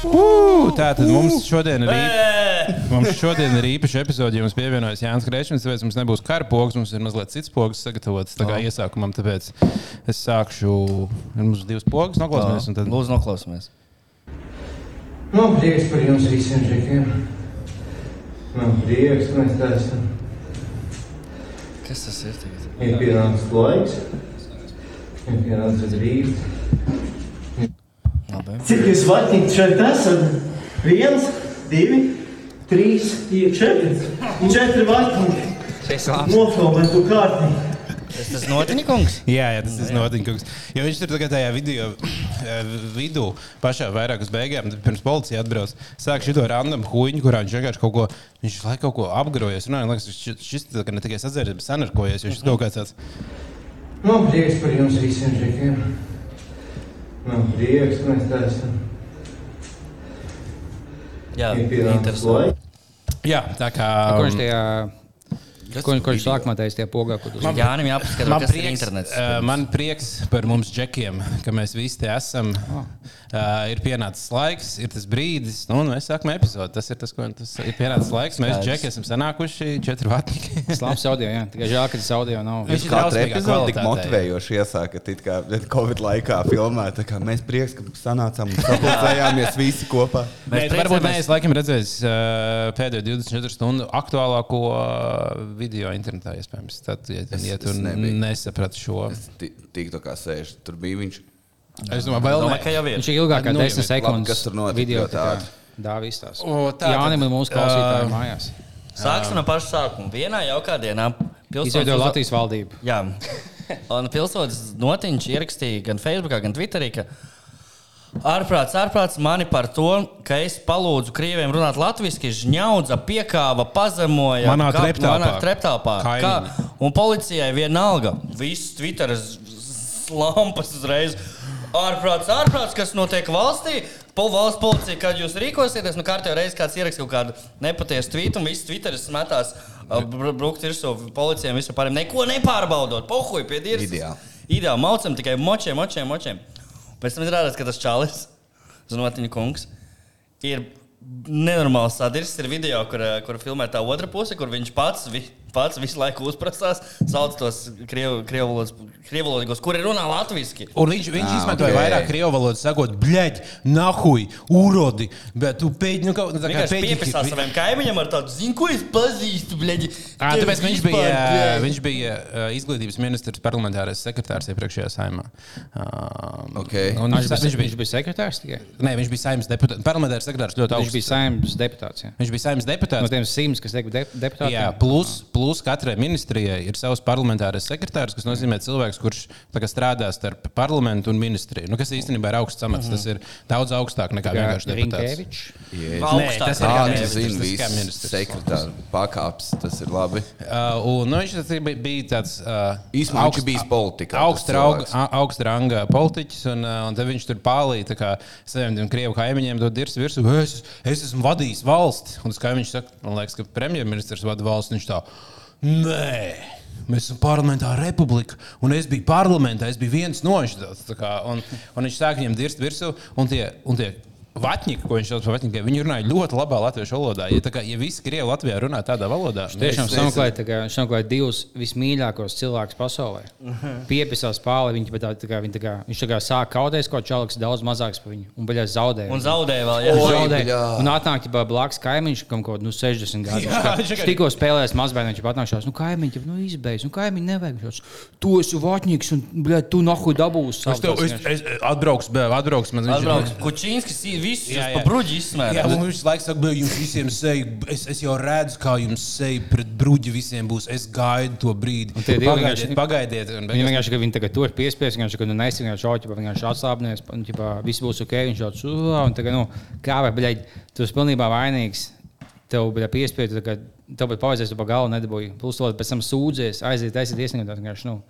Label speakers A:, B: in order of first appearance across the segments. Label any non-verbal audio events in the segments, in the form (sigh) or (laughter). A: Uh, tā tad mums šodien ir, īpa, mums šodien ir īpaši epizode. Ja mums pievienojas Jānis Krēčins, tāpēc mums nebūs karpoks, mums ir mazliet cits pogas sagatavots. Tā kā iesākumam, tāpēc es sākšu. ir Mums ir divas pogas, noklausīsimies. un Tad...
B: Lūdzu, noklausāmies.
C: Man prieks par jums visiem žekiem. Man prieks, mēs tā esam.
B: Kas tas ir? Tagad?
C: Ir pienācis laiks, ir pienācis brīdis.
B: Labi.
D: Cik jūs vatnīgi šeit esat? Viens, divi, trīs, četri. Četri vatnīgi. Nofilmēt to kārtīgi.
B: Tas tas notiekums.
A: Jā, jā, tas ir noticis. Jo viņš tur tagad tajā video, eh, vidū, pašā vairāk uz beigām, tad pirms policija atbrauc, sāk šo randomu huīņu, kurā viņš vienkārši kaut ko, viņš laikam kaut ko apgrojies. Runāja, liekas, šis, šis tā kā ne tikai sadzēries, bet sanarkojies. Viņš ir kaut kāds tāds.
C: Man prieks par jums visiem žekiem. Man prieks, mēs tā esam.
B: Jā,
C: Ir pienācis
B: interesanti.
C: laiks.
A: Jā, tā kā. um,
E: Ko viņš tajā, ko, ko viņš
B: video?
E: sākumā taisīja tajā pogā? Kur, (laughs)
B: Man, Jānim jāpaskatās,
A: Man
B: kas prieks, ir
A: prieks,
B: internets.
A: uh, man prieks par mums, džekiem, ka mēs visi te esam. Oh. Uh, ir pienācis laiks, ir tas brīdis, nu, un mēs sākam epizodi. Tas ir tas, ko tas ir pienācis laiks. Mēs,
B: Skaidrs.
A: džeki, esam sanākuši četri vatniki.
E: Slāpes audio, jā. Tikai žēl, ka tas audio nav.
A: Viņš ir
F: Katra
A: drausmīgā
F: epizode tik
A: kvalitātē.
F: motivējoši iesāka, it kā Covid laikā filmā. Tā kā mēs prieks, ka sanācām
A: (laughs)
F: un sapulcējāmies visi kopā.
A: Nē,
B: Mēs
A: tu varbūt
B: priecājamies.
A: neesmu laikam redzējis uh, pēdējo 24 stundu aktuālāko uh, video internetā, iespējams. Tad, ja,
F: Es-
A: ja tu
F: es nebiju.
A: nesaprati šo,
F: Tik to kā sēž, tur bija viņš.
A: es domāju, vēl
B: Domāju, ka
A: ne.
B: jau ir.
E: Viņš ir ilgāk kā
A: Nu,
E: 10
A: labi,
E: sekundes.
F: kas tur notika,
E: Video,
F: jo
E: tā
F: tādi.
E: kā dāvis tās.
A: O, tā tad,
E: Jānim un mūsu
A: ā,
E: klausītājiem mājās.
B: Sāksim no paša sākuma. Vienā jaukā dienā
E: Izveidoja
B: uz-
E: Latvijas valdību.
B: Jā, un pilsonis notiņš ierakstīja gan Facebook, gan Twitterī, ka ārprāts, ārprāts mani par to, ka es palūdzu krieviem runāt latviešu, žņaudza, piekāva, pazemoja.
A: Manā
B: ka-
A: treptelpā.
B: Manā treptāpā.
A: Kaimiņi.
B: Kā, un policijai vienalga. Viss Twitter lampas uzreiz. Ārprāts, ārprāts, kas notiek valstī. Po valsts policija, kad jūs rīkosieties, nu kārtējā reizē kāds ierakstīja kaut kādu nepatiesu tvītu, un viss Twitter smetās uh, br- brukt virsū policijai, visam pārējiem. Neko nepārbaudot, pohuj pie dievis.
F: Ideāli.
B: Ideāli maucam tikai močiem, močiem, močiem. Pēc tam izrādās, ka tas čalis, (laughs) Znotiņa kungs, ir nenormāls sadirsts. Ir video, kur, eh, kur filmē tā otra puse, kur viņš pats, vi, pats visu laiku uzprasās, sauc tos krievu- krievu valodas- krievu valodīgos, kuri runā latviešu.
A: Un viņš, viņš
F: Ah,
A: izmantoja
F: ok.
A: okay. vairāk krievu valodu, sakot, bļaigi, nahuj, urodi. Bet tu pēdi, nu, kaut kā
B: Viņš piepisās saviem kaimiņiem ar tādu zinu, ko es pazīstu. Bleģi,
A: Ā,
B: Tevi
A: Ah, Tāpēc viņš
B: vispār,
A: bija, eh,
B: bļeģi."
A: viņš bija ā, izglītības ministrs, parlamentārais sekretārs iepriekšējā saimā. Ā,
F: Ok.
A: un
E: Viņš
A: Viņš,
E: bija-
A: viņš,
E: viņš
A: bija,
E: bija sekretārs tikai.
A: nē, viņš bija saimnes deputāts. Parlamentārais sekretārs ļoti
E: Viņš
A: augsts.
E: bija saimnes deputāts. jā.
A: Viņš bija saimnes
E: No
A: deputāts.
E: tiem simts, kas tiek de- deputāti.
A: Jā, plus, plus katrai ministrijai ir savs parlamentārais sekretārs, kas nozīmē cilvēks, kurš tā kā strādā starp parlamentu un ministriju. Nu, kas īstenībā ir augsts amats.
E: Mhm.
A: Tas ir daudz augstāk nekā vienkārši deputāts.
E: Rinkēvičs.
A: Nē,
B: Augstāk.
A: tas ir kā
F: Tā
A: ministrs,
F: zina,
A: tas ir kā
F: viss
A: ministrs.
F: sekretārs pakāps, tas ir labi.
A: Uh, un, nu, viņš tas bija, bija tāds uh,
F: Īsumā viņš ir bijis politikā,
A: augsta
F: tas
A: rauga-
F: cilvēks.
A: a- augsta ranga politiķis. Un, uh, un tad viņš tur pālīja tā kā saviem tiem krievu kaimiņiem, dod dirzi virsū, es, es esmu vadījis valsts. Un tas kaimiņš saka, man liekas, ka premjerministrs vada valsts. un Viņš tā, nē. Mēs esam parlamentārā republika, un es biju parlamentā. Es biju viens no viņiem. Viņš sāk viņiem dirzt virsū, un tie, un tie vatņiki, ko viņš sauc par vatņikiem, viņi runāja ļoti labā latviešu valodā. Ja, tā kā, ja visi krievi Latvijā runā tādā valodā, tad
E: Tiešām sameklēja tā kā- viņš sameklēja divus vismīļākos cilvēkus pasaulē.
A: Mhm.
E: Piepisās pāri, viņi pat tā, tā kā, viņi tā kā, viņš tā kā sāk kaudēs, ko čaliks daudz mazāks par viņu un baļā zaudēja.
B: Un zaudēja vēl, jā.
F: Oi,
E: Zaudē.
F: bļā.
E: Un atnāk jau blakus kaimiņš, kam kaut kāds nu, 60 gadu vecs. Viņš tikko spēlējis mazbērnu, viņš atnākās. Nu, kaimiņš jau nu, izbeigs, nu, kaimiņš nevajag. Viņš, tu esi vatņīgs, un bļā, tu nahu dabūsi.
A: Es tev es, es, atbrauks, bet atbrauks man viņš-
B: Atbrauc Kučīnskis, visus
A: Jā,
B: jā, jā.
A: jā.
B: pa bruģi
A: Jā,
B: izsmērā.
A: un viņš laikam saka, ka jums visiem seja, es, es jau redzu, kā jums seja pret bruģi visiem būs. Es gaidu to brīdi.
E: tie divi
A: Pagaidiet,
E: vienkārši-
A: pagaidiet. un
E: Viņa
A: beigās-
E: vienkārši, ka viņi tagad tur piespiest, viņš kaut kādā nesenā šauķībā vienkārši atslābinies, un ķipā, viss būs ok, viņš jau sūdzā, un tagad, nu, kā vai, bļaļ, tu esi pilnībā vainīgs, tev bija piespiedu, tā kā tev pat pauzēs, tu pa galvu nedabūji, plus to pēc tam sūdzies, aiziet, aiziet iesniegt, vienkārši, nu,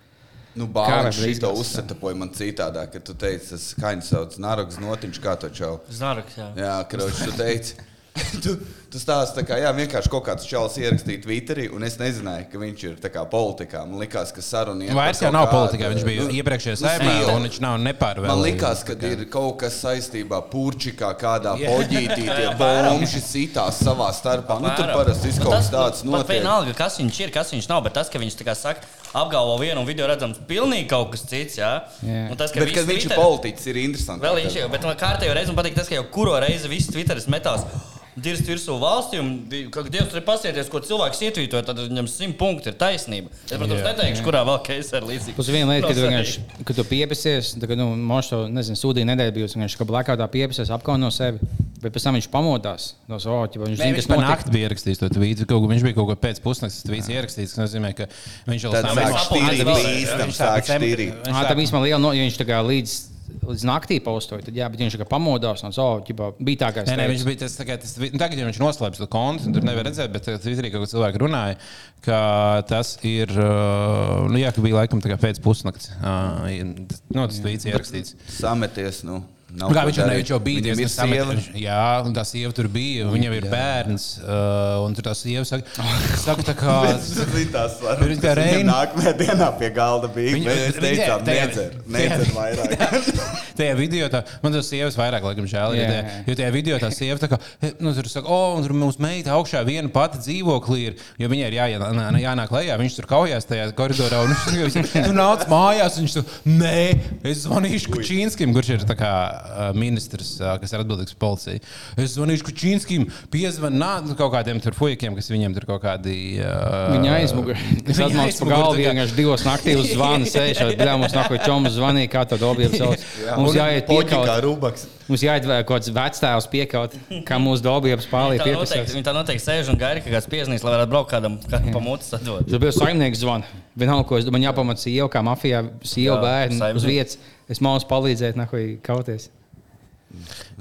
F: Nu,
E: Kā var
F: Bāriņš šito
E: izgāzt, jā.
F: uzsatapoja man citādā, kad tu teici, tas skaņas sauc Naroks Notiņš, kā to čau.
B: Znaraks, jā.
F: Jā, Kročs, tu teici. (laughs) Tu, tu stāsti, tā kā, jā, vienkārši kaut kāds čels ierakstīja Twitterī, un es nezināju, ka viņš ir tā kā politikā. Man liekas, ka saruna ir.
A: Vairs jau nav politikā, viņš bija iepriekšējā saimē, un viņš nav nepārvēlējis.
F: nu, Man liekas, ka ir kaut kas saistībā ar purčikā, kādā poģītī
A: (laughs)
F: tie bombuļi sitās savā starpā. Nu, tur parasti ir kaut kas
A: nu,
F: tāds
B: notiek.
F: notiek.
B: Vienalga, kas viņš ir, kas viņš nav, bet tas, ka viņš tā kā saka, apgalvo vienu un video redzams pilnīgi kaut kas cits, jā.
E: Jā.
B: Un tas, ka
F: Bet,
B: viss
F: kad viņš ir
B: Twitter-
F: politiķis, ir interesanti.
B: Vēl viņš jau, bet man kārtējo reizi man patīk tas, ka jau kuro reizi viss Twitteris metās. Dirzt virsū valstī, un di- kad Dievs tur pasieties, ko cilvēks ietvītoja, tad viņam simt punkti ir taisnība. Es, protams,
A: Jā.
B: neteikšu, kurā vēl keisa ir līdzīga.
E: Plus viena lieta, kad tu vienkārši (laughs) kad tu piepesies, tad, nu, Mošs to nezinu, sūdīja nedēļu, bijusi vienkārši, ka blackoutā piepesies, apkauno sevi, bet pēc tam viņš pamodās no savā ķipa. Viņš zina,
A: Viņš
E: kas
A: par
E: notiek.
A: naktī bija ierakstījis to tvītu. Kaut, ko- viņš bija kaut ko pēc pusnakts tvīts ierakstījis, kas nozīmē, ka viņš jau
F: Tad
A: tam
F: sāk
A: visam-
F: štīrīt
B: Viņš
F: bīstam,
A: sāk
F: sāk
A: sem-
F: štīrīt.
E: Ā, Tam īstenībā liela no, ja viņš tā kā līdz, līdz naktī paustoja, tad jā, bet viņš tā kā pamodās no savā ķipa. Bija tā, kā es
A: Nē, nē,
E: teicu.
A: viņš bija tas, tā kā tas vi- nu, tagad, ja viņš noslēpj to kontu, un tur nevar redzēt, bet Twitterī kaut kā cilvēki runāja, ka tas ir, uh, nu jā, ka bija laikam tā kā pēc pusnakts, uh, nu, tas tvīts ierakstīts.
F: Sameties, nu. nav
A: Nu, kā
F: ko
A: viņš jau
F: darīt.
A: bija bijis
F: Viņam ir sieva.
A: grūti. Jā, un tā sieva tur bija. un Viņam ir bērns. Uh, un tur tā sieva
F: (laughs)
A: saka, saka tā kā.
F: Tas bija tas,
A: Viņš kā Reina.
F: Nākamajā dienā pie galda bija.
A: Viņu-
F: Viņu, mēs
A: Redzi,
F: teicām,
A: tajā-
F: nedzer,
A: tajā-
F: nedzer vairāk.
A: (laughs) Tajā video tā, man tas sievas vairāk, laikam, žēl.
E: Jā,
A: Jo tajā,
E: jā.
A: jo tajā video tā sieva tā kā, e, nu, tur saka, o, un tur mums meita augšā viena pati dzīvoklī ir, jo viņai ir jāienā- jānāk lejā. Viņš tur kaujās tajā koridorā, un (laughs) viņš tur jau nāca mājās. un Viņš tur, nē, es zvanīšu Kučīnskim, kurš ir tā kā uh, ministrs, uh, kas ir atbildīgs par policiju. Es zvanīšu Kučīnskim, piezvanīt nu, kaut kādiem tur fujikiem, kas viņiem tur kaut kādi. Uh,
E: Viņa aizmugurē. (laughs) Es
A: Viņa
E: atnācu pa
A: aizmugurē, tā
E: galvu,
A: kā-
E: vienkārši divos
A: (laughs)
E: naktīs zvanu sēžot. Bļā, mums nākoja čoms zvanīja, kā tad objektā sauc. Mums jāiet
F: poģikā
E: piekaut.
F: rubaks.
E: Mums jāiet vēl kaut kāds vectēvs piekaut, kā mūsu dobjības pārlī
B: Tā noteikti,
E: piepasās.
B: viņa tā noteikti sēž un gaida, ka kāds piezīmēs, lai varētu braukt kādam kādam pa mūtu sadot.
E: Tur bija saimnieks zvans. Vienalga, ko es domāju, jāpamata sieva, E kā mafijā, sieva
B: Jā,
E: bērni uz
B: saimnieks.
E: vietas. Es mālos palīdzēt, nahoj, kauties.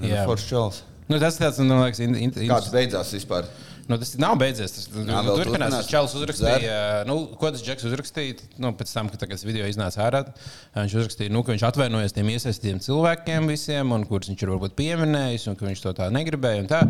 A: Jā.
F: Foršs čels.
A: Nu, tas ir tāds, man liekas, in- in-
F: Kāds beidzās vispār?
A: Nu, tas nav beidzies. Tas
F: Jā, vēl
A: turpinās.
F: turpinās.
A: Tas čels uzrakstīja, nu, ko tas Džeks uzrakstīja. Nu, pēc tam, kad tas video iznāca ārā, viņš uzrakstīja, nu, ka viņš atvainojas tiem iesaistītiem cilvēkiem visiem, un kurus viņš ir varbūt pieminējis, un ka viņš to tā negribēja. un Tā,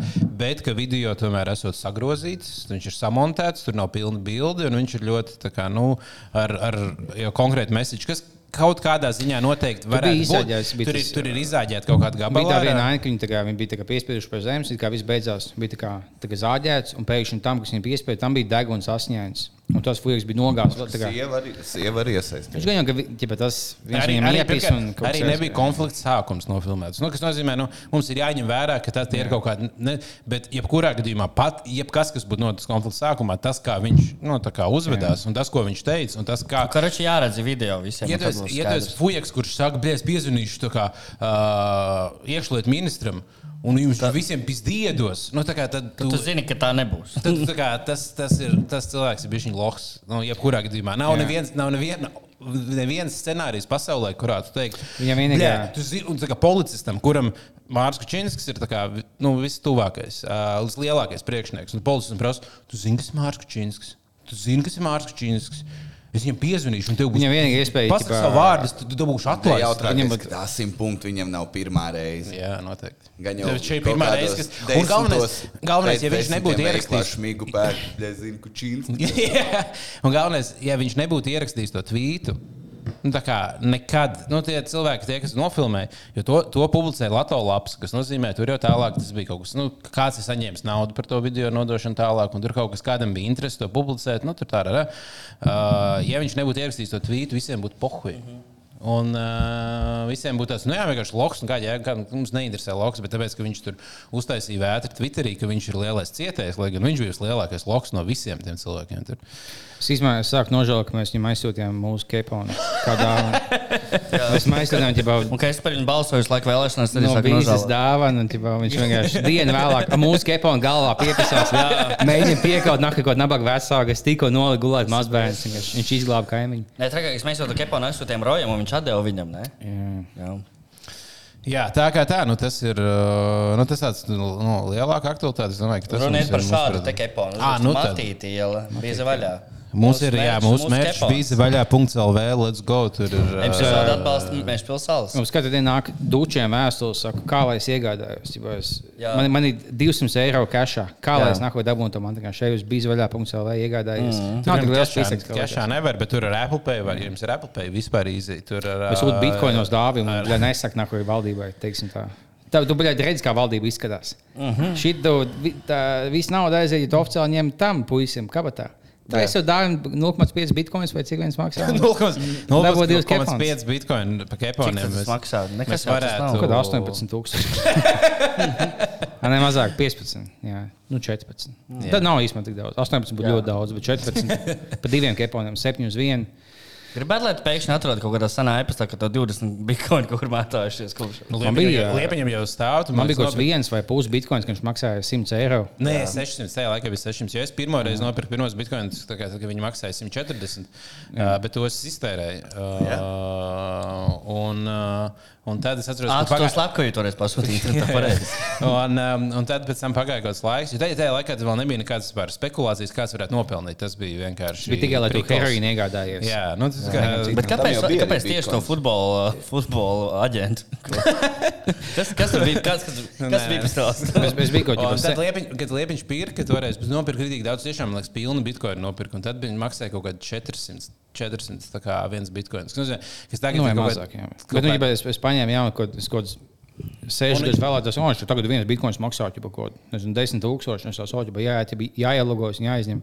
A: bet ka video tomēr esot sagrozīts, viņš ir samontēts, tur nav pilna bilde, un viņš ir ļoti tā kā, nu, ar, ar jau konkrētu mesiķu. Kas, Kaut kādā ziņā noteikti varētu
E: bija
A: būt.
E: izāģēts, bija
A: Tur ir,
E: tas-
A: tur ir izāģēta kaut kāda gabala.
E: Bija tā viena aina, ka viņi, tā kā, viņi bija tā kā piespieduši pie zemes, it kā viss beidzās. Bija tā kā, tā kā zāģēts, un pēkšņi tam, kas viņam piespiedu, tam bija deguns asņēns. Un tas fujiks bija nogāzts. vēl tā kā-
F: Sieva arī, sieva arī iesaistīta.
E: Viņš gan jau ka vi- ķipa, tas viens
A: Arī,
E: viņam
A: arī,
E: iepis
A: pirmkārt,
E: un kaut
A: arī
E: kas
A: nebija
E: aizgāja.
A: konflikts sākums nofilmēts. Nu, kas nozīmē, ka nu, mums ir jāņem vērā, ka tas ir kaut kāda. Ne, bet, jebkurā gadījumā, pat jebkas, kas būtu noticis konflikta sākumā, tas, kā viņš nu, tā kā uzvedās un tas, ko viņš teica, un tas, kā.
B: Karači jāredz video visiem. un tad būs
A: Iedodies
B: skaidrs.
A: Fujaks, kurš saka, ka es piezvanīšu tā kā, uh, iekšlietu ministram un jums visiem pizdiedos. Nu, tā kā tad tu-
B: Tu zini, ka tā nebūs.
A: Tad, tā kā, tas, tas, ir, tas cilvēks ir bijis viņa loks. Nu, jebkurā gadījumā nav neviens, nav neviena. Neviens scenārijs pasaulē, kurā tu teiksi,
E: Viņam vienīgā-
A: ir policistam, kuram Mārcis Kalniņš ir tā kā, vi- nu, vislabākais, uh, lielākais priekšnieks. Un policistam prasa, tu zini, kas ir Mārcis Kalniņš. Tu zini, kas ir Mārcis Kalniņš. Es viņam piezvanīšu, un tev būs
E: Viņam vienīgā iespēja,
A: Pasaki
E: ķipā-
A: savu vārdus, tad tu dabūsi
F: Tā ir
A: atklājumu.
E: Viņam-
F: jautrākais, ka tā simt punktu viņam nav pirmā reize.
A: Jā, noteikti.
F: Gan jau
A: Tev šī ir
F: kaut
A: pirmā
F: kādos
A: reize, kas. Un
F: desmitos,
A: galvenais, galvenais, ja
F: pēc
A: viņš nebūtu
F: desmitiem
A: ierakstījis,
F: veiklā Šmigu pērk, (laughs) nezinu,
A: (laughs)
F: kučīns.
A: Jā. un galvenais, ja viņš nebūtu ierakstījis to tvītu. Nu, tā kā nekad, nu, tie cilvēki, tie, kas nofilmē, jo to, to publicēja Latvijas lapas, kas nozīmē, tur jau tālāk tas bija kaut kas, nu, kāds ir saņēmis naudu par to video nodošanu tālāk, un tur kaut kas kādam bija interesi to publicēt. Nu, tur tā ir. Uh, ja viņš nebūtu ierakstījis to tvītu, visiem būtu pohuļi. Mm -hmm. Un uh, visiem būtu tāds, nu, jā, vienkārši loks. Kā, jā, kā, mums neinteresē loks, bet tāpēc, ka viņš tur uztaisīja vētru Twitterī, ka viņš ir lielais cietējs, lai gan viņš bija vislielākais loks no visiem tiem cilvēkiem. Tur.
E: Es īstenībā sāku nožēlot, ka mēs viņam aizsūtījām mūsu keponu.
A: (laughs)
E: Kādā mēs viņam aizsūtījām,
B: Un
E: ja
B: ka es par viņu balsoju visu laiku vēlēšanās, tad
E: no
B: es saku,
E: vīzes
B: nožēlo.
E: dāvana, un ķipā, viņš vienkārši dienu vēlāk ar mūsu keponu galvā piepasās. Mēģinām piekaut nakti kaut nabaga vecāku, es tikko noliku gulēt mazbērns, vienkārši viņš izglāba kaimiņu.
B: Nē, trakākais, mēs jau to keponu aizsūtījām Rojam, un viņš atdeva viņam, ne? Jā.
A: Jā, tā kā tā, nu, tas ir uh, nu, tas tāds, nu, nu, lielāka aktualitāte. Es domāju, ka tas mums
B: Runiet
A: ir
B: par
A: mūsu
B: šādu
A: prezidents.
B: te keponu.
A: Ā, nu tad.
B: Matīti iela, bieza vaļā.
A: Mums ir, jā,
B: mērķis,
A: mūsu
B: mūsu
A: mērķis
B: kepos.
A: bija vaļā. .lv, let's go. Tur ir.
B: Mēs
A: ā,
B: pilsētu atbalstam, mēs pilsētu.
E: Mums katru dienu nāk dučiem vēstules, saku, kā lai es iegādājos. Ķipa, Es,
B: Jā.
E: man, man ir 200 eiro kešā. Kā lai
A: Jā.
E: es nākotnē dabūtu, man tikai šeit uz bīzvaļā.cl iegādājos. Mm. Nav
A: Tur
E: tik
A: jau
E: liels
A: tādā
E: pīsaks.
A: formā, ka nevar, bet tur ir Apple Pay, vai ja jums ir Apple Pay vispār īzī. Tur eh, ir.
E: Es sūtu bitkoinos dāvinu, lai nesaktu nākamajai valdībai. teiksim tā. Tā, tu biji redzējis, kā valdība izskatās. Uh -huh. Šī visa nauda aiziet, ja tu oficiāli ņem tam puisim kabatā. Tā es jau dāvinu 0,5 bitkoinus vai cik viens (laughs) maksā. Dabū divas keponas.
A: 0,5 bitkoinu pa keponiem.
B: Cik tas
A: mēs-
B: maksā? Nekas
A: mēs
B: jau tas nav.
A: varētu.
E: Nu, Kaut kāda (laughs) 18,000. Nē, mazāk 15. Jā. Nu, 14. Jā. Tad nav īstenībā tik daudz. 18 būtu ļoti daudz, bet (laughs) 14 pa diviem keponiem, 7 uz 1.
B: Gribētu, lai tu pēkšņi atrod kaut kādā senā epistā, ka tev (laughs) 20 bitkoini kaut kur mētājušies kopš.
A: Liepiņam
E: bija,
A: jau-
E: jā.
A: Liepiņam jau stāv. tu māc
E: Man bija kaut kāds
A: nopirkt.
E: viens vai pusi bitkoins, kas maksāja 100 eiro.
A: Nē, 600. Tajā laikā bija 600. Ja es pirmo reizi nopirku pirmos bitkoinus, tad viņi maksāja 140, uh, bet tos es iztērēju. Uh, un, uh, un tad es atceros,
B: Ātri to
A: pagā-
B: slepkavību toreiz
A: (laughs)
B: pasūtīt. Tā pareizi.
A: un, um, un tad pēc tam pagāja kaut kāds laiks. Jo tajā, tajā laikā tas vēl nebija nekādas vispār spekulācijas, kas varētu nopelnīt. Tas bija vienkārši.
E: Bija tikai, lai tu
A: prikals.
E: heroīnu iegādājies.
A: Jā, nu, tas kā,
B: Bet
A: bet,
B: kāpēc,
F: jau bija
B: kāpēc
F: arī
B: tieši to
F: bitcoins.
B: futbola, uh, futbola
F: (laughs)
B: aģentu? kas, kas tur bija? Kas, kas,
F: Nu,
B: kas
A: Nē.
B: bija pēc tās?
E: Es, es biju kaut
A: Un
E: kādā
A: tad, liepiņ, kad Liepiņš pirka, toreiz bet nopirka kritiski daudz, tiešām, man liekas, pilnu bitkoinu nopirka. Un tad viņi maksāja kaut kādu 400, 400 tā kā viens bitkoins. Kas, nozīmē, kas tagad
E: Nu,
A: ir
E: vai
A: kaut
E: mazāk.
A: kā-
E: jā.
A: kaut
E: Bet, nu,
A: kā-
E: ja es, es paņēmu jaunu kaut kādu. Sēžu, kad vēlētos, un viņš tagad viens bitkoins maksā jau par kaut ko nezinu, 10 tūkstoši. un Es jau saucu, ka jāielogos un jāizņem.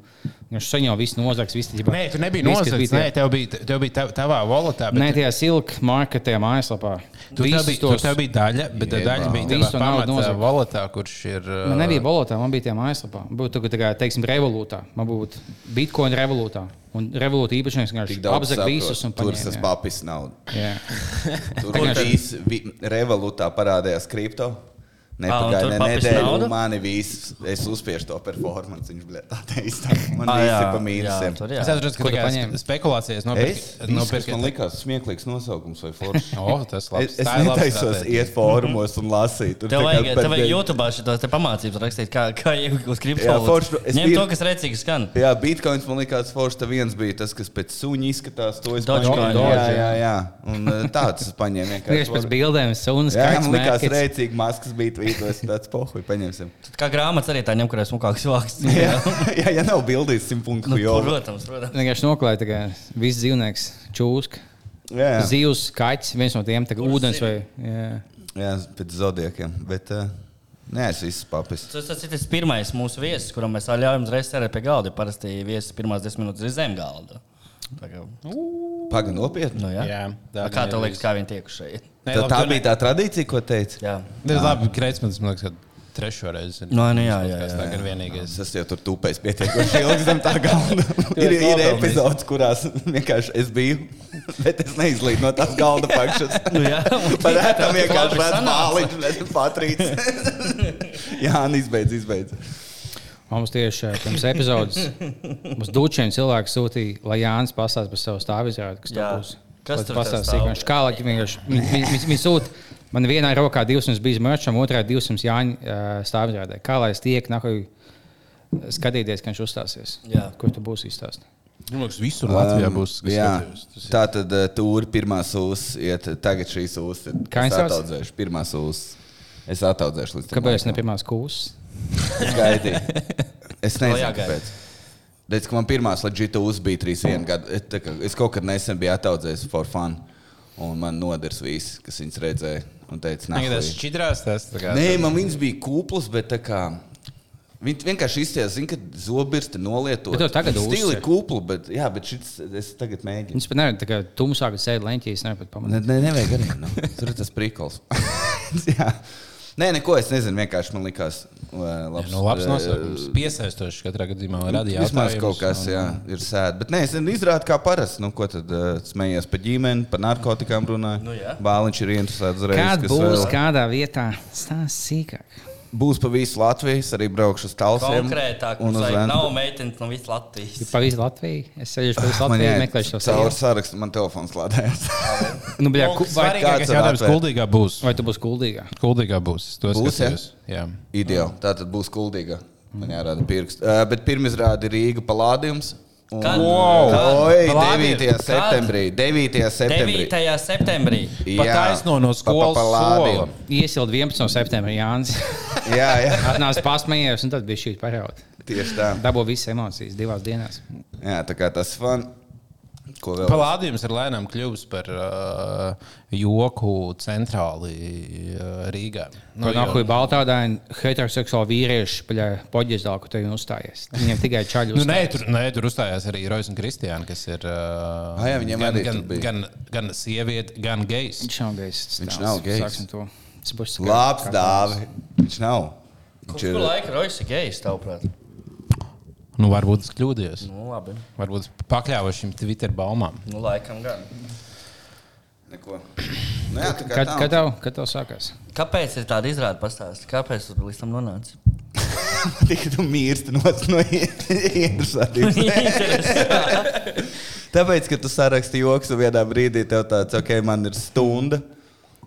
E: Viņš saņēma visu nozags, visu ģipa.
A: Nē, tu nebija
E: viss, kas
A: nozags.
E: bija
A: Nē, tev bija, tev bija tav, tavā volatā.
E: Nē, tajā silka marketē, mājaslapā.
A: Tu tev
E: Visus
A: bija, tu
E: tos-
A: tev bija daļa, bet tā
F: Jebā.
A: daļa bija
E: Visu
A: tavā pamatā
E: naudu nozaga.
A: volatā, kurš ir. uh,
E: Man nebija valūtā, man bija tie mājaslapā. Man Būtu tā kā, teiksim, revolūtā. Man būtu bitkoina revolūtā. Un revolūta īpašnieks
F: Tik
E: vienkārši
F: daudz
E: apzag visus un
F: saprotu. Tur tas
E: paņēma.
F: papis nav.
E: jā.
F: Tur
E: Kur tad?
F: viss vi- revolūtā parādījās kripto.
B: tur
F: Nepagāja ne
B: papis nauda?
F: nedēļa, mani viss, es uzspiežu to performanci, viņš bija tā
B: (laughs)
F: teistā. (laughs) Man
B: Ah,
F: viss
B: jā,
F: ir pa
B: jā, tur
F: mīnusiem.
B: jā.
A: Es atceros, ka
E: Ko tu
A: tā
E: paņēmi?
A: kā spekulācijas
F: Es,
A: nopirkt.
F: viss, kas man
A: (laughs) nopirkt-
F: likās smieklīgs nosaukums vai foršs.
B: (laughs) Oh,
A: O, Oh, tas labs.
F: Es, es
A: Tā ir laba
F: netaisos
A: stratēģija.
F: iet fórumos un lasīt. Tur
B: Tev
F: tā kā
B: vajag,
F: par
B: tev vajag
F: dienu-
B: YouTube šitās te pamācības rakstīt, kā, kā iegūt
F: forši,
B: kriptovalūtu.
F: es
B: Ņem
F: biju-
B: to, kas redzīgi skan.
F: Jā, bitkoins man liekas, forši tas viens bija tas, kas pēc suņa izskatās. To es
B: Dogecoin.
F: paņēmu. Jā,
E: Doge,
F: jā, jā. Un eh, tāds es paņēmu.
E: Tieši pēc bildēm, sunas,
F: Jā, man
E: kā
F: liekas, rēcīgi maskas bija tvītos, tāds pohuj, paņemsim.
B: Tad kā grāmatas arī tā ņem, kurās smukāks vārds.
F: (laughs) Jā, jā, ja nav bildīs simt punktu,
B: Nu,
F: jo.
B: protams, protams.
E: Vienkārši noklāja tā kā viss dzīvnieks, čūska.
F: Jā, jā.
E: Zivs, kaķis, viens no tiem, tagad ūdens vai. Jā.
F: jā, pēc zodiekiem, bet eh, nē, es viss papis.
B: Tas tas ir tas pirmais mūsu viesis, kuram mēs ļaujam uzreiz sēdēt pie galda. jo Parasti viesis pirmās desmit minūtes ir zem galda. Tā kā,
F: Nu, Paga nopietni.
B: nu, jā. jā
A: Jā,
B: tā,
A: tā
B: kā tev
A: bija
B: liekas, kā viņi tiek šeit?
A: Nē, labi,
F: Tā, tā
A: tu ne-
F: bija tā tradīcija, ko teica.
B: Jā.
A: Nu, Labi, Kreismans, man liekas, ka trešo reizi. ir.
B: Nu, nu, jā, jā,
A: Tas
B: jā,
A: tā
B: jā.
A: ir vienīgais.
F: Es jau tur tūpēju
B: (laughs)
F: pietiekami ilgi zem tā galda. ir ir
A: novelnīsi.
F: epizodes, kurās vienkārši es biju, (laughs) bet es neizlīdu no tās galda pakšas.
B: (laughs) Nu, jā.
F: Par ētām
B: Labi
F: vienkārši redz
B: sanāca.
F: pāliņu, redz patrīts.
B: (laughs)
F: (laughs) Jā, un izbeidz, izbeidz.
E: Mums tieši eh, pirms epizodes
B: (laughs)
E: mums dučiem cilvēki sūtīja, lai Jānis pastāsta par savu stāvizrādu, kas
B: Jā.
E: tur būs.
B: Kas
E: Lai
B: tur
E: pastāsta
B: tev stāv?
E: sīkāk? Kā lai viņi vienkārši. viņi- viņi- viņi- Viņi sūta. Man vienā rokā 200 bija mērķis, otrā 200 Jāņa stāvizrādē. Kā lai es tiek nākamajā skatīties, kad viņš uzstāsies?
B: Jā.
E: Kur tu būsi izstāstīt?
A: Man liekas, visur Latvijā
F: Um,
A: būs. kas
F: jā.
A: skatījos. Tas ir-
F: Tā tad eh, tūri pirmā sūs, iet eh, tagad šī sūs.
E: Kā
F: Es
E: viņas sauc?
F: ataudzēšu pirmā sūs. Es ataudzēšu līdz tam
E: Kāpēc ne
F: laikam.
E: pirmās kūsas?
F: Gaidīju. Es nezinu,
B: jāgaida.
F: kāpēc. Redz, ka man pirmā leģita uzbija 3,1 gadu. Es, tā kā- es kaut kad nesen biju attaudzējis for fun. Un man nodars viss, kas viņas redzēja. Un teica, nē,
A: Tagad tas šķidrās, tas tā kā.
F: Nē, man viņas bija kūplas, bet tā kā. Viņi vienkārši izsaka, zina, ka zobirsti nolieto.
E: Bet tev tagad
F: stila
E: uzsver.
F: kūpla, bet, jā, bet šis, es tagad mēģinu.
E: Viņš pat nevar, tā kā tumšāk sēž leņķī, es nevaru pat pamanīt.
F: Ne, ne, nevajag arī. Nu. Tur ir tas prikals. (laughs) jā. Nē, neko es nezinu. Vienkārši man likās, uh, labs,
A: Nu, labs
F: eh,
A: nosaukums. Piesaistošs katrā gadījumā radīja.
F: Vismaz kaut kas, jā, ir sēdi. Bet nē, es izrādīju, kā parasti. Nu, ko tad uh, smējies par ģimeni, par narkotikām runāju?
B: Nu, jā.
F: Bāliņš ir interesēts uzreiz.
E: Kad
F: kas
E: būs
F: vēl.
E: kādā vietā, stāsta sīkāk.
F: Būs pa visu Latviju, es arī braukšu uz Talsiem.
B: Konkrētāk,
F: un uz
B: mums vajag-
F: Ventspili.
B: nav meitenes no visas Latvijas.
E: Pa visu Latviju. Es sēžu pa visu
F: Ah, Man
E: Latviju,
F: jāiet
E: meklēju šo
F: Caur
E: savu.
F: sarakstu man telefons lādējās.
E: Nu, bļā, ku, vai,
A: Svarīgākais
F: kāds ir
A: jautājums -
F: atvērt?
A: kuldīgā būs.
E: vai tu būsi kuldīgā?
A: Kuldīgā būs. es to
F: Būs, jā?
A: skatījos. Jā.
F: Ideāli. Tā tad būs kuldīga. Man jārāda pirksts. Uh, bet pirmizrāde ir Rīga palādījums.
B: Kad?
A: Wow.
B: Kad?
F: Oi,
A: Palādies.
F: 9.
A: Kad?
F: septembrī. 9. septembrī.
B: 9. septembrī.
A: Pa taisno no skolas
F: Palādiem.
E: Iesild 11. septembrī Jānis.
F: Jā, jā.
E: Atnāca pasmējies, un tad bija šī parauga.
F: Tieši tā.
E: Dabū visas emocijas divās dienās.
F: Jā, tā kā tas fan. Ko vēl?
A: Palādījums ir lēnām kļuvis par uh, joku centrāli uh, Rīgā.
E: Nu,
A: jo-
E: Nākamā baltā daina heteroseksuāla vīrieša poģezdā, ka te jau uzstājies. Viņam tikai čaļus.
A: Nu, nē, tur, nē, tur uzstājās arī Rojas un Kristiāna, kas ir. Uh,
F: Ah, jā, viņiem
A: gan,
F: arī
A: gan,
F: tur bija.
A: gan, gan sieviete, gan gejs.
E: Viņš nav gejs.
F: Viņš nav gejs.
E: Tas būs
F: Labs dāvi. Viņš nav. Viņš
B: Kurš
F: ir.
B: laika Roisas ir gejs, tavuprāt?
A: Nu, varbūt es kļūdījos.
B: Nu, labi.
A: Varbūt pakļāvos šim Twitter baumām.
B: Nu, laikam gan.
F: Neko. Nu, jā, tā kā
E: Kad,
F: tā. (laughs)
E: kad, tev, kad tev sākās?
B: Kāpēc ir tāda izrāda pastāstīt? Kāpēc tu līdz tam
F: (laughs)
B: nonāci?
F: Tik tu mīlsti no no (laughs)
A: (laughs)
F: interesantiem.
B: Interesanti.
F: Tāpēc, ka tu saraksti joks, un vienā brīdī tev tāds, ok, man ir stunda.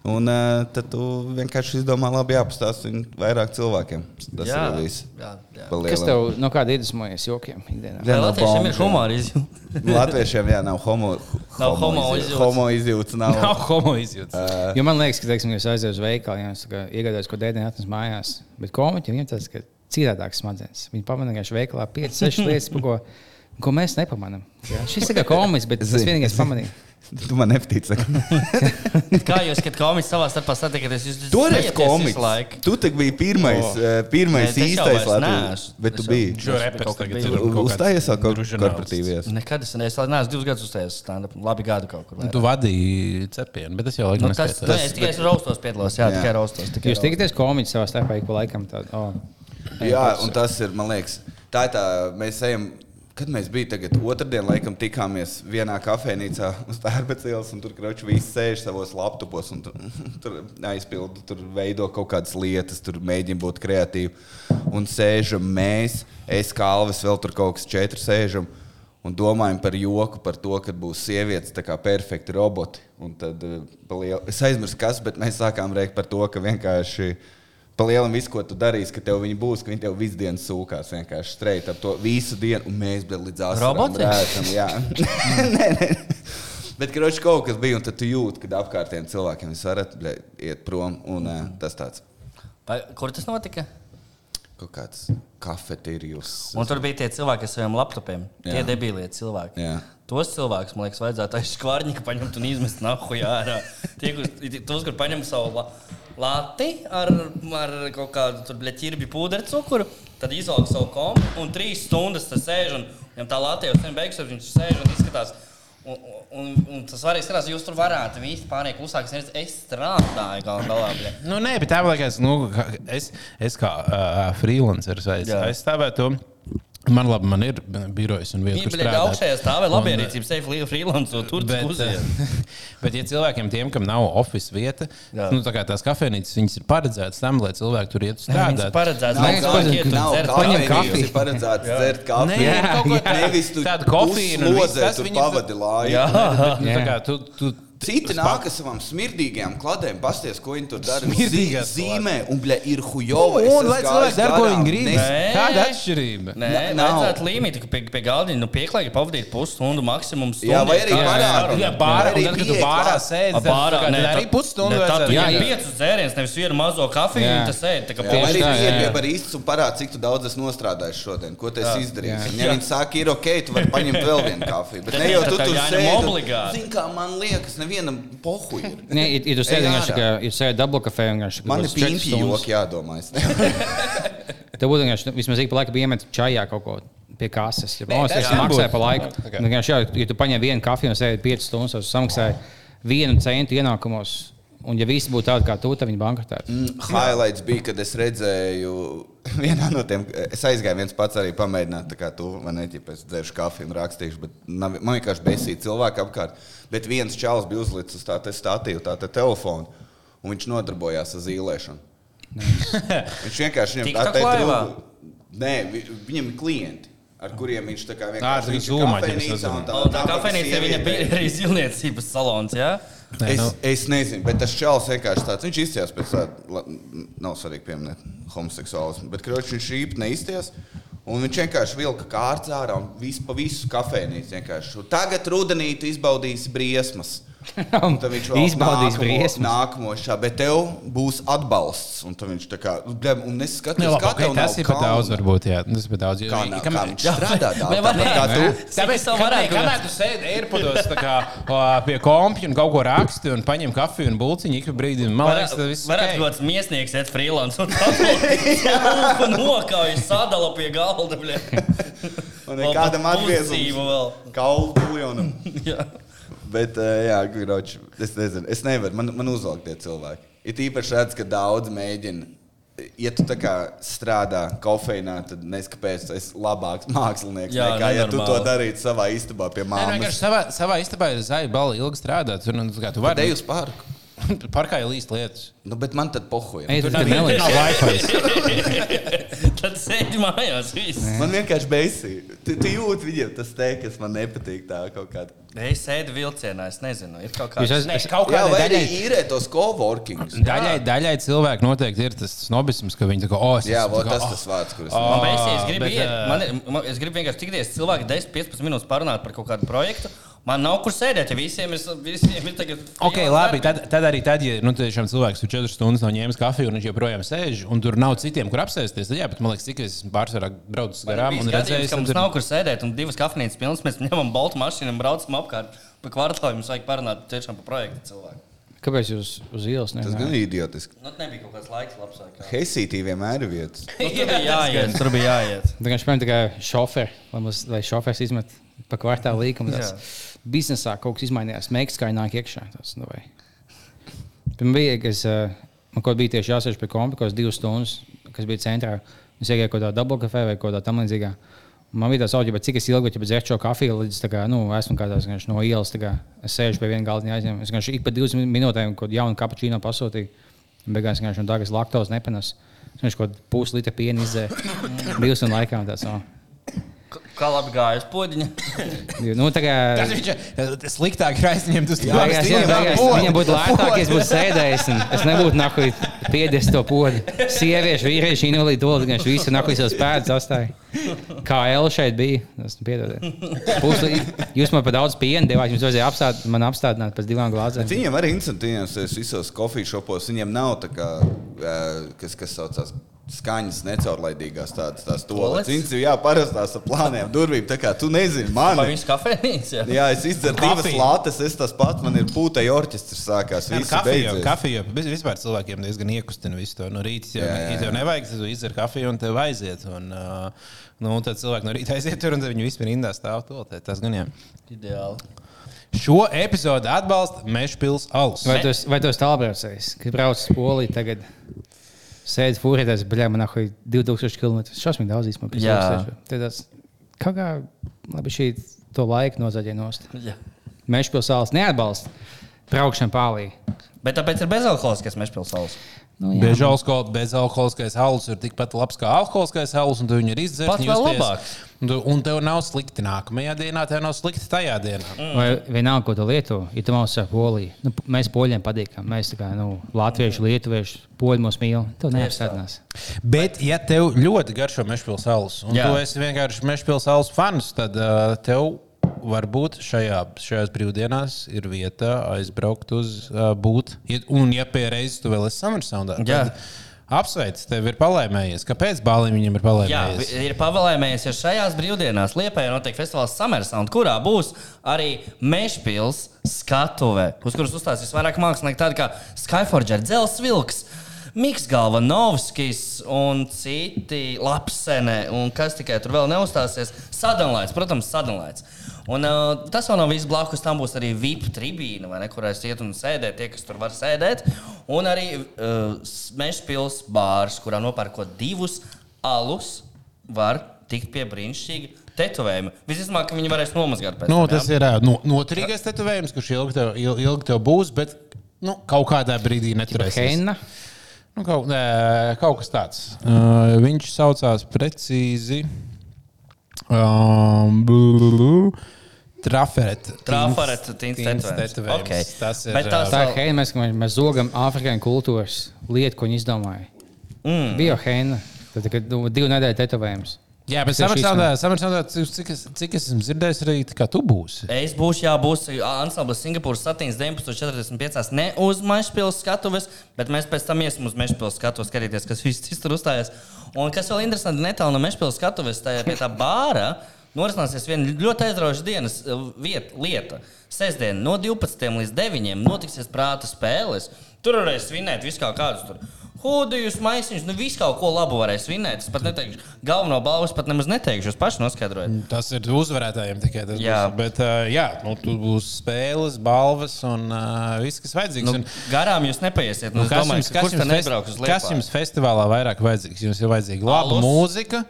F: Un uh, tad tu vienkārši izdomā, labi, jāpastāsta viņu vairāk cilvēkiem. Tas jā.
B: Jā,
F: ir viss.
B: jā, jā.
F: Pa
E: Kas
F: lielam.
E: tev no kāda iedvesmojas jokiem ikdienā?
F: Jā,
B: Vai
F: nav
B: Latviešiem
F: bombu.
B: ir humora izjūta?
F: Latviešiem jā, nav homo,
B: Nav homo
F: izjū-
B: izjūtas.
F: Homo izjūtas nav.
A: Nav homo izjūtas.
F: Uh.
E: Jo man liekas, ka, teiksim, ja es aizēju uz veikalu, ja es tā kā iegādājos, ko dēļ atnes mājās, bet komiķi viņam tas ir citādāks smadzenes. Viņi pamanīja, ka veikalā
A: (laughs)
E: 5, 6 lietas, pa ko, ko mēs nepamanām. Jā, Šis ir kā komiks, bet tas
F: Zini,
E: vienīgais
F: (laughs)
E: pamanīja.
F: Tu man nepatici.
B: (laughs) Kā jūs, kad komiķis savā starpā satiekaties, jūs
F: Toreiz
B: smieties
F: komiks.
B: visu laiku?
F: Tu tak biji pirmais,
B: O.
F: oh. pirmais
B: Nē, es jau
F: īstais
B: vairs
F: Latvijas.
B: neesmu.
F: Bet tu
B: Es jau-
F: biji.
A: Šo reperu tagad ir. kaut kāds
F: Uzstājies vēl kaut kur
A: družināls.
F: korporatīvies.
B: Nekad es neesmu, neesmu divus gadus uzstājis stand-up, labi gadu kaut kur. vairāk.
A: Nu, Tu vadīji cepienu, bet es jau laikam
B: Nu, tas, tas, nē, es tikai bet... raustos piedalos, jā, jā.
F: Jā.
B: tikai raustos. Tikai
E: Jūs tikties komiķi savā starpā ik pa laikam tādu. Oh.
F: Jā, un tas ir, man liekas, tā ir tā, mēs ejam. Kad mēs bijām tagad otrdien, laikam, tikāmies vienā kafejnīcā uz Tērbecas ielas, un tur krāpjas visi sēž savos laptopos, un tur, (laughs) tur aizpildu, tur veido kaut kādas lietas, tur mēģina būt kreatīvi. Un sēžam mēs, es kā Alvis, vēl tur kaut kas četri sēžam. Un domājam par joku, par to, ka būs sievietes tā kā perfekti roboti. Un Tad, eh, pa lielu- es aizmirsu, kas, bet mēs sākām rēkt par to, ka vienkārši Palielam visu, ko tu darīsi, ka tev viņi būs, ka viņi tev visu dienu sūkās vienkārši streit ar to visu dienu, un mēs bijām līdz asarām.
B: Roboti?
F: Rētam, jā, (laughs) nē, nē. Bet, kad rodas kaut kas bija, un tad tu jūti, ka apkārtējiem cilvēkiem jūs varat bļa, iet prom, un ā, tas tāds
B: Vai- Kur tas notika?
F: kaut kāds kafetīrijus.
B: Un tur bija tie cilvēki ar saviem laptopiem. Jā. Tie
F: Jā.
B: debīlie cilvēki.
F: Jā.
B: Tos cilvēkus, man liekas, vajadzētu aiz skvarņika paņemt un izmest nahu ārā. (laughs) Tie, kur, tos, kur paņem savu la, lati ar, ar kaut kādu tur bleķirbi pūderu cukuru, tad izvelk savu komu un trīs stundas tur sēž un viņam tā lati jau sen beigsies, viņš sēž un izskatās. Un, un, un, un tas arī skatās, jūs tur varētu īsti pārnieku uzsākt. Es, es strādāju galu galā. bļa.
A: Nu, nē, bet tā man liekas, nu, ka es, es kā uh, freelanceris aiz-
B: Jā.
A: aizstāvēju to. Man labi, man ir birojas un vieta,
B: Viņi
A: kur
B: bija
A: strādāt.
B: augšējā stāvā, labi
A: Un,
B: arī cīm sevi freelance, un tur
A: Bet, eh,
B: tur uziet.
A: (laughs) bet, ja cilvēkiem, tiem, kam nav oficiāla vieta,
B: Jā.
A: tad nu, tā kā tās kafejnīcas viņas ir paredzētas tam, lai cilvēki tur ietu
B: Tāds ir
A: strādāt.
B: paredzēts. Nav
E: Nē,
B: cilvēki
E: paņem-
B: iet un
F: Nav
B: dzer
E: paņem
F: kafejnīcas,
E: kafiju.
F: ir paredzēts dzert
A: Nē,
F: kafiju.
A: ir kaut ko tādu-
F: Nevis tu
A: tādu kofīnu un viss,
F: Lozē,
A: tas
F: tu
A: viņiem-
F: pavadi laiku. (laughs)
B: Jā,
A: Nu, tā kā tu, tu,
F: Citi nāk ar savām smirdīgajām kladēm, pasties, ko viņi tur dara.
A: Smirdīgās
F: Zi- zīmē, un, bļa, ir
A: Un,
B: Oh,
F: hujovi.
A: Oh, un lai cilvēki dara, ko viņi grib.
F: Nes...
B: Nē.
A: Kāda atšķirība?
B: Nē,
F: Nā- nav.
B: vajadzētu līmīti, ka pie, pie galdiņa nu, pieklājīgi pavadīt pusstundu maksimums.
F: Jā, vai arī
B: pārā.
F: parādi.
A: Jā, bārā, un
F: Arī
A: tad, kad tu
F: pieci
A: bārā
F: klāt.
A: sēdi, tad
B: Pārā,
A: tad arī pusstundu vajadzētu.
B: Jā,
E: jā.
B: piecus dzērienus, nevis vienu mazo kafiju,
E: Jā.
B: un tas ēd. Tā kā
F: Jā,
B: pie-
F: arī
E: tā, jā, jā.
F: gribi ar īstu un parādi, cik tu daudz es nostrādāju šodien, ko tu esi izdarījis. Un, Ja viņi saka, ir ok, tu vari paņemt vēl vienu kafiju. Bet
B: Tad
F: ne jau
B: tā
F: tu
B: tā
F: tur
B: jāņem
F: sēdi.
B: obligāti.
F: Zini, kā man liekas, nevienam pohu ir.
E: Nē, ir- ir
F: Ej ārā.
E: jūs sēžat dabla kafejnīcā un vienkārši.
F: Man
E: kaut kādas
F: ir
E: četras
F: pīņķi
E: stundas.
F: joki jādomā. es nevaru.
E: Tev būtu vienkārši nu, vismaz ik pa laikam iemet čajā kaut ko. Pie kases. Ja, man liekas,
A: tas
E: tas
A: jā.
E: maksā
A: būtu.
E: par laiku.
A: Tā kā.
E: Nu, vienkārši, jā, ja tu paņem vienu kafiju un sēdi 5 stundas, tad samaksāji vienu centu ienākumos. Un, ja visi būtu tādi kā tu, tad viņi
F: (laughs)
E: bankrotētu.
F: Mm, Highlights bija, kad es redzēju, (laughs) vienā no tiem, es aizgāju viens pats arī pamēģināt, tā kā tu man neķipa, es dzeršu kafiju un rakstīšu, bet nav, man vienkārši besīja cilvēki apkārt. Bet viens čels bija uzlicis uz tā te statīvu, tā te telefonu, un viņš nodarbojās ar zīlēšanu. (laughs) viņš vienkārši viņam
B: TikTok laivā?
F: trūka- Nē, vi- viņam ir klienti. Ar kuriem viņš tā kā
A: Ā,
F: vienkārši
A: tu
F: viņš ir
A: zūmā ģimenes
F: kafejnīcā un
A: uzrunā.
F: tā
B: O, nu, Tā kafejnīca viņa bija arī zilniecības salons, jā?
A: Nē,
F: Es,
A: nu.
F: es nezinu, bet tas čels vienkārši tāds. Viņš izties pēc tā, la- nav svarīgi pieminēt homoseksuālismu, bet kroči, viņš īpni neizties. Un viņš vienkārši vilka kārtas ārā un visu pa visu kafejnīcu. vienkārši. Un Tagad rudenī tu izbaudīsi briesmas. Un tad viņš vēl
E: Izbaudīs
F: nākamo-
E: briesmas.
F: Nākamo šā, bet tev būs atbalsts. Un tad viņš tā kā, bļem, un es skatos,
A: Jā, labi,
F: kā
A: okay,
F: tev
A: Nu, tas
F: nav
A: ir pat
F: kauna.
A: daudz, varbūt. Jā, Nu, tas ir pat daudz. jo-
F: Kā, nav,
A: kam-
F: kā
A: (laughs)
F: viņš strādā
B: Vai
F: tādā
B: var
F: veidā, kā
B: nē?
F: tu.
A: Tāpēc,
B: Cik tev
A: kamēr,
B: varētu
A: kamēr tu sēdi airpodos tā kā, o, pie kompija un kaut ko raksti un paņem kafiju un buļciņu ik pa brīdim, man liekas, tas viss
B: Varētu
A: ok.
B: būt tāds mākslinieks, kāds ir freelance. Un (laughs) tā kā nokaujas sadala pie galda.
F: Un nekādam atgriezumam.
B: vēl.
F: (laughs) Kaulu miljonam.
B: Jā.
F: Bet, eh, jā, grauči, es nezinu, es nevaru, man, man uzvalk tie cilvēki. Ir īpaši redz, ka daudz mēģina. Ja tu tā kā strādā kofeinā, tad neskapēc, tu esi labāks (laughs) mākslinieks jā,
B: Jā,
F: nekā, ja tu to
B: nenormāli.
F: darītu savā istabā pie
A: Nē, vienkārši
F: māmas.
A: savā, savā istabā ir zaļa balva, ilgi strādāt. Un, un, tā kā, tu
F: Vai te
A: vari
F: uz parku?
A: (laughs) parkā līst lietas.
F: Nu, bet man tad pohuja.
E: Ei,
A: Tur
E: tad
A: nav
E: nelīdz.
A: nav (laughs) Wi-Fi.
B: Tad sēdi mājās. viss.
F: Man vienkārši beisīja. Tu, tu jūti viņiem tas te, kas man nepatīk tā kaut kāda.
B: Es sēdu vilcienā, es nezinu, ir kaut
E: Jūs
B: kāds.
E: esat-
A: Kaut
F: Jā,
A: kādā
F: vai arī
A: daļai
F: īrē tos coworkings.
A: Daļai, daļai cilvēki noteikti ir tas snobisms, ka viņi tā kā, oh, es
F: Jā,
A: esmu
F: vo,
A: tā kā,
F: tas
A: "Ah,
F: tas vārds, kurus.
A: Ah.
B: Man beigas, es gribu
A: bet,
B: iet.
A: ā,
B: Man ir, man, es gribu vienkārši tikties cilvēki 10-15 minūtes parunāt par kaut kādu projektu. Man nav kur sēdēt, ja visiem ir, visiem ir tagad.
A: (laughs) Ok, labi. Tad, tad arī tad, ja nu, tiešām cilvēks tur 4 stundas nav ņēmis kafiju un viņš joprojām sēž, un tur nav citiem, kur apsēsties, tad jā, bet man liekas, cik es esmu pārsvarā braucis garām un redzējis,
B: ka
A: ka
B: mums nav kur sēdēt, un divas kafejnīcas pilnas. Mēs ņemam baltu mašīnu un braucam apkārt. Pa kvartālu mums vajag parunāt tiešām par projektu cilvēku.
E: Kāpēc jūs uz ielas
F: Tas gan
E: nezināt?
F: ir idiotiski.
B: Nu, tā nebija kaut kāds laiks, labs. vai
A: (laughs)
B: kā?
F: Hesītī vienmēr ir vietas.
B: Nu, tur bija jāiet, tur bija jāiet.
E: Tā kā viņš spēlē tikai šoferu, lai, mums- lai šofers izmet pa kvartālu līkumu. Tas biznesā kaut kas izmainījās, meiks kā nāk iekšā. Tas, nu, vai. Pirmā bija, kas man kaut bija tieši jāsēž pie kompānijas, divas stundas, kas bija centrā. Es iegāju kaut kādā dabūkafē vai kaut kādā tam līdzīgā. Un Man bija tāds augs, cik es ilgi biju dzēris šo kafiju, līdz tā kā, nu, esmu kā tāds vienkārši no ielas. tā Kā, es sēžu pie viena galda, aizņēmu. Es vienkārši ik pa 20 minūtēm kaut kādu jaunu kapučīnu pasūtīju. Un Beigās vienkārši no tā, kas laktos nepanes. Es vienkārši kaut kādu puslīta pienu izdzēru. Divas un laikā un tāds. No.
B: K- Kā labi gāja uz podziņa?
E: Nu, tā kā,
A: Tas (laughs) viņš ir sliktāk, ir aizņemt uz
E: Jā, jā, jā,
A: tiem
E: jā, viņam būtu lētāk, ja es būtu sēdējis. un Es nebūtu nahuļ piedies to podu. Sieviešu, vīriešu invalīdu dodas, gan viņš visu nahuļ savus pēdas atstāja. Kā L šeit bija. Es piedodiet. Puslī, jūs man par daudz piena devāt, jums vajadzēja apstāt, man apstādināt pēc divām glāzēm.
F: Viņiem arī incentīvās visos kofīšopos. Viņiem nav tā kā, eh, kas, kas saucās. Skaņas necaurlaidīgās tādas tās
B: Tualetes?
F: toaletes. Viņas ir jāparastās ar plāniem durvīm. Tā kā tu nezini,
B: Vai
F: man.
B: viņš kafejnīcā?
F: Jā, es izdzeru divas
A: Kafiju.
F: latas, es tas pats, man ir pūtai orķestris sākās. Viss
A: Kafija,
F: beidzies.
A: kafija. Vispār cilvēkiem diezgan iekustina visu to. No rīta jau,
F: Jā, jā, jā.
A: ja tev nevajag, tad tu izdzer kafiju un tev aiziet. Un, uh, nu, un tad cilvēki no rīta aiziet tur un tad viņi vispār rindā stāv to. Tas gan jā.
B: Ideāli.
A: Šo epizodu atbalsta Mešpils Alus.
E: Vai tu esi- vai tu esi tālbraucējs, kad brauc uz Poliju tagad? Sēdi fūrēties, bļā, man nahuļ 2000 km. Šausmīgi daudz īstenībā. pēc
B: Jā.
E: augstiešu. Tad tas kaut kā labi šī to laiku nozaģē nost.
B: Jā.
E: Mežpilsēlas neatbalsta braukšanu pāri.
B: Bet tāpēc ir bezalkoholiskais mežpilsēlis.
E: Nu, jā.
A: Bez alkohola, bezalkoholiskais alus ir tikpat labs kā alkoholiskais alus, un tu viņu ir izdzēris.
B: Pat
A: un
B: vēl
A: justies-
B: labāks.
A: Un tu- Un tev nav slikti nākamajā dienā, tev nav slikti tajā dienā.
E: Vai vienalga, ko tu lieto, ja tu mums saki, polija. Nu, p- mēs poļiem patīkam. Mēs tā kā nu, latvieši, lietuvieši, poļi mūs mīl. Tu neapstādinās.
A: Bet, ja tev ļoti garšo mešpils alus, un
B: Jā.
A: Jā. tu esi vienkārši mešpils alus fans, tad uh, tev varbūt šajā, šajās brīvdienās ir vieta aizbraukt uz uh, būt. Ja, un, ja pie reizes tu vēl esi Summersonā,
B: Jā.
A: tad apsveic, tev ir palaimējies. Kāpēc Bālim viņam ir
B: Jā,
A: palaimējies?
B: vi- ir pavēlējies, ja šajās brīvdienās Lietuvā notiek festivāls Summersound, kurā būs arī Mežpils skatuve, uz kuras uzstāsies vairāk mākslinieki, tādi kā Skyforger, Dzels Vilks. Miks Galvanovskis un citi lapsene, un kas tikai tur vēl neuzstāsies. Sadalīts, protams, sadalīts. Un uh, tas vēl nav viss blakus. Tam būs arī VIP tribīna, vai ne, kurās iet un sēdēt tie, kas tur var sēdēt. Un arī uh, Mežpils bārs, kurā nopērkot divus alus, var tikt pie brīnišķīga tetovējuma. Visticamāk, ka viņi varēs nomazgāt pēc
A: Nu,
B: tam, jā?
A: tas ir ā, no, noturīgais tetovējums, kurš ilgi tev, il- ilgi tev būs, bet nu, kaut kādā brīdī neturēsies.
E: Heina.
A: Nu, kaut, nē, kaut kas tāds. Uh, viņš saucās precīzi. Um, Trafereta.
B: Trafareta tints tetovējums.
A: Okay.
B: Ok.
A: Tas ir. uh,
B: Bet
A: ā,
B: tās-
E: Tā ir heina. Mēs, mēs zogam afrikāņu kultūras lietu, ko viņi izdomāja. Mm. Bija heina. Tad, kad nu, divu nedēļu tetovējums.
A: Jā, bet
E: Tieši
A: samaksātā, samaksātā, cik, es- cik es esmu dzirdējis, arī tā kā tu būsi.
B: Es būšu, jā, būs ansamblis Singapūras satīns 19.45. Ne uz Mežpilsnes skatuves, bet mēs pēc tam iesim uz Mežpilsnes skatuves, skatīties, kas viss cits tur uzstājās. Un kas vēl interesanti, netālu no Mežpilsnes skatuves, tajā pie tā bāra norisināsies viena ļoti aizraujoša dienas eh, viet, lieta. Sestdien no 12 līdz 9 notiksies prāta spēles. Tur varēs svinēt visu kaut kādus tur. Hudijus, maisiņus, nu visu kaut ko labu varēs svinēt. Es pat neteikšu, galveno balvu es pat nemaz neteikšu, jūs paši noskaidrojat.
A: Tas ir uzvarētājiem tikai tas.
B: Jā.
A: būs. bet uh, jā, nu, tur būs spēles, balvas un uh, viss, kas vajadzīgs.
B: Nu,
A: un,
B: garām jūs nepaiesiet. Nu, es
A: kas
B: domāju,
A: jums-
B: ka
A: kas
B: kurš
A: jums
B: tad
A: fest-
B: nebrauks uz
A: Kas
B: Lietuvu?
A: jums festivālā vairāk vajadzīgs? Jums ir vajadzīga laba
B: Alus.
A: mūzika,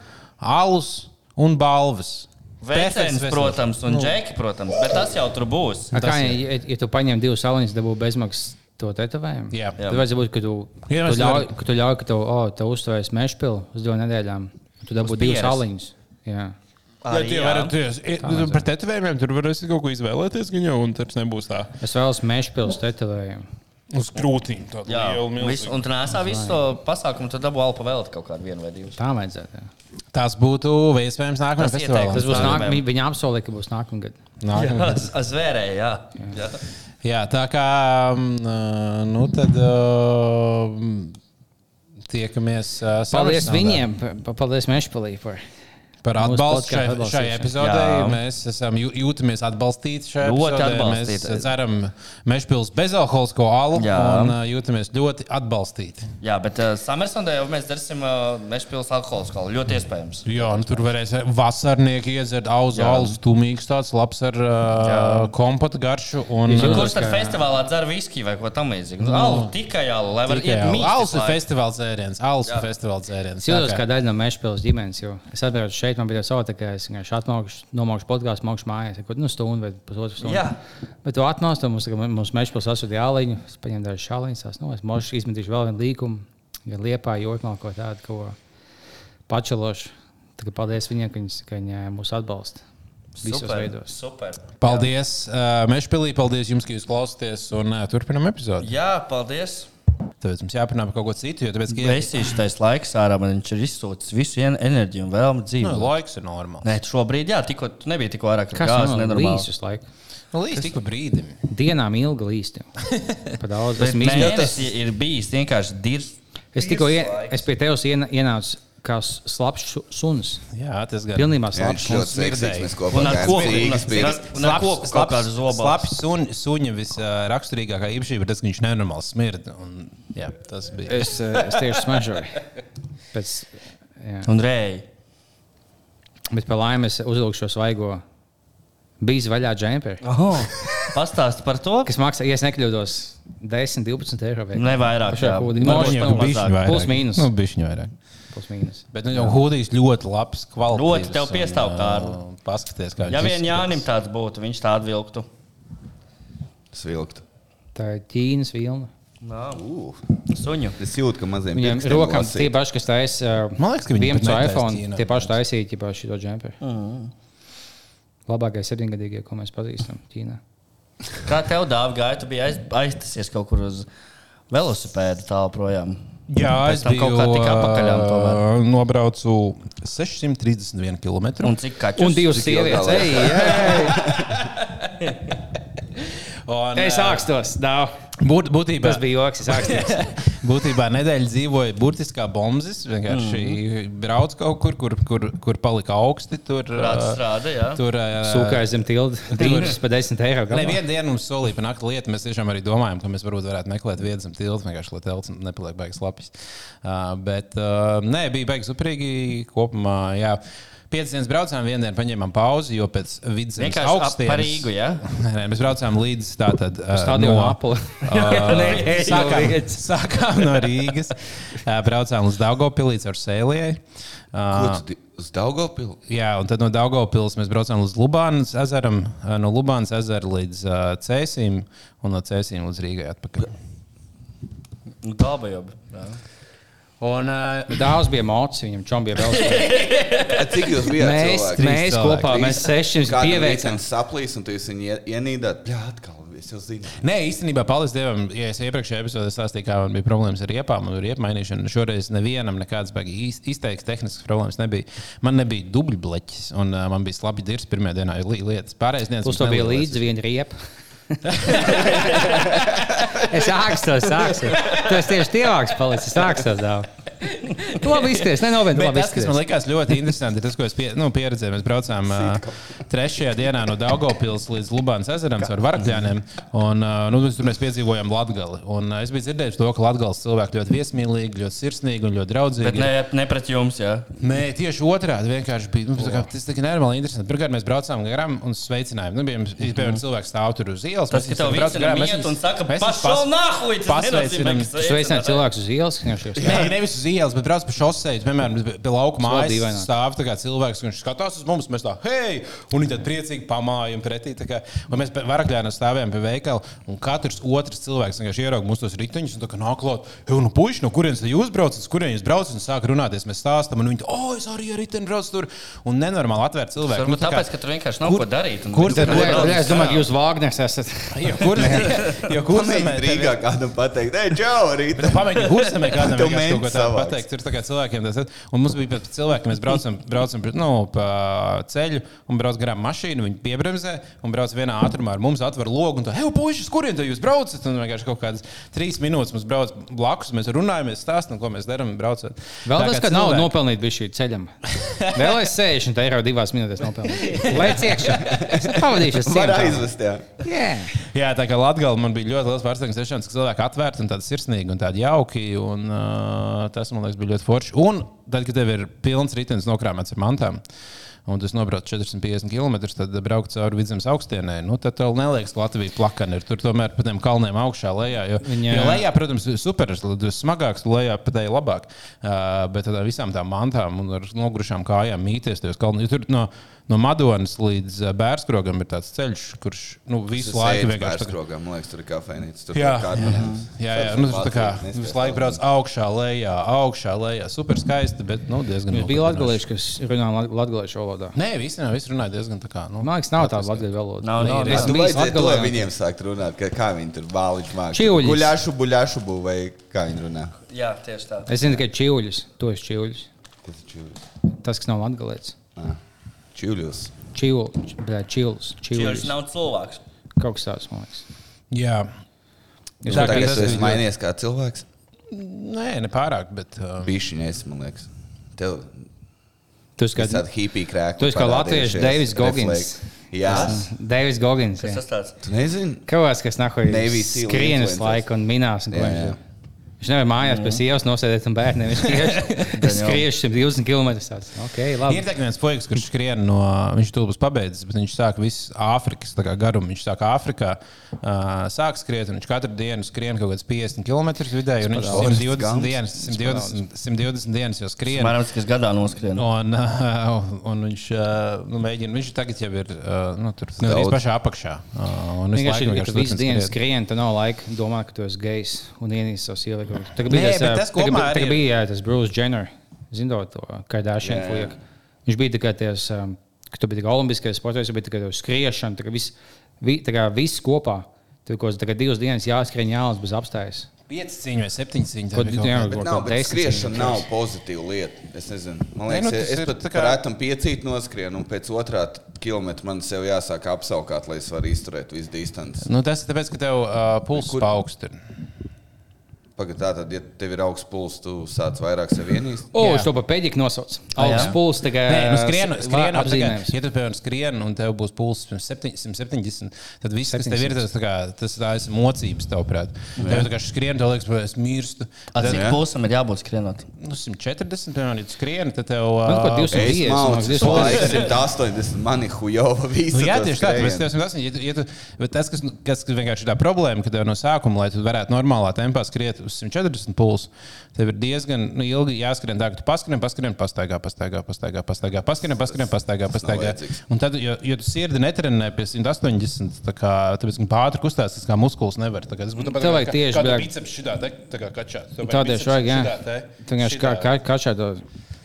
A: alus un balvas.
B: Vēcens,
A: Perfekts
B: protams, un
A: Nu.
B: džeki, protams, bet tas jau tur būs.
E: A Kā, ja, ja tu paņem divus saliņus, dabū bezmaksas to tetovējumu?
A: Jā. Jā.
E: Tad vajadzētu būt, ka tu,
A: Jā,
E: tu
A: mēs
E: ļauj,
A: varam.
E: ka tu ļauj, ka tev, oh, tev uzstājas mešpilu uz divām nedēļām. Tu dabū divus
B: pieres.
E: saliņus. Jā.
A: Jā,
B: Arī
A: tie
B: jā.
A: varat, jūs, par tetovējumiem tur varēsiet kaut ko izvēlēties, gan jau, un tas nebūs tā.
E: Es vēlos mešpilu tetovējumu.
A: Uz krūtīm tādu
B: Jā,
A: lielu
B: visu,
A: milzīgu.
B: un tur nesā visu to pasākumu, tad dabū alpa vēl kaut kādu vienu vai divus.
E: Tā vajadzētu. jā.
A: Tas būtu iespējams nākamajā
B: Tas
A: festivālā.
E: Tas
B: ieteikums.
E: būs
B: Tā
E: nākamā.
B: domājam.
E: Viņa apsolīja, ka būs nākamā gada.
A: Nākamajā.
B: Jā, (laughs) es- es zvērēju, jā. jā.
A: (laughs) Jā, tā kā mm, nu tad uh, mm, tiekamies uh,
E: Paldies
A: savirsnaldē.
E: viņiem, pa- paldies Mešpilī par
A: par
E: mūsu
A: atbalstu
E: podcastu
A: šai, šai
E: atbalstīšanu.
A: epizodē. Jā.
B: Jā.
A: Mēs esam jū- jūtamies atbalstīti šajā
B: Ļoti
A: epizodē.
B: atbalstīti.
A: Mēs ceram Mešpils bezalkoholisko alu
B: Jā.
A: un uh, jūtamies ļoti atbalstīti.
B: jā, bet uh, Samersonē jau mēs darsim uh, Mešpils alkohola skolu. Ļoti iespējams.
A: Jā, nu tur varēs vasarnieki iedzert auzu
B: Jā.
A: alus, tumīgs tāds labs ar uh, kompatu garšu. Un,
E: Jūs
A: uh,
E: jūtat
B: Kurš tad
E: ka-
B: festivālā dzer viskiju vai ko tamlīdzīgu? Nu, alu, tikai alu, lai varētu
A: tikai
B: iet
A: alu.
B: mīt.
A: Alus ir
B: visu laiku.
A: festivāls dzēriens. Alus ir festivāls dzēriens. Tā
E: cilvēku, kā daļa no Mešpilas ģimenes. jo Es atceros, šeit man bija savā tā kā es vienkārši atmaukšu, nomaukšu podkāstu, maukšu mājās, kaut nu stundu vai pusotru stundu.
B: Jā.
E: Bet tu atnāc, tad mums, tā kā mums Mešpilas asūtīja āliņu, es paņēmu dažas šāliņas, tās, nu, es možu izmetīšu vēl vienu līkumu, gan liepā, jokmā, ko tādu, ko pačelošu. Tā kā paldies viņiem, ka viņi, ka viņi eh, mūs atbalsta. Visos
B: Super,
E: veidos.
B: super.
A: Paldies, uh, Mešpilī, paldies jums, ka jūs klausāties un uh, turpinam epizodi.
B: Jā, paldies.
A: Tāpēc mums jāpanāk par kaut ko citu, jo tāpēc, ka jā,
B: Vēsīšais laiks ārā man viņš ir izsūcis visu en- enerģiju un vēlmu
A: nu,
B: dzīvot.
A: laiks ir normāls.
B: Nē, šobrīd, jā, tikko tu nebija tikko ārā, ka
E: Kas tas
B: gāzes
E: ir?
B: nenormāli.
E: Līdz laikam.
A: Nu, līdz tik pa brīdim.
E: Dienām ilgi līsti. Pa
B: (laughs)
E: daudz.
B: Tas
E: Esmu izmēģinājis.
B: mēnesis ir bijis vienkārši dirs.
E: Es tikko ie- es pie tevis iena- ienācu kā s- slapjš su- suns.
A: Jā, tas gan.
E: Pilnībā
F: Jā, Viņš
E: slapjš.
F: ļoti seksīgs.
A: smirdēja.
F: Mēs kopā
B: Un ar
F: gājām
B: koku un
F: cīgas
B: ar-
F: pirkstu.
B: un ar koku kaut kādu zobu.
A: Slapjas sun, suņa visraksturīgākā īpašība ir tas, ka viņš nenormāli smird. Un, jā, tas bija.
E: Es, eh, es tieši smažoju. Pēc, jā.
B: Un rēji.
E: Bet par laimi es uzvilku šo svaigo bijis vaļā džemperi,
B: Pastāsti par to.
E: kas maksā, ja es nekļūdos, 10, 12 eiro. vai-
B: Ne vairāk,
E: Pašā
B: jā.
E: hūdiņā.
B: Nu,
E: Varbūt
B: viņam
E: nav
B: bišķi
E: mazāk.
A: vairāk.
E: Plus mīnus.
A: Nu, bišķiņu vairāk.
E: Plus mīnus.
A: Bet nu, jau hūdijas ļoti labs kvalitātes.
B: Ļoti tev piestāv, Kārli.
A: ā, Paskaties, kā
B: Ja vien
A: izskatās.
B: Jānim tāds būtu, viņš tādu vilktu.
F: Svilkt.
E: Tā ir Ķīnas vilna.
F: Ū,
B: Suņu.
F: Es jūtu, ka maziem
E: Viņam
F: pirkstiem
E: rokām
F: lasīt.
E: tie paši, kas taisa.
A: Man liekas, ka viņi pat netaisa
E: iPhone,
A: Ķīnā.
E: tie paši taisīja ķipā šo džemperi. Labākais septiņgadīgie, ko mēs pazīstam Ķīnā.
B: Kā tev dāvā gāja? Tu biji aiz, aiztasies kaut kur uz velosipēda tālu projām.
A: Jā,
B: Pēc
A: es
B: tam
A: biju
B: kaut kā tik apakaļām tomēr.
A: ā, Nobraucu 631 km.
B: Un cik kaķis?
E: Un divas
F: Cik ilgā
E: sievietes. Ei, ei,
A: (laughs)
E: ei.
A: Un,
E: Es
A: ā,
E: ākstos. Nav.
A: būt- Būtībā
E: Tas bija joks. Es
A: (laughs)
E: ākstos.
A: Būtībā nedēļa dzīvoja burtiskā bombas. Vienkārši
B: Mhm.
A: mm. brauc kaut kur, kur, kur, kur palika augsti. Tur
B: Rāds
A: ā,
B: strādā, jā.
A: Tur ā,
E: Sūkājas zem tilta. Tīņas par 10 eiro.
A: Ne
E: galā.
A: vienu dienu mums solīja par nakti lietu. Mēs tiešām arī domājām, ka mēs varbūt varētu meklēt vietas zem tilta, vienkārši lai telts nepaliek baigas lapis. Uh, bet uh, nē, bija baigas uprīgi kopumā. Jā. Piecas dienas braucām, vienu dienu paņēmām pauzi, jo pēc viduszemes
B: Vienkārši ap-
A: augstiem
B: pa Rīgu, jā?
A: Nē, nē, mēs braucām līdz tātad. Uh,
E: Stadionu
A: (laughs)
E: apli.
A: Ā,
E: (laughs) Nē,
A: sākām,
E: Rīgas.
A: sākām no
E: (laughs)
A: Rīgas, ā, braucām līdz Daugopilī ar Sēlijai.
F: Ko tu di- Uz Daugopilu.
A: Jā, un tad no Daugopils mēs braucām līdz Lubānas ezeram, ā, no Lubānas ezera līdz uh, Cēsīm un no Cēsīm līdz Rīgai atpakaļ.
B: Galba Nu, jau. bija.
A: Un, uh,
E: Dāvs Nu, bija mocis, viņam čom bija
A: (laughs)
E: vēl spēks.
F: A, Cik jūs bijāt?
E: Mēs,
F: cilvēki?
E: mēs
A: cilvēki.
E: kopā, mēs seši jums
F: Kādu
E: pieveicām.
F: rītdienu saplīs, un tu jūs viņu ie- ienīdāt. Jā, atkal es jau zinu.
A: Nē, īstenībā, paldies Dievam, ja es iepriekšējā epizodē stāstīju, kā man bija problēmas ar riepām un riepu mainīšanu. Šoreiz nevienam nekādas baigi iz- izteikts tehniskas problēmas nebija. Man nebija dubļu bleķis, un uh, man bija slabi dirs pirmajā dienā, ir li- lietas. Pārējais dienas
E: Plus tam bija līdzi viena riepa. (laughs) es ākstos, ākstos. Tas tieši tievāks palicis, ākstos dāvā. Tu labi izties, nenovien, tu
A: Bet
E: labi
A: tas, kas man
E: izties.
A: likās ļoti interesanti, ir tas, ko es pie, nu, pieredzēju. Mēs braucām uh, trešajā dienā no Daugopils līdz Lubānas ezeram ar varakļiem. Un uh, nu, mēs tur mēs piedzīvojām Latgali. Un uh, es biju dzirdējis to, ka Latgals cilvēki ļoti viesmīlīgi, ļoti sirsnīgi un ļoti draudzīgi.
B: Bet ne, ne pret jums, jā.
A: Nē, tieši otrādi. Vienkārši bija nu, tā kā, tas bija nenormāli interesanti. Pirmkārt, mēs braucām garām un sveicinājām. Nu, bija piemēram, cilvēks stāv tur uz ielas.
B: Tas,
A: mēs
B: ka tev
A: viņus braucam
B: viss ir
A: garām, mēs
B: miet
A: viņus-
B: un saka,
A: mēs viņus
B: pašau
A: pas-
B: nahuj, tas
A: pasveicinam.
B: nenozīmē, ka
E: Sveicināt cilvēkus uz ielas, kā šos.
A: Nē, nevis uz ielas, bet brauc pa šoseju. Piemēram, pie- pie lauka mājas
E: dīvaināk.
A: stāv tā kā cilvēks, kurš skatās uz mums, mēs tā, hei, un viņi tad priecīgi pamājam pretī. tā Kā, un mēs varakļānā stāvējām pie veikala, un katrs otrs cilvēks vienkārši ierauga mūsu tos riteņus, un tā kā nāk klāt, hei, nu puiši, no kurienes tad jūs braucat, uz kurienes jūs braucat, un sāk runāties, mēs stāstam, un viņi, oh, es arī ar riteni braucu tur, un nenormāli atvērt cilvēku.
B: Varbūt
A: Nu, tā kā-
B: tāpēc, ka tur vienkārši nav
A: Kur-
B: ko darīt. un-
A: kur tad-
B: Tur
A: Nē,
B: nav-
E: Es domāju, ka jūs Vāgners esat.
A: Ja kur- ja kur-
F: Pamēģini Rīgā kādam pateikt, ej, čau, rīt.
A: Bet Pamēģini kursam, kādam
F: Tev
A: vienkārši kaut ko
F: mēģi
A: tādu
F: savāks.
A: pateikt. Tur tā kā cilvēkiem tas ir. Un mums bija pat cilvēki, mēs braucam, braucam nu, pa ceļu un brauc garām mašīnu, viņi piebremzē un brauc vienā ātrumā ar mums, atver logu un tā, hei, puiši, kurien te jūs braucat? Un vienkārši kaut kādas trīs minūtes mums brauc blakus, mēs runājamies, stāstam, ko mēs darām, braucot.
E: Vēl
A: Tā
E: tas,
A: kā
E: ka nav
A: cilvēki-
E: nopelnīts bija šī ceļam. Vēl es 60 eiro divās minūtēs nopelnīju. Lēc iekšā. Es pavadīšu es
F: Var
E: ciemtā.
F: aizvest, jā.
E: Jā.
A: Jā, tā kā Latvijā man bija ļoti liels pārsteigums, tiešām, ka cilvēki atvērti un tādi sirsnīgi un tādi jauki. Un, uh, tas man liekas, bija ļoti forši. Un tad, kad tev ir pilns ritenis nokrāmēts ar mantām. Un tas nobrauc 450 km, tad braukt cauri vidzemes augstienē. Nu, tad tev neliekas, ka Latvija plakana ir. Tur tomēr pa tiem kalniem augšā lejā. Jo,
E: Viņa-
A: Viņa... jo lejā, protams, ir super, tas smagāks, tu lejā pat ir labāk. Uh, bet tādā visām tām mantām un ar nogrušām kājām mīties tajos kalnos. Jo Tur no, no Madonas līdz ā, Bērskrogam ir tāds ceļš, kurš nu, visu laiku vienkārši tā kā-
F: Skrogā, man liekas, tur ir kafejnīca. Tur
A: Jā,
F: ir kārtas.
A: Jā, jā, nu, tas tā kā visu laiku brauc augšā, lejā, augšā, lejā. Super skaisti, bet nu, diezgan.
E: Jūs bija
A: nogalinoši.
E: latgalieši, kas runā lat- latgaliešu valodā.
A: Nē, visi nav, visi runāja diezgan tā kā. Nu,
E: Man liekas, nav tāda latgaliešu valoda.
B: Nav, nav,
E: Es
B: nav.
E: esmu
F: Tu
E: bijis
F: vajadzēja to
E: Latgalē.
F: viņiem sākt runāt, ka kā viņi tur bāliņš mākslā.
E: Čiuļis.
F: Guļāšu, buļāšu, būvu vai kā viņi runā.
B: Jā, tieši tā.
E: Es zinu tikai čiuļus, to es čiuļus.
F: Kas ir čiuļis?
E: Tas, kas nav latgalietis.
F: Ah, Čiuļus.
E: Čilus, brā, čilus,
B: Viņš
E: čilus.
B: nav cilvēks.
E: Kaut kas tāds, man liekas.
A: jā,
E: Jūs
A: Tā kā
F: Nu, Tagad
A: tas
F: es esmu
A: bija-
F: mainījies kā cilvēks.
A: nē, ne pārāk, bet. Uh,
F: Bišķiņais, man liekas. Tev
E: Tu esi kā,
F: ir tāda hipija krēka.
E: tu esi kā latviešu Deivis Gogins.
F: Jā.
E: Deivis Gogins.
B: Kas
E: jā.
B: tas tāds?
F: Tu nezini?
E: Kaut kas nahoja
F: Navy Seal
E: skrienas
F: influencers.
E: laiku un minās. Un ko
F: Jā,
E: viņš
F: jā.
E: ir. Viņš nevar mājās pie sievas nosēdēt un bērniem.
F: (laughs)
E: Viņš skriež- skriež 120 km. Tāds. Ok,
A: Ir
E: labi.
A: tā kā viens puisis, kurš skrien no, viņš to būs pabeidzis, bet viņš sāk visu Āfrikas tā kā garumu. Viņš sāk Āfrikā, uh, sāk skriet, un viņš katru dienu skrien kaut kāds 50 km vidēji, un viņš
F: Forrest
A: 120
F: Gumps.
A: dienas, 120, 120 dienas jau skrien.
B: Mēram, kas gadā noskrien.
A: Un, uh, un viņš uh, nu, mēģina, viņš tagad jau ir uh, nu, tur
F: Daudz.
A: gandrīz pašā apakšā. Uh, un visu
E: Vienkārši,
A: laiku
E: ja tu visu
A: turpina
E: dienu
A: skriet.
E: skrien, tad nav laika domāt, ka tu esi gejs un ienīsti savus ievērojumus.
A: Nē,
E: Tagad bija tas,
A: bet
E: ā,
A: tas
E: tagad
A: kopumā
E: bija- tagad
A: arī-
E: bija jā, tas Bruce Jenner, zinot to Kardashian flieku. Viņš bija tikai tas, ka tu biji tikai olimpiskais sports, tu biji tikai uz skriešana, tā kā viss, vi, tā kā viss kopā. Tur kaut kāds divas dienas jāskrien, jālas bez apstājas.
A: Pieci cīņi vai septiņi cīņi.
E: Ko
A: tā bija
E: tu-
A: kaut
E: jā,
A: kā.
F: Bet
E: Kaut
F: nav,
E: kā
F: bet
E: desmit
F: skriešana
E: centimetri.
F: nav pozitīva lieta. Es nezinu, man
A: Nē, nu,
F: liekas,
A: tas
F: es
A: ir
F: pat
A: tā kā-
F: prātam piecīt noskrien, un pēc otrā kilometra man sev jāsāk apsaukāt, lai es varu izturēt visu distanci.
A: Nu, tas ir tāpēc, ka tev uh, pulss
F: Kur-
A: paaugstina.
F: Pagaidā, tad, ja tev ir augsts pulss, tu sāc vairāk sev vienīst.
E: O,
A: Jā. Ah,
E: es to pa pēdiņu nosaucu. Augsts pulss, tā kā
A: Nē, nu skrienu,
E: Eh, s-
A: skrienu apzīmējums.
E: va- apzīmējums.
A: Ja tu piemēram skrieni un tev būs pulss pirms septiņ- 170, tad viss, kas tev ir, tas, tā kā, tas tā ir mocības, tavuprāt. Tev vienkārši skrien, tev liekas, ka es mirstu. Tad,
B: Cik
F: Jā.
B: pusam ir jābūt skrienot?
A: nu, 140, piemēram, ja tu skrieni, tad tev... eh,
E: Man pat
A: ā,
E: 200
F: Es
E: dievs, man liekas,
F: mācu,
E: 200 dievs.
F: 180, man ir hujova
A: Nu,
F: visu.
A: jā,
F: to
A: tieši tā.
F: skrējienu.
A: Mēs tev esam tas, ja tu, ja tu, bet tas, kas, kas vienkārši ir tā problēma, ka tev no sākuma, lai tu varētu normālā tempā skriet uz 140 pulsu, tev ir diezgan nu, ilgi jāskrien tā, ka tu paskrien, paskrien, pastaigā, pastaigā, pastaigā, pastaigā, paskrien, paskrien, pastaigā, pastaigā.
F: vajadzīgs.
A: Un tad, jo, jo tu sirdi netrenē pie 180, tā kā, tāpēc, ka pāri kustās, tas kā muskulis nevar. Tā kā, tas būtu tāpat
E: Tev vajag
A: kā-
E: tieši,
A: kā tu
E: brāk.
A: biceps šitā, te, tā kā kačā. Tev vajag
E: Tādēļ
A: biceps
E: šādi, jā.
A: šitā, te,
E: Tu vienkārši kā
A: šitā.
E: kā- kačā to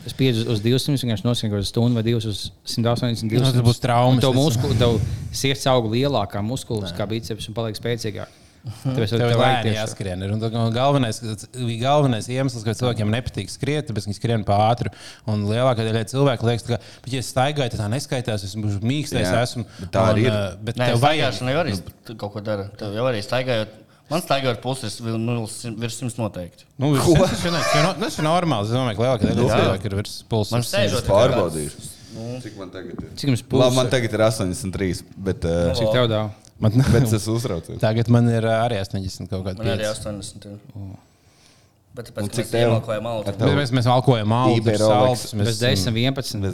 E: Es spiedu uz 200, vienkārši nosprāstu uz stundu vai divas uz 180.
A: Nu, tad būs traumas.
E: Un Tev muskuli, tev sirds aug lielākā muskulis, kā biceps, un paliek spēcīgāk. Tāpēc
A: Mhm.
E: tev
A: Tev ir
E: tev vajag
A: lēni
E: tieši.
A: jāskrien. ir. Un tā kā Galvenais, galvenais iemesls, kāpēc cilvēkiem nepatīk skriet, tāpēc viņi skrien pa ātri. Un lielākā daļa cilvēku liekas, ka, bet, ja es staigāju, tad tā neskaitās, es esmu mīkstais,
F: Jā,
A: esmu.
F: bet tā arī ir.
A: eh, Bet
B: Nē,
A: tev vajag.
B: staigāšana jau arī tu kaut ko dara. Tev jau arī staigājot. Man staigājot puses vil- nu, sim- virs simts noteikti.
A: Nu, virs 100, tas ir no- tas ir normāli. nu, Es domāju, ka lielākā daļa cilvēku ir virs
B: Man
A: pulsa.
B: sēžot Nu,
F: Es
B: tā kā
F: pārbaudīšu. Cik man tagad ir?
E: Cik jums
F: Labi, man
E: pūlis?
F: tagad ir 83, bet, uh,
E: Cik tev dāvā?
A: Man,
F: bet es
A: (laughs)
F: uzraucos.
A: tagad man ir eh, arī 80 kaut kāda.
B: Man arī
A: pieci.
B: 80. ir. Bet tāpēc, ka
F: cik
B: mēs
F: tev?
B: iemākojam maltu.
F: Ar
A: Bet Mēs, mēs valkojam malu,
F: Iberolex.
A: saldus,
E: Bez 10, 11.
F: Bez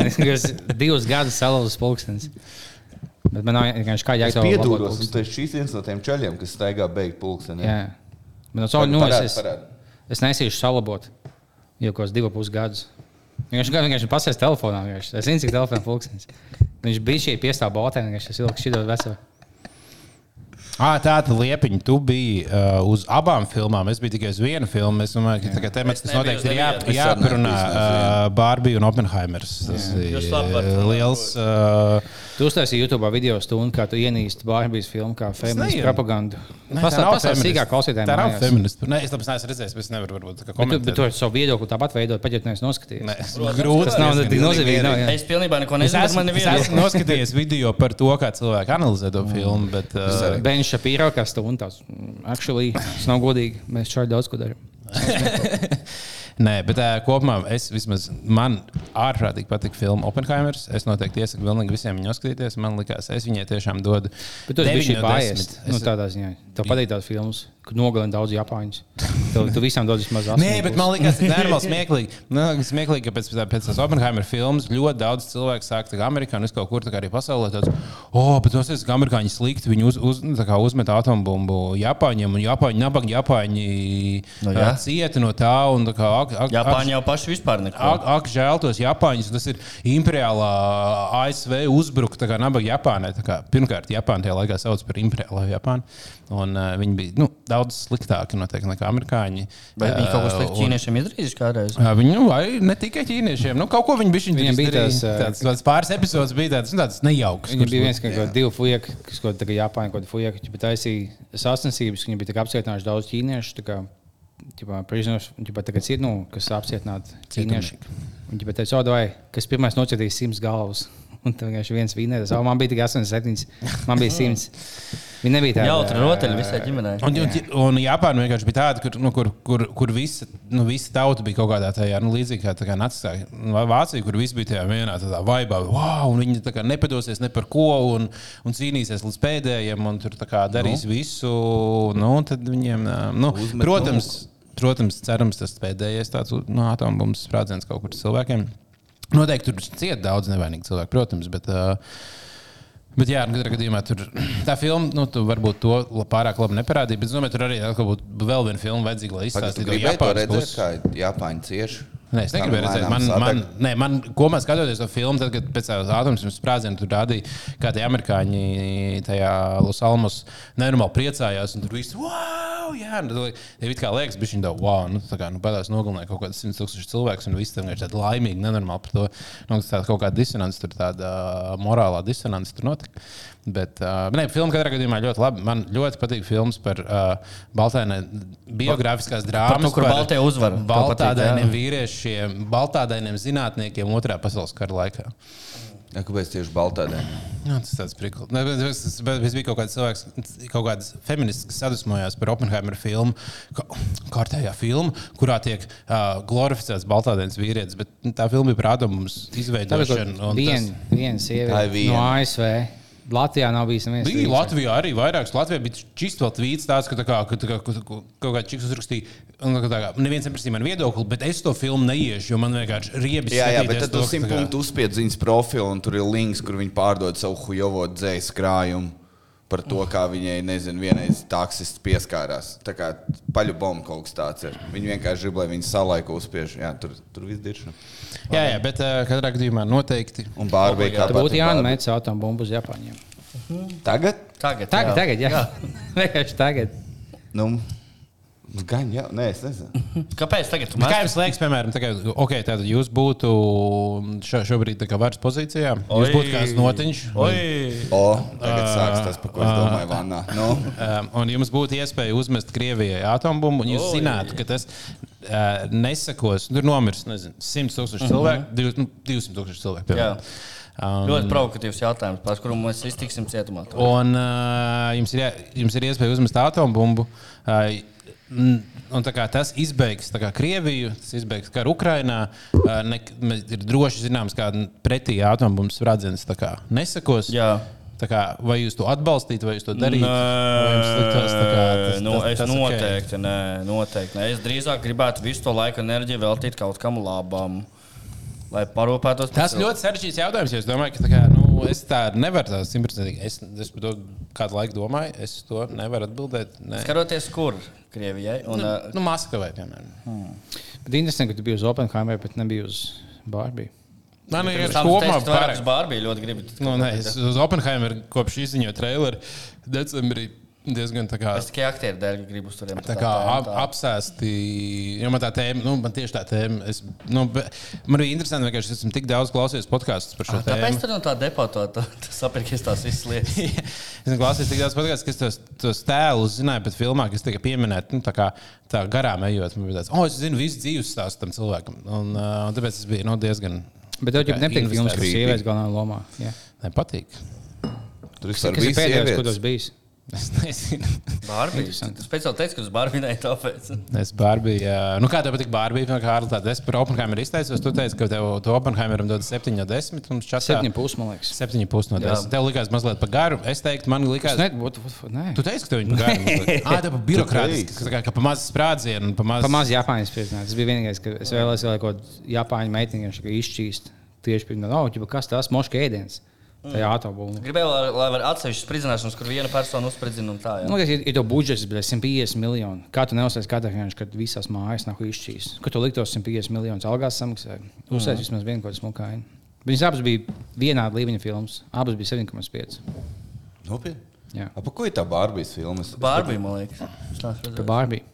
E: (laughs) Es divus gadus salauzu pulkstenis. Bet man nav vienkārši kā
F: Es
E: jāiet
F: piedodos, un tu esi šīs viens no tiem čaļiem, kas staigā beigt pulksteni.
E: Jā. Man no savu, nu,
F: Parādi,
E: es,
F: parādi.
E: es, es nesīšu salabot jau kaut kādus divus pus gadus. Viņš vienkārši, vienkārši pasēs telefonā. Vienkārši. Es zinu, cik telefonā pulkstenis. Viņš bija šeit piestāv botē, vienkārši es ilgi šitot veselu.
A: Ah, tā tad liepiņa, tu biji uh, uz abām filmām. Es biju tikai uz vienu filmu. Es domāju, ka tā kā temats,
B: Es
A: kas
B: nebiju
A: noteikti
B: uz
A: ir jā,
B: nevienu.
F: Es arī nebiju
A: jāparunā,
F: uz
A: uh, Bārbija un Oppenheimers. Tas ir
B: Jūs labi varat
A: uh,
B: runāt,
A: liels. Uh,
E: Tu uztaisīji YouTube video stundu, kā tu ienīsti Bārbijas filmu, kā feministu
A: neienu.
E: propagandu.
A: ne, tā nav
E: Pastāstiet,
A: feminist.
E: sīkāk klausītājiem.
A: Tā nav
E: mājās.
A: feministka. Nē, es tāpēc neesmu redzējis, bet es nevaru varbūt tā kā
E: Bet tu- Bet
A: komentēt.
E: tu vari savu viedokli tāpat veidot, pat ja tu neesi noskatījies.
A: Nē, es-
B: Protams,
A: Grūti.
E: Tas nav
A: diezgan
E: tik nozīmīgi. nav, jā.
B: Es pilnībā neko
A: Es
B: nezinu. Es
A: esmu,
B: man
A: es
B: nevienu.
A: esmu noskatījies video par to, kā cilvēki analizē to filmu, bet uh,
E: Bens Šafīra, kas tev un tāds - actually, tas nav godīgi. Mēs šādi daudz ko darām.
A: Nē, bet uh, kopumā es vismaz man ārprātīgi patīk filma Oppenheimers. Es noteikti iesaku pilnīgi visiem viņu skatīties. Man liekas, es viņai tiešām dodu.
E: Bet tu biji
A: deviņu
E: šī
A: no
E: pārējais.
A: desmit.
E: Nu,
A: Es-
E: tādā ziņā. Tev patīk tās filmas, kur nogalina daudz japāņus. Tev, tu visām dod vismaz astoņas.
A: Nē, bet man liekas, tas ir normāli smieklīgi. Man liekas, smieklīgi, ka pēc, pēc, pēc tās Oppenheimer filmas ļoti daudz cilvēku sāk to Amerikā un es kaut kur tā kā arī pasaulē. Tāds, oh, bet tas ir amerikāņi slikti. Viņi uz, uz, nu, tā kā uzmet atombumbu Japāņiem un Japāņi nabagi Japāņi
B: Nu,
A: no,
B: jā.
A: cieta no tā. un tā kā ak- ak- ak-
B: Japāņi jau paši vispār neko.
A: Ak, ak, žēl tos Japāņus. Tas ir imperiālā ASV uzbrukums, kā nabaga Japānai. Tā kā, pirmkārt, Japāna tajā laikā sauc par imperiālo Japānu. Un, uh, viņi bija nu, daudz sliktāki noteikti, nekā amerikāņi. Eh,
B: Vai viņi kaut ko sliktu
A: un-
B: ķīniešiem izdarījuši kādreiz?
A: Ā, Viņi nu, arī ne tikai ķīniešiem. Nu, kaut ko viņi bija.
E: Viņiem
A: Viņam
E: bija
A: bija tāds,
B: eh,
E: tās, ā,
A: tāds, tāds pāris epizodes, bija tāds, nu, tāds nejauks.
E: Viņam
A: kurš
E: bija viens, ka kaut kādi divi fujaki, kas kaut kādā Japāņā, kaut kāda fujaka, viņi taisīja sasniedzības, viņi bija tā kā apcietinājuši daudz ķīniešu. tā kā, Ķipā, prisoners, ķipā, tagad ir nu, kas apcietināti ķīnieši. Viņi pat teica, o, vai kas pirmais nocietīs simts galvas. Un tam vienkārši viens vīnēs. O, man bija tikai 87, man bija 100. Viņi nebija tādi.
B: Jautri rotaļi visai ģimenei.
A: Un, un, un Japāna vienkārši bija tāda, kur, nu, kur, kur, kur visa, nu, visa tauta bija kaut kādā tajā nu, līdzīgā kā, tā kā nacistiskā Vā- Vācija, kur viss bija tajā vienā tādā vaibā. Wow, un viņi tā kā nepadosies ne par ko un, un cīnīsies līdz pēdējiem un tur tā kā darīs nu. visu. Nu, un tad viņiem, ā, nu,
F: Uzmet
A: protams, protams, cerams, tas pēdējais tāds nu, atombumbas sprādziens kaut kur cilvēkiem. Noteikti tur cieta daudz nevainīgu cilvēku, protams, bet uh, Bet, jā, nu, katrā gadījumā tur (clears throat) tā filma, nu, tu varbūt to la- pārāk labi neparādīja. Bet, es domāju, tur arī atkal būtu vēl viena filma vajadzīga, lai
F: Pagaid,
A: izstāstītu
F: tu gribēji to
A: Japānas
F: redzēt,
A: pusi.
F: kā Japāņi cieši.
A: Nē, es negribu
F: Tam
A: redzēt,
F: lēnām
A: man,
F: sadeg.
A: man, nē, man, ko man skatoties to filmu, tad, kad pēc tam atomas sprādzieniem tur rādīja, kā tie amerikāņi tajā Los Alamos nenormāli priecājās. un Tur viss wow, jā, un tad, ja it kā liekas, bija šī tā, wow, nu, tā kā nu, pēdējais nogalināja kaut kādas 100 tūkstoši cilvēku, un visi tam ir tādi laimīgi, nenormāli par to. Nu, tas tāds kaut kāda disonance, tur tāda morālā disonance tur notika. Bet, uh, nē, filma katrā gadījumā ļoti labi. Man ļoti patīk filmas par uh, Baltānai biogrāfiskās drāmas.
B: kur baltie uzvar. Tev
A: Baltādainiem
B: patīk, jā?
A: vīriešiem, baltādainiem zinātniekiem Otrā pasaules kara laikā.
F: Jā, Kāpēc tieši Baltādē?
A: Jā, Nu, tas ir tāds priklis. Es biju kaut kāds cilvēks, kaut kāds feminists, kas sadusmojās par Oppenheimer filmu, ka- kārtējā filmu, kurā tiek uh, glorificēts baltādienas vīrietis, bet nu, tā filma bija prādāmums izveidošana. un tas-
E: Viena vien
F: Tā ir
E: sieviete
F: viena.
E: no ASV. Latvijā nav bijis nevienas.
A: Bija Latvijā arī vairākas. Latvijā bija čist vēl tvīts tāds, ka, tā kā, ka, tā kā, ka kaut kāds čiks uzrakstīja, un tā kā, tā kā, neviens neprasīja man viedokli, bet es to filmu neiešu, jo man vienkārši riebjas.
F: Jā, jā,
A: skatīties
F: bet tad
A: to,
F: tu
A: ka tā
F: simt
A: kā-
F: punktu uzspiedz viņas profilu, un tur ir links, kur viņi pārdod savu hujovo dzējas krājumu par to, kā viņai, nezinu, vienreiz taksists pieskārās. Tā kā paļu bomba kaut kas tāds ir. Viņi vienkārši grib, lai viņi salaiku uzspiež. Jā, tur, tur viss diršana.
A: Jā, jā, bet uh, katrā gadījumā noteikti.
F: Un Bārbija kā
E: Tā būtu jānamēķis atombumbu uz Japāņiem.
F: Tagad?
B: Tagad,
E: Tagad,
B: jā.
E: (laughs) tagad, jā. Vienkārši tagad.
F: Nu, Gan jau, nē, es nezinu.
B: Kāpēc tagad tu
A: Bet Kā
B: mācāties?
A: jums liekas, piemēram, tā kā, okay, tātad jūs būtu šo, šobrīd tā kā varas pozīcijā? Jūs
B: Oi.
A: būtu kāds notiņš,
B: Oi!
F: O, tagad sāks tas, par ko es domāju, Vānā. Nu,
A: um, un jums būtu iespēja uzmest Krievijai atombumbu, un jūs
B: Oi.
A: zinātu, ka tas uh, nesakos. Tur nomirs, nezinu, 100
F: Mhm.
A: tūkstoši cilvēku, div- nu, 200 tūkstoši cilvēku. piemēram.
B: Jā.
A: Um,
B: Ļoti provokatīvs jautājums, par kuru mēs visi tiksim cietumā.
A: Un uh, jums, ir, jā- jums ir iespēja uzmest atombumbu. Uh, n- Un tā kā tas izbeigs tā kā Krieviju, tas izbeigs karu Ukrajinā. Uh, ne, mēs ir droši zināms, kāda pretī atombumbas sprādziens tā kā nesakos.
B: Jā.
A: Tā Kā, vai jūs to atbalstītu, vai jūs to darītu? Vai jums liktos, tā kā, tas-
B: nu,
A: tas-
B: es
A: tas ok?
B: noteikti, nē, noteikti nē. Es drīzāk gribētu visu to laiku un enerģiju veltīt kaut kam labam, lai parūpētos par
A: Tas
B: cilvēku.
A: ļoti sarežģīts jautājums. jo Es domāju, ka tā kā, nu, es tā nevaru tā simtprocentīgi. Es, es par to kādu laiku domāju, es to nevaru atbildēt. Ne.
B: Skaroties, kur Krievijai un uh, ā,
A: Nu, Maskavai, piemēram.
E: Bet interesanti, ka tu biji uz Oppenheimer, bet nebija uz Barbie.
A: Man ir
B: Pirms tam tu
A: nu, kopumā
B: teici, ka
A: pārāk
B: vairākas Barbie ļoti gribi.
A: Nu, nē, es uz Oppenheimeru kopš izziņoja traileru decembrī diezgan tā kā.
B: Es tikai aktieru dēļ gribu uz turiem.
A: Tā kā ap, apsēsti, jo man tā tēma, nu, man tieši tā tēma, es, nu, be- man bija interesanti, ka es esmu tik daudz klausījies podkāstus par šo tēmu. (laughs)
B: Tāpēc tur no tā deputāta sapirkies tās visas lietas.
A: Esmu klausījies tik daudz podkāstu, ka es tos, tos tēlus zināju, bet filmā, kas tika pieminēta, nu, tā kā tā garām ejot, man bija tāds, oh, es zinu visu dzīves stāstu tam cilvēkam. Un, uh, un tāpēc es biju nu, diezgan
E: Bet tev jau
A: Kā
E: nepatīk filmas, kas
A: investēt.
E: sievietes galvenā lomā. Jā.
A: nepatīk. (laughs)
F: tur viss
E: Kas ir pēdējais, kur
F: ir
E: tas bijis?
A: Es nezinu.
B: Barbie. Tu speciāli teici, ka uz Barbie nē, tāpēc.
A: Es Bārbiju, nu kā tev patīk Bārbija, Kārl, tad es par Oppenheimeru izteicos. Tu teici, ka tev to Oppenheimeram dod 7 no 10, un čatā
E: Septiņi pusi, man liekas.
A: 7 pus no 10. Tev likās mazliet par garu. Es teiktu, man likās.
E: Es ne, what, what, what, nē.
A: Tu teici, ka tev viņa
E: (laughs)
A: gada. Ah, tā ir birokrātiski, ka, tā kā- ka pa maz sprādzienu, un pa maz.
E: Pa maz Japāņu spēļināts. Tas bija vienīgais, ka es vēlējos vēl kaut kādu Japāņu meiteni vienkārši izšķīst. Tieši pirms tam, no, kas tas moška ēdiens. Tajā
A: Mm.
E: autobūvē.
B: Gribēju, lai- lai var atsevišķi spridzināšanas, kur viena persona uzspridzina un tā. jā.
E: Nu, kas ir, ir to budžets, bet 150 miljoni. Kā tu neuzsāc katru dienu, kad visās mājās nav izšķīsts? Kur tu liktos 150 miljonus algās samaksā? Uzsāc vismaz vienu kaut kādu smukāju. Viņas abas bija vienāda līmeņa filmas. Abas bija 7,5.
F: Nopietni.
E: Jā.
F: Ap ko ir tā Bārbijas filmas?
B: Barbie, man liekas. Es neesmu
E: Par
B: redzējis.
E: Bārbiju.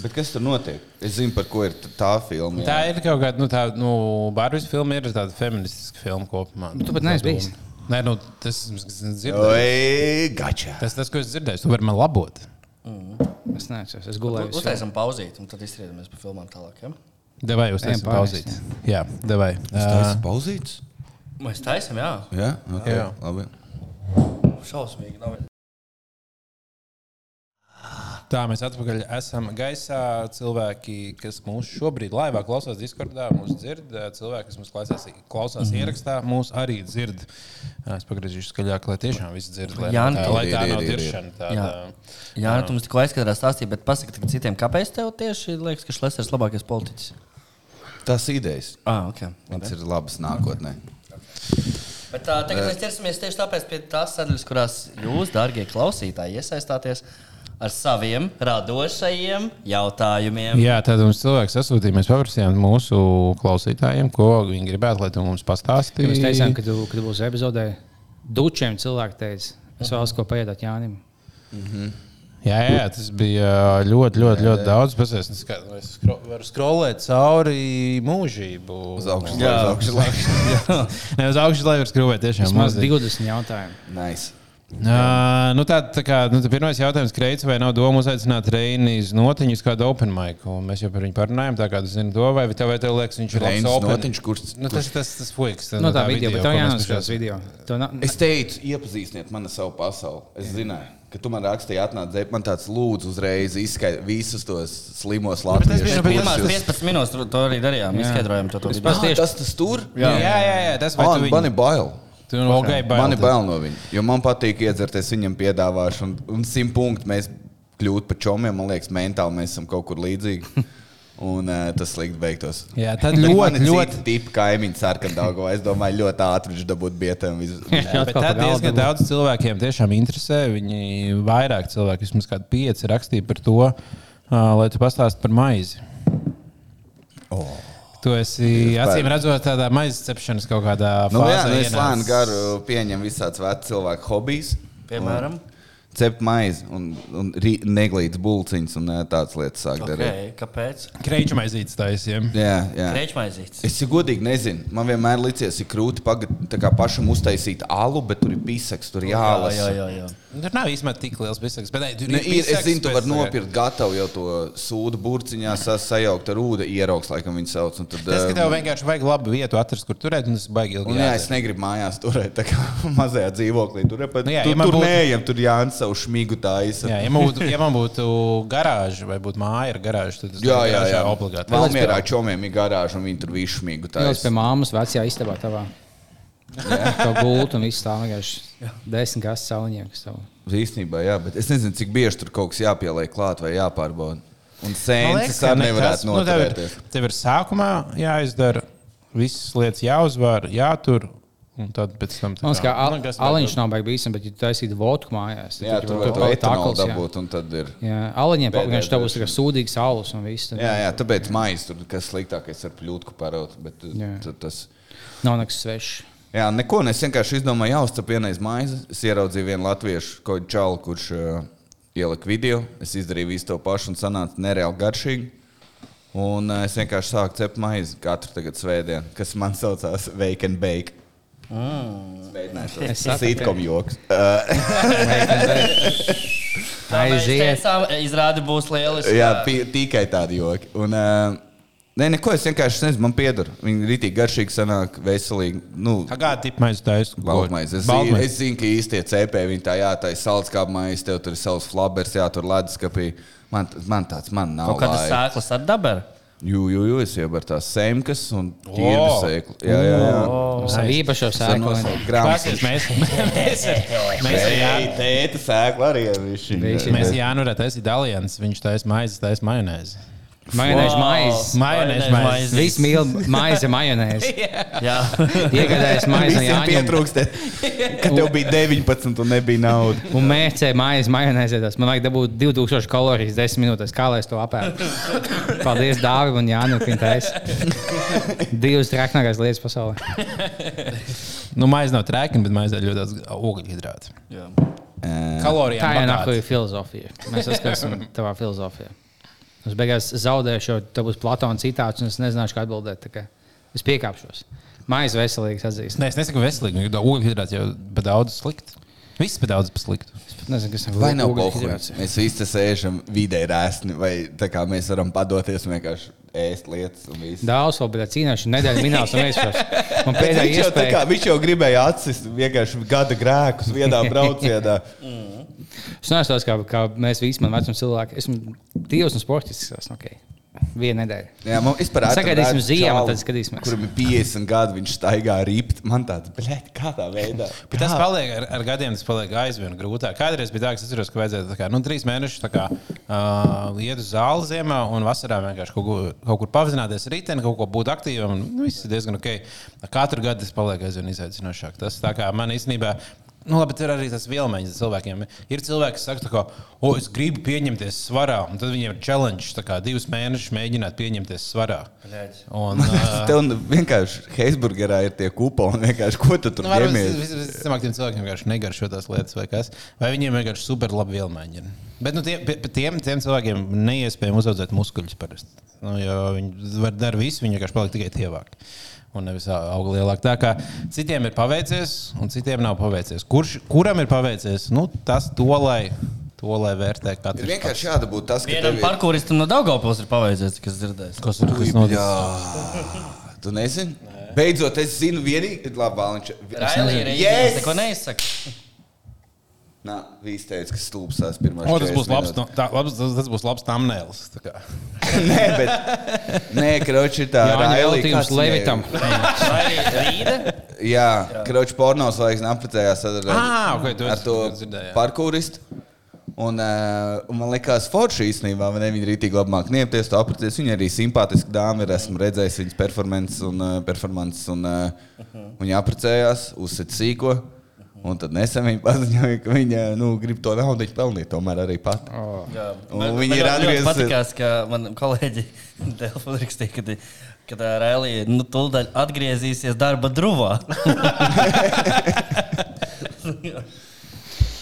F: Bet kas tur notiek? Es zinu, par ko ir t- tā filma.
A: Tā ir kaut kāda, nu, tā, nu, Bārbijas filma ir tāda feministiska filma kopumā.
E: Nu, Tu pat neesi bijis.
A: Nē, nu, tas, kas es dzirdēju,
F: Oi, gača.
A: tas, tas, ko es dzirdēju, tu vari man labot.
E: Es neesmu. Es gulēju. visu
B: Uztaisam pauzīti, un tad izstrādājamies par filmām tālāk. Ja?
A: Devai jūs
E: Ejam
A: taisat
E: pārnest,
A: pauzīt. Jā, devai.
F: Tas ir pauzīts.
B: Mēs taisām, jā,
F: Jā, okay, jā.
A: Jā.
F: labi.
B: šausmīgi. Nav.
A: Tā mēs atpakaļ esam gaisā. Cilvēki, kas mūsu šobrīd laivā klausās Discordā, mūsu dzird. Cilvēki, kas mūsu klausās, klausās mm.
F: Mhm.
A: ierakstā, mūsu arī dzird. Es pagriezīšu skaļāk, lai tiešām viss dzird. Lai,
B: Jā,
A: nav tā,
B: nu,
A: lai tā
F: ir,
A: nav
F: ir, ir, ir.
A: diršana. tāda-
B: Jā, nu, tu mums tikko aizskatījās stāstīt, bet pasaki tagad citiem, kāpēc tev tieši liekas, ka Šlēsers ir labākais politiķis?
F: Tās idejas.
B: Ah, okay.
F: Viņas ir labas nākotnē.
B: Bet, tā, tagad mēs ķersimies tieši tāpēc pie tās sadaļas, kurās jūs, darbie klausītāji, iesaistāties ar saviem radošajiem jautājumiem.
A: Jā, tad mums cilvēks sasūtīja, mēs paprasījām mūsu klausītājiem, ko viņi gribētu, lai tu mums pastāstītu.
E: Mēs teicām, ka tu, ka tu būsi epizodē. Dučiem cilvēki teica, es vēlos ko pajautāt Jānim.
A: Jā, jā, tas bija uh, ļoti, ļoti, ļoti daudz. Pasies, es kā- nu, es skro, varu skrolēt cauri mūžību.
F: Uz augšu, lai uz augšu. lai.
A: (laughs) Ne, uz augšu lai var skrūvēt tiešām.
E: Vismaz
A: mazliet.
E: 20 jautājumu.
F: Nice.
A: Ā, nu tā, tā kā, nu, pirmais jautājums, Kreits, vai nav doma uzaicināt Reinijas notiņu uz kādu open mic? Un Mēs jau par viņu parunājām, tā kā tu zini to, vai tev, vai tev liekas, viņš ir labs
F: Reinis
A: open?
F: Notiņš, kurš-
A: Nu, tas, tas, tas fuiks.
E: No Nu, tā video, bet
A: ko
E: tev
A: mēs
E: jānoskatās
A: pašreiz-
E: video. Tev nav-
F: Es teicu, iepazīstiniet mani ar savu pasauli. Es zināju, ka tu man rakstīji, atnāc, dzēp man tāds lūdzu, uzreiz izskaidro visus tos slimos
A: tas bija
F: latviešu
A: no pirmās
B: Pirmās
F: kursus.
B: 15 minūtes tur- to arī darījām. Izskaidrojām to, to video.
E: Pas-
F: Ah, Tas tas tur?
A: Jā, jā, jā, jā tas
F: Ah,
A: vajag.
F: Man ir bail.
A: Tu nu, okay, bail,
F: Man ir
A: tad.
F: bail no viņa. Jo man patīk iedzerties viņam piedāvāšu, un, un simt punktu mēs kļūtu par čomiem. Man liekas, mentāli mēs esam kaut kur līdzīgi. (laughs) Un uh, tas slikti beigtos.
A: Jā, tad
F: Bet (laughs)
A: ļoti,
F: man ir
A: ļoti-
F: citi tipi kaimiņš ar kādām. Es domāju, ļoti ātri viņš dabūtu bietēm. (laughs)
A: Jā,
E: Atkal
A: bet
E: pa
A: tā
E: galdu
A: diezgan
E: būs.
A: daudz cilvēkiem tiešām interesē. Viņi vairāk cilvēki, vismaz kādi pieci, rakstīja par to, ā, lai tu pastāstītu par maizi. Tu esi acīm redzot, tādā maizes cepšanas kaut kādā
F: Nu, jā,
A: fāzē.
F: nu, es
A: ienācis.
F: lēnu garu pieņemu visādas vecas cilvēku hobijas.
B: Piemēram,
F: cept maizi un, un rī- neglītas bulciņas un ā, tādas lietas sāk darīt.
B: Okay, kāpēc?
A: Kreiča maizītes taisījām.
F: Jā, jā.
B: Rēķmaizīts.
F: Es ja godīgi nezinu. Man vienmēr liekas, ir grūti pagad, tā kā pašam uztaisīt alu, bet tur ir pisaks, tur jālasa.
B: jā, jā, jā.
A: Tur nav īstenībā tik liels biseks. Bet, ei, tur
F: Nu, ir,
A: biseks,
F: es zinu, tu
A: bet-
F: vari nopirkt gatavu jau to sūdu burciņā, sa- sajaukt ar ūdeni, ieraugs, laikam viņi sauc. Un tad,
A: Tas, ka tev
F: um,
A: vienkārši vajag labu vietu atrast, kur turēt, un tas ir baigi ilgi.
F: Un, jā,
A: jādara.
F: es negribu mājās turēt, tā kā (laughs) mazajā dzīvoklī. Tur jau
A: Nu jā,
F: tādā
A: ja man
F: formā,
A: būtu-
F: neejam, tur jāņem savu šmigu taisa.
A: Jā, ja man būtu, ja man būtu garāža vai būtu māja ar garāžu, tad tas
F: jā, jā.
A: garāžā
F: jā.
A: obligāti.
F: Valmierā čomiem ir garāža, un viņi tur visu šmigu
E: Jūs pie
F: taisa.
E: māmas vecajā istabā tavā. Tā gulta un viss tā vienkārši desmit kastes sāliņiekus.
F: Īstenībā, jā, bet es nezinu, cik bieži tur kaut kas jāpieliek klāt vai jāpārbauda. Un
A: Man
F: sēnes
A: liekas,
F: tā
A: ka nekas.
F: nevarētu
A: Nu, tev ir-
F: noturēties.
A: Tev ir sākumā jāizdara visas lietas, jāuzvar, jātur. Un tad pēc tam tā
E: Man liekas, ka
A: Nu, kas
E: aliņš nav baigi bīstams, bet ja tu taisītu vodku mājās,
F: Jā, tur var
E: kaut
F: to
E: kā
F: etanolu
E: takls, jā.
F: dabūt, un tad ir.
E: Jā, aliņiem
F: Pēdējā
E: vienkārši tev būs
F: droši.
E: tikai sūdīgs alus un viss. tad
F: Jā, jā, tāpēc maizes tur kas sliktākais ar pļūtku paraudu. Bet
E: Jā.
F: tad tas.
E: Nav nekas svešs.
F: Jā, neko. ne, Es vienkārši izdomāju, jāuzcep vienreiz maizes. Es ieraudzīju vienu latviešu kodu čalu, kurš uh, ielika video. Es izdarīju visu to pašu un sanāca nereāli garšīgi. Un uh, es vienkārši sāku cept maizi katru tagad svētdienu, kas man saucās Wake and Bake.
E: Es
F: Mēģinājums. Tas
E: sapratu.
F: ir sitkom joks.
E: Aiziet.
B: Tā izrāda būs lieliski.
F: Jā, pi- tikai tādi joki. Un, uh, Nē, neko es vienkārši nezinu, man pieder. Viņa ir rītīgi garšīga, sanāk, veselīga. Nu,
A: Tā kā tipmaize taisa.
F: Baltmaize. Es, zinu, es zinu, ka īstie cepēji viņi tā jātaisa saldskābā maize, tev tur ir savs flabers, jātur leduskapī. Man, t- man tāds man nav.
B: Kaut kādas
F: laika.
B: Nu, sēklas ar dabaru.
F: Jū, jū, jū, es jau ar tās sēmkas un tīru sēklu. Jā, jā, jā.
E: Savu īpašo sēklu.
A: Klasies, mēs, mēs, ar- mēs, ar Jānu-
F: Tēta sēkla arī ir
E: Visi.
F: viņa.
A: mēs Jānu varētu taisīt alians, viņš taisa maizes, taisa majonēzi.
E: Majonēžu maizes.
A: Majonēžu maizes.
E: Viss mīl maizi majonēzi.
F: (laughs)
B: Jā,
E: Iegādājas maizi no
F: Visiem
E: Jāņiem.
F: pietrūkst, ka tev bija 19 un nebija naudas.
E: Un mērķē maizi majonēzē. tas. Man vajag dabūt 2000 kalorijas 10 minūtēs. Kā lai es to (laughs) apēdu? Paldies Dāvim un Jānim, ka viņi taisa. Divas traknākās lietas pasaulē.
A: Nu, maize nav trēkina, bet maizē ļoti daudz ogļhidrātu. Kalorijām.
E: Tā jau nav
A: bagāta.
E: kāda filozofija. Mēs saskaramies tavā filozofijā. Es beigās zaudēšu, jo tev būs Platona citāts, un es nezināšu, kā atbildēt. tā kā Es piekāpšos. Mājas veselīgs atzīst.
A: Nē, es nesaku veselīgi, jo ogļhidrāti jau pa daudz slikti. Viss pa daudz pa sliktu.
E: Es pat nezinu, kas ir
F: Vai nav
E: ogļhidrāts.
F: pohuļi? Mēs visi te sēžam vidē rēsni, vai tā kā mēs varam padoties un vienkārši ēst lietas un visu.
E: Daudz vēl bija cīnās, un nedēļa minēta vēstures. Man pēdējā
F: Viņš jau, tā kā,
E: iespēja.
F: viņš jau gribēja atsist vienkārši gada grēkus (laughs) vienā braucienā.
E: Es neesmu tāds, kā, kā mēs visi, man vecums cilvēki. Esmu divs un sportisks. esmu, Okay. Viena nedēļa.
F: Jā, man vispār
E: Sagaidīsim
F: atradu
E: ziemu,
F: čalu,
E: tad skatīsimies.
F: Kuram ir 50 gadi, viņš staigā ript. Man tāds, blēd, kādā veidā.
A: Bet tas paliek ar, ar gadiem, tas paliek aizvien grūtāk. Kādreiz bija tā, ka es atceros, ka vajadzēja tā kā, nu, trīs mēnešus tā kā, uh, iet uz zāli ziemā un vasarā vienkārši kaut, ko- kaut kur pavizināties rītdienā, kaut ko būt aktīvam. un, Nu, viss ir diezgan ok. Katru gadu tas paliek aizvien izaicinošāk. Tas tā kā man īstenībā. Nu, labi, tur arī tas vilnis cilvēkiem. Ir cilvēki, kas saka, tā kā, o, es gribu pieņemties svarā, un tad viņiem ir challenge, tā kā divus mēnešus mēģināt pieņemties svarā.
B: Bļaģ.
A: Un, uh,
F: Tev vienkārši Heisburgerā ir tie kuponi. vienkārši, Ko tu tur
A: Nu, varbūt
F: ņemies?
A: vis- vis- Visticamāk, tiem cilvēkiem vienkārši negaršo tās lietas, vai kas. Vai viņiem vienkārši super labi vielmaiņa ir. Bet nu, tie, pie- pie tiem, tiem cilvēkiem neiespējami uzaugt muskuļus parasti. Nu, jo viņi var darīt visu, viņi vienkārši paliek tikai tievāki. Un nevis auga lielāk. Tā kā citiem ir paveicies, un citiem nav paveicies. Kurš, kuram ir paveicies? Nu, tas to lai, to, lai vērtē katrs.
F: Ir vienkārši jādabūt tas, ka tev
B: Vienam
F: ir.
B: parkūristam no Daugopils ir paveicies, kas dzirdēs.
A: kas ir kas
F: Ui,
A: noticis.
F: jā. Tu nezini? Beidzot, es zinu vienīgi, labi, Vāliņš.
B: Railī ir
F: Yes!
B: īstenībā neko neizsaka.
F: Nā, viņš teica, ka stulbsās pirmā.
A: O, tas būs labs, no, tā, labs, tas, tas būs labs thumbnails. tā kā.
F: (laughs) nē, bet. Nē, kroči, tā
E: Jā, nē,
F: Railī,
E: veltījums
F: kāds viņai-
E: Levitam.
B: Rīda?
F: Jā, Kroča pornogrāfijas laiks neprecējās ar,
A: Ā, ok, tu
F: ar
A: esi-
F: to
A: dzirdēju, jā.
F: parkūristu. Un, uh, un man liekas, Forša īstenībā, vai ne, viņa ir rītīgi labi mākslinieci, niepties, to apprecies. Viņa arī simpātiski dāma ir. Esmu redzējis viņas performances, un, uh, performances, un uh, viņa apprecējās, uzsita sīko. Un tad nesen viņa paziņoja, ka viņa nu, grib to naudu pelnīt, tomēr arī pati.
B: Jā,
F: Un
B: man-
F: viņi
B: man
F: ir
B: ļoti
F: atgriezusies.
B: patīkās, ka man kolēģi (laughs) Delfa rakstīja, ka, ka tā Rēlija nu, tūlīt atgriezīsies darba drūvā.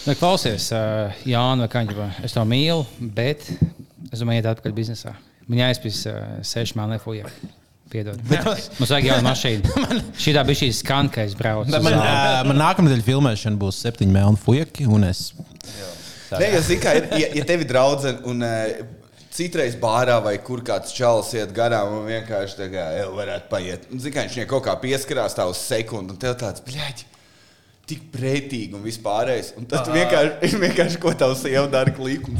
E: Nu, klausies, uh, Jānis, vai Kaņģa, es to mīlu, bet es domāju, iet atpakaļ biznesā. Man jāizpīs uh, seši man lefoja.
F: (laughs)
E: Piedod. Mums vajag jaunu mašīnu. Šī tā bija šī skan, ka es braucu.
A: Man, ā, man nākamā daļa filmēšana būs septiņi melni fueki un es.
F: Nē, jo zini, kā ir, ja, ja tev ir draudzene un eh, citreiz bārā vai kur kāds čalis iet garām un vienkārši tā kā jau varētu paiet. Un, Zini, kā viņš viņai kaut kā pieskarās tā uz sekundi un tev tāds, bļaļ! Tik pretīgi un vispārējais. Un tad tu vienkārši, (laughs) vienkārši ko tavs sieva dara klīkums.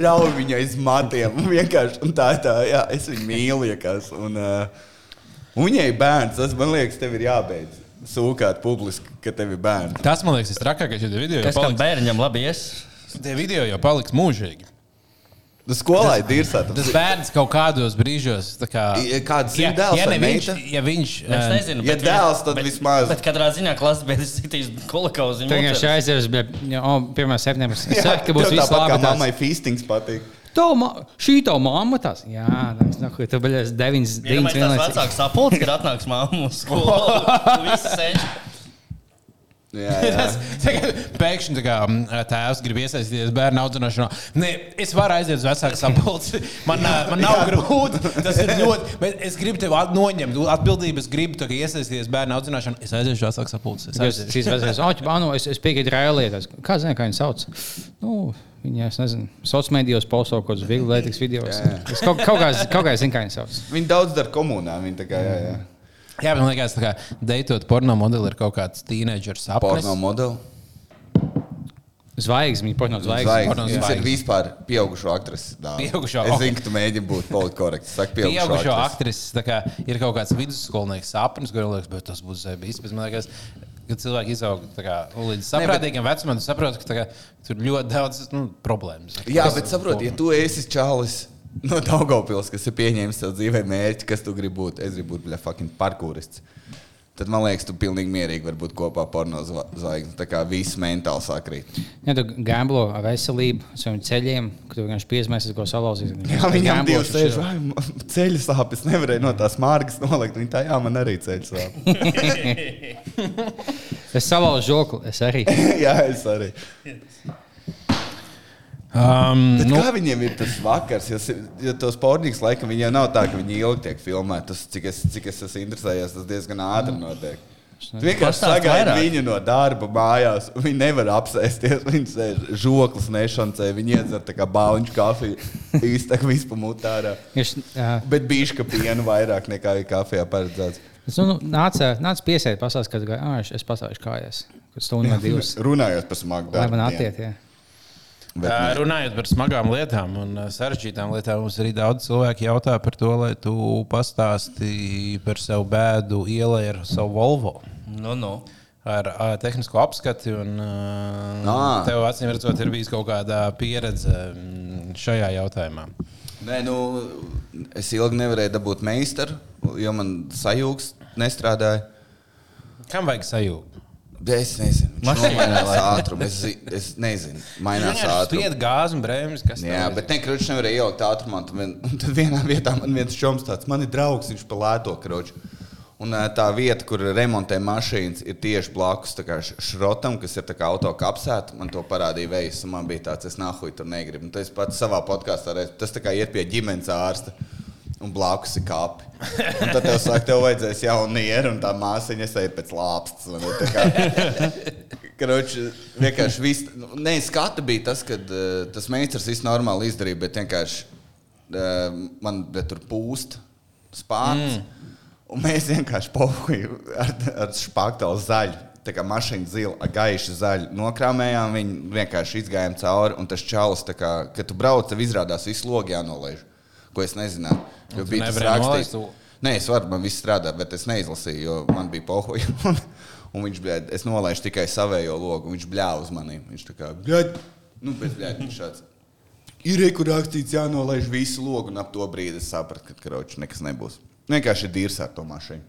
F: Rauj viņai aiz matiem. Un vienkārši, un tā ir tā, jā, es viņu mīlu, ja kas. Un, uh, un viņai bērns, tas man liekas, tev ir jābeidz sūkāt publiski, ka tev ir bērns.
A: Tas man liekas, tas trakākais, jo tie video jau
B: Kas tam
A: paliks,
B: bērnam labi ies?
A: tie video jau paliks mūžīgi.
F: Nu, Skolā ir dirzā.
A: Tas bērns kaut kādos brīžos. tā Kā,
F: I- Kāda
A: ja,
F: zīme
A: ja
F: dēls
A: ne
F: vai
A: viņš,
F: meita?
A: ja viņš um,
B: Es
A: ā,
B: nezinu.
F: Ja
B: bet
F: dēls,
B: vien-
F: tad
B: bet-
F: vismaz.
B: Bet katrā ziņā klases beigas citīs kolekauziņu.
E: Tā vienkārši aizjūras, bet pirmā septembrī es
F: (laughs)
E: saku, ka būs viss
F: tāpat kā
E: labi.
F: mammai
E: tās.
F: feastings
A: (laughs)
F: patīk.
E: Tavu ma- Šī tā mamma tās. Jā, tas nāk, tu biji 9,
B: Viņam
E: 9,
B: ir tāds
E: 11.
B: vecāks sapulcs, kad atnāks mamma uz (laughs) skolu. Visi sēž.
F: Jā, jā.
A: (laughs) Tas, tā kā, pēkšņi tā kā, mm, tēvs grib iesaistīties bērnu audzināšanā. Nē, es varu aiziet uz vecāku sapulci.
F: (laughs)
A: Man, ā, man nav grūti. Tas ir ļoti. Bet es gribu tev at- noņemt atbildību. Es gribu tā kā iesaistīties bērnu audzināšanā. Es aiziešu uz vecāku sapulci. Es
E: Tas
A: aiziešu.
E: šīs vecās, oh, ķibāno, es, es piekrītu Rēlietas. Kā zina, kā viņu sauc? Nu, viņa, es nezinu, sociālos mēdījos posaukt kaut kādus viegli lētīgus video. Es kaut, kaut kā, kaut kā zinu, kā viņu sauc.
F: Viņi daudz dara komunā. Viņi tā kā, jā, jā.
A: Jā, man liekas, tā kā deitot porno modeli ir kaut kāds teenageris
F: Porno
A: sapnis.
F: modeli.
E: Zvaigznes, viņa porno zvaigznes.
A: porno
F: Zvaigznes. Viņas ir
A: zvaigznes.
F: vispār pieaugušo aktrisu. dāmas.
A: Pieaugušo,
F: Es
A: ok.
F: zinu, ka tu mēģini būt politkorekts. Saka,
A: Pieaugušo
F: pieaugušo aktrisu.
A: aktrises tā kā ir kaut kāds vidusskolnieks sapnis, kurš man liekas, bet tas būs zebis. Bet man liekas, Kad cilvēki izaug tā kā, nu, līdz saprātīgam vecumam, tad saprot, ka tā kā, tur ļoti daudz nu, problēmas.
F: Jā, bet saproti, ja tu esi čalis. No Daugopils, kas ir pieņēmis sev dzīvē mērķi, kas tu gribi būt. Es gribu būt, bļa, fucking parkūrists. Tad man liekas, tu pilnīgi mierīgi vari būt kopā porno zva- zvaigznes. Tā kā viss mentāli sakrīt.
E: Ja tu gamblo ar veselību, saviem ceļiem, ka tu vienkārši piesmēsies, ko salauzīs.
F: Jā, viņam bija sēž, vai man ceļu sāpes nevarēja no tās mārgas nolikt. Viņa tā, jā, man arī ceļu sāpes. (laughs)
E: Es salauzu žokli, es arī.
F: jā, es arī.
A: Um,
F: Bet nu. kā viņiem ir tas vakars, jo, si- jo tos pornogrāfijas laikam viņi jau nav tā, ka viņi ilgi tiek filmēti. Tas, cik es, cik es esmu interesējies, tas diezgan ātri notiek. Tu vienkārši
B: Pastāst
F: sagaidi
B: vairāk.
F: viņu no darba mājās. un Viņi nevar apsēsties. (laughs) Viņi sēž žoklis nešancē, viņi iedzer tā kā bāliņu kafiju. Īsti tā kā vispār mutārā.
E: Viņš, uh,
F: Bet bišķi pienu vairāk nekā ir kafijā paredzēts.
E: Es nu, nāca, nāca piesēt, pasās, kad ah, es, es pasāšu kājās. Kad stundu vai Nu,
F: (laughs)
E: divas.
F: Runājot par smagu
E: Lai
F: darbu.
E: man attiet, jā.
F: Bet
A: Bet, runājot par smagām lietām un ā, sarežģītām lietām, mums arī daudz cilvēku jautā par to, lai tu pastāstītu par savu bēdu ielai ar savu Volvo.
B: Nu, nu.
A: Ar uh, tehnisko apskati, un uh,
F: Ā.
A: tev acīm redzot, ir bijusi kaut kāda pieredze mm, šajā jautājumā.
F: Nē, nu, es ilgi nevarēju dabūt meistaru, jo man sajūgs nestrādāja.
A: Kam vajag sajūta?
F: Bet Es nezinu, kas
B: Mašīnā
F: ir mainās ātrums. Es, zi- es nezinu, mainās ātrums.
A: Spied gāzi un brēmis, kas
F: Jā, bet ne, kruču nevarēja ielikt ātrumā. Tad, vien, un tad vienā vietā man viens čoms tāds, man ir draugs, viņš pa lēto kruču. Un ā, tā vieta, kur remontē mašīnas, ir tieši blakus tā kā š- šrotam, kas ir tā kā auto kapsēta. Man to parādīja vējs, un man bija tāds, es nahuju tur negribu. Un tas pats savā podkāstā, reiz- tas tā kā iet pie ģimenes ārsta. Un blakus ir kapi. Un tad tev saka, tev vajadzēs jaunu nieru, un tā māsiņa sēž pēc lāpstas. vai ne? Tā kā- Kroči, vienkārši viss. nu, Nē, skata bija tas, ka uh, tas meistars viss normāli izdarīja, bet vienkārši uh, man bet tur pūst spārns. Mm. Un mēs vienkārši pohuju ar, ar špaktalu zaļu. Tā kā mašīna zila, ar gaišu zaļu nokrāmējām, viņu vienkārši izgājām cauri. Un tas čalis, tā kā, kad tu brauc, tev izrādās visu logu jānolaiž, ko es nezināju. Jo bija tas
A: nevarēji
F: rakstīts.
A: nolaist?
F: Nē, es varu, man viss strādā, bet es neizlasīju, jo man bija pohoja. (laughs) Un, un viņš bija, es nolaidu tikai savējo logu, un viņš bļāva uz maniem. Viņš tā kā, bļāva, nu, bet bļāva, viņš šāds. Ir rekur rakstīts, jānolaiž visu logu, un ap to brīdi es sapratu, ka karoči nekas nebūs. Vienkārši ir dīrs ar to mašīnu.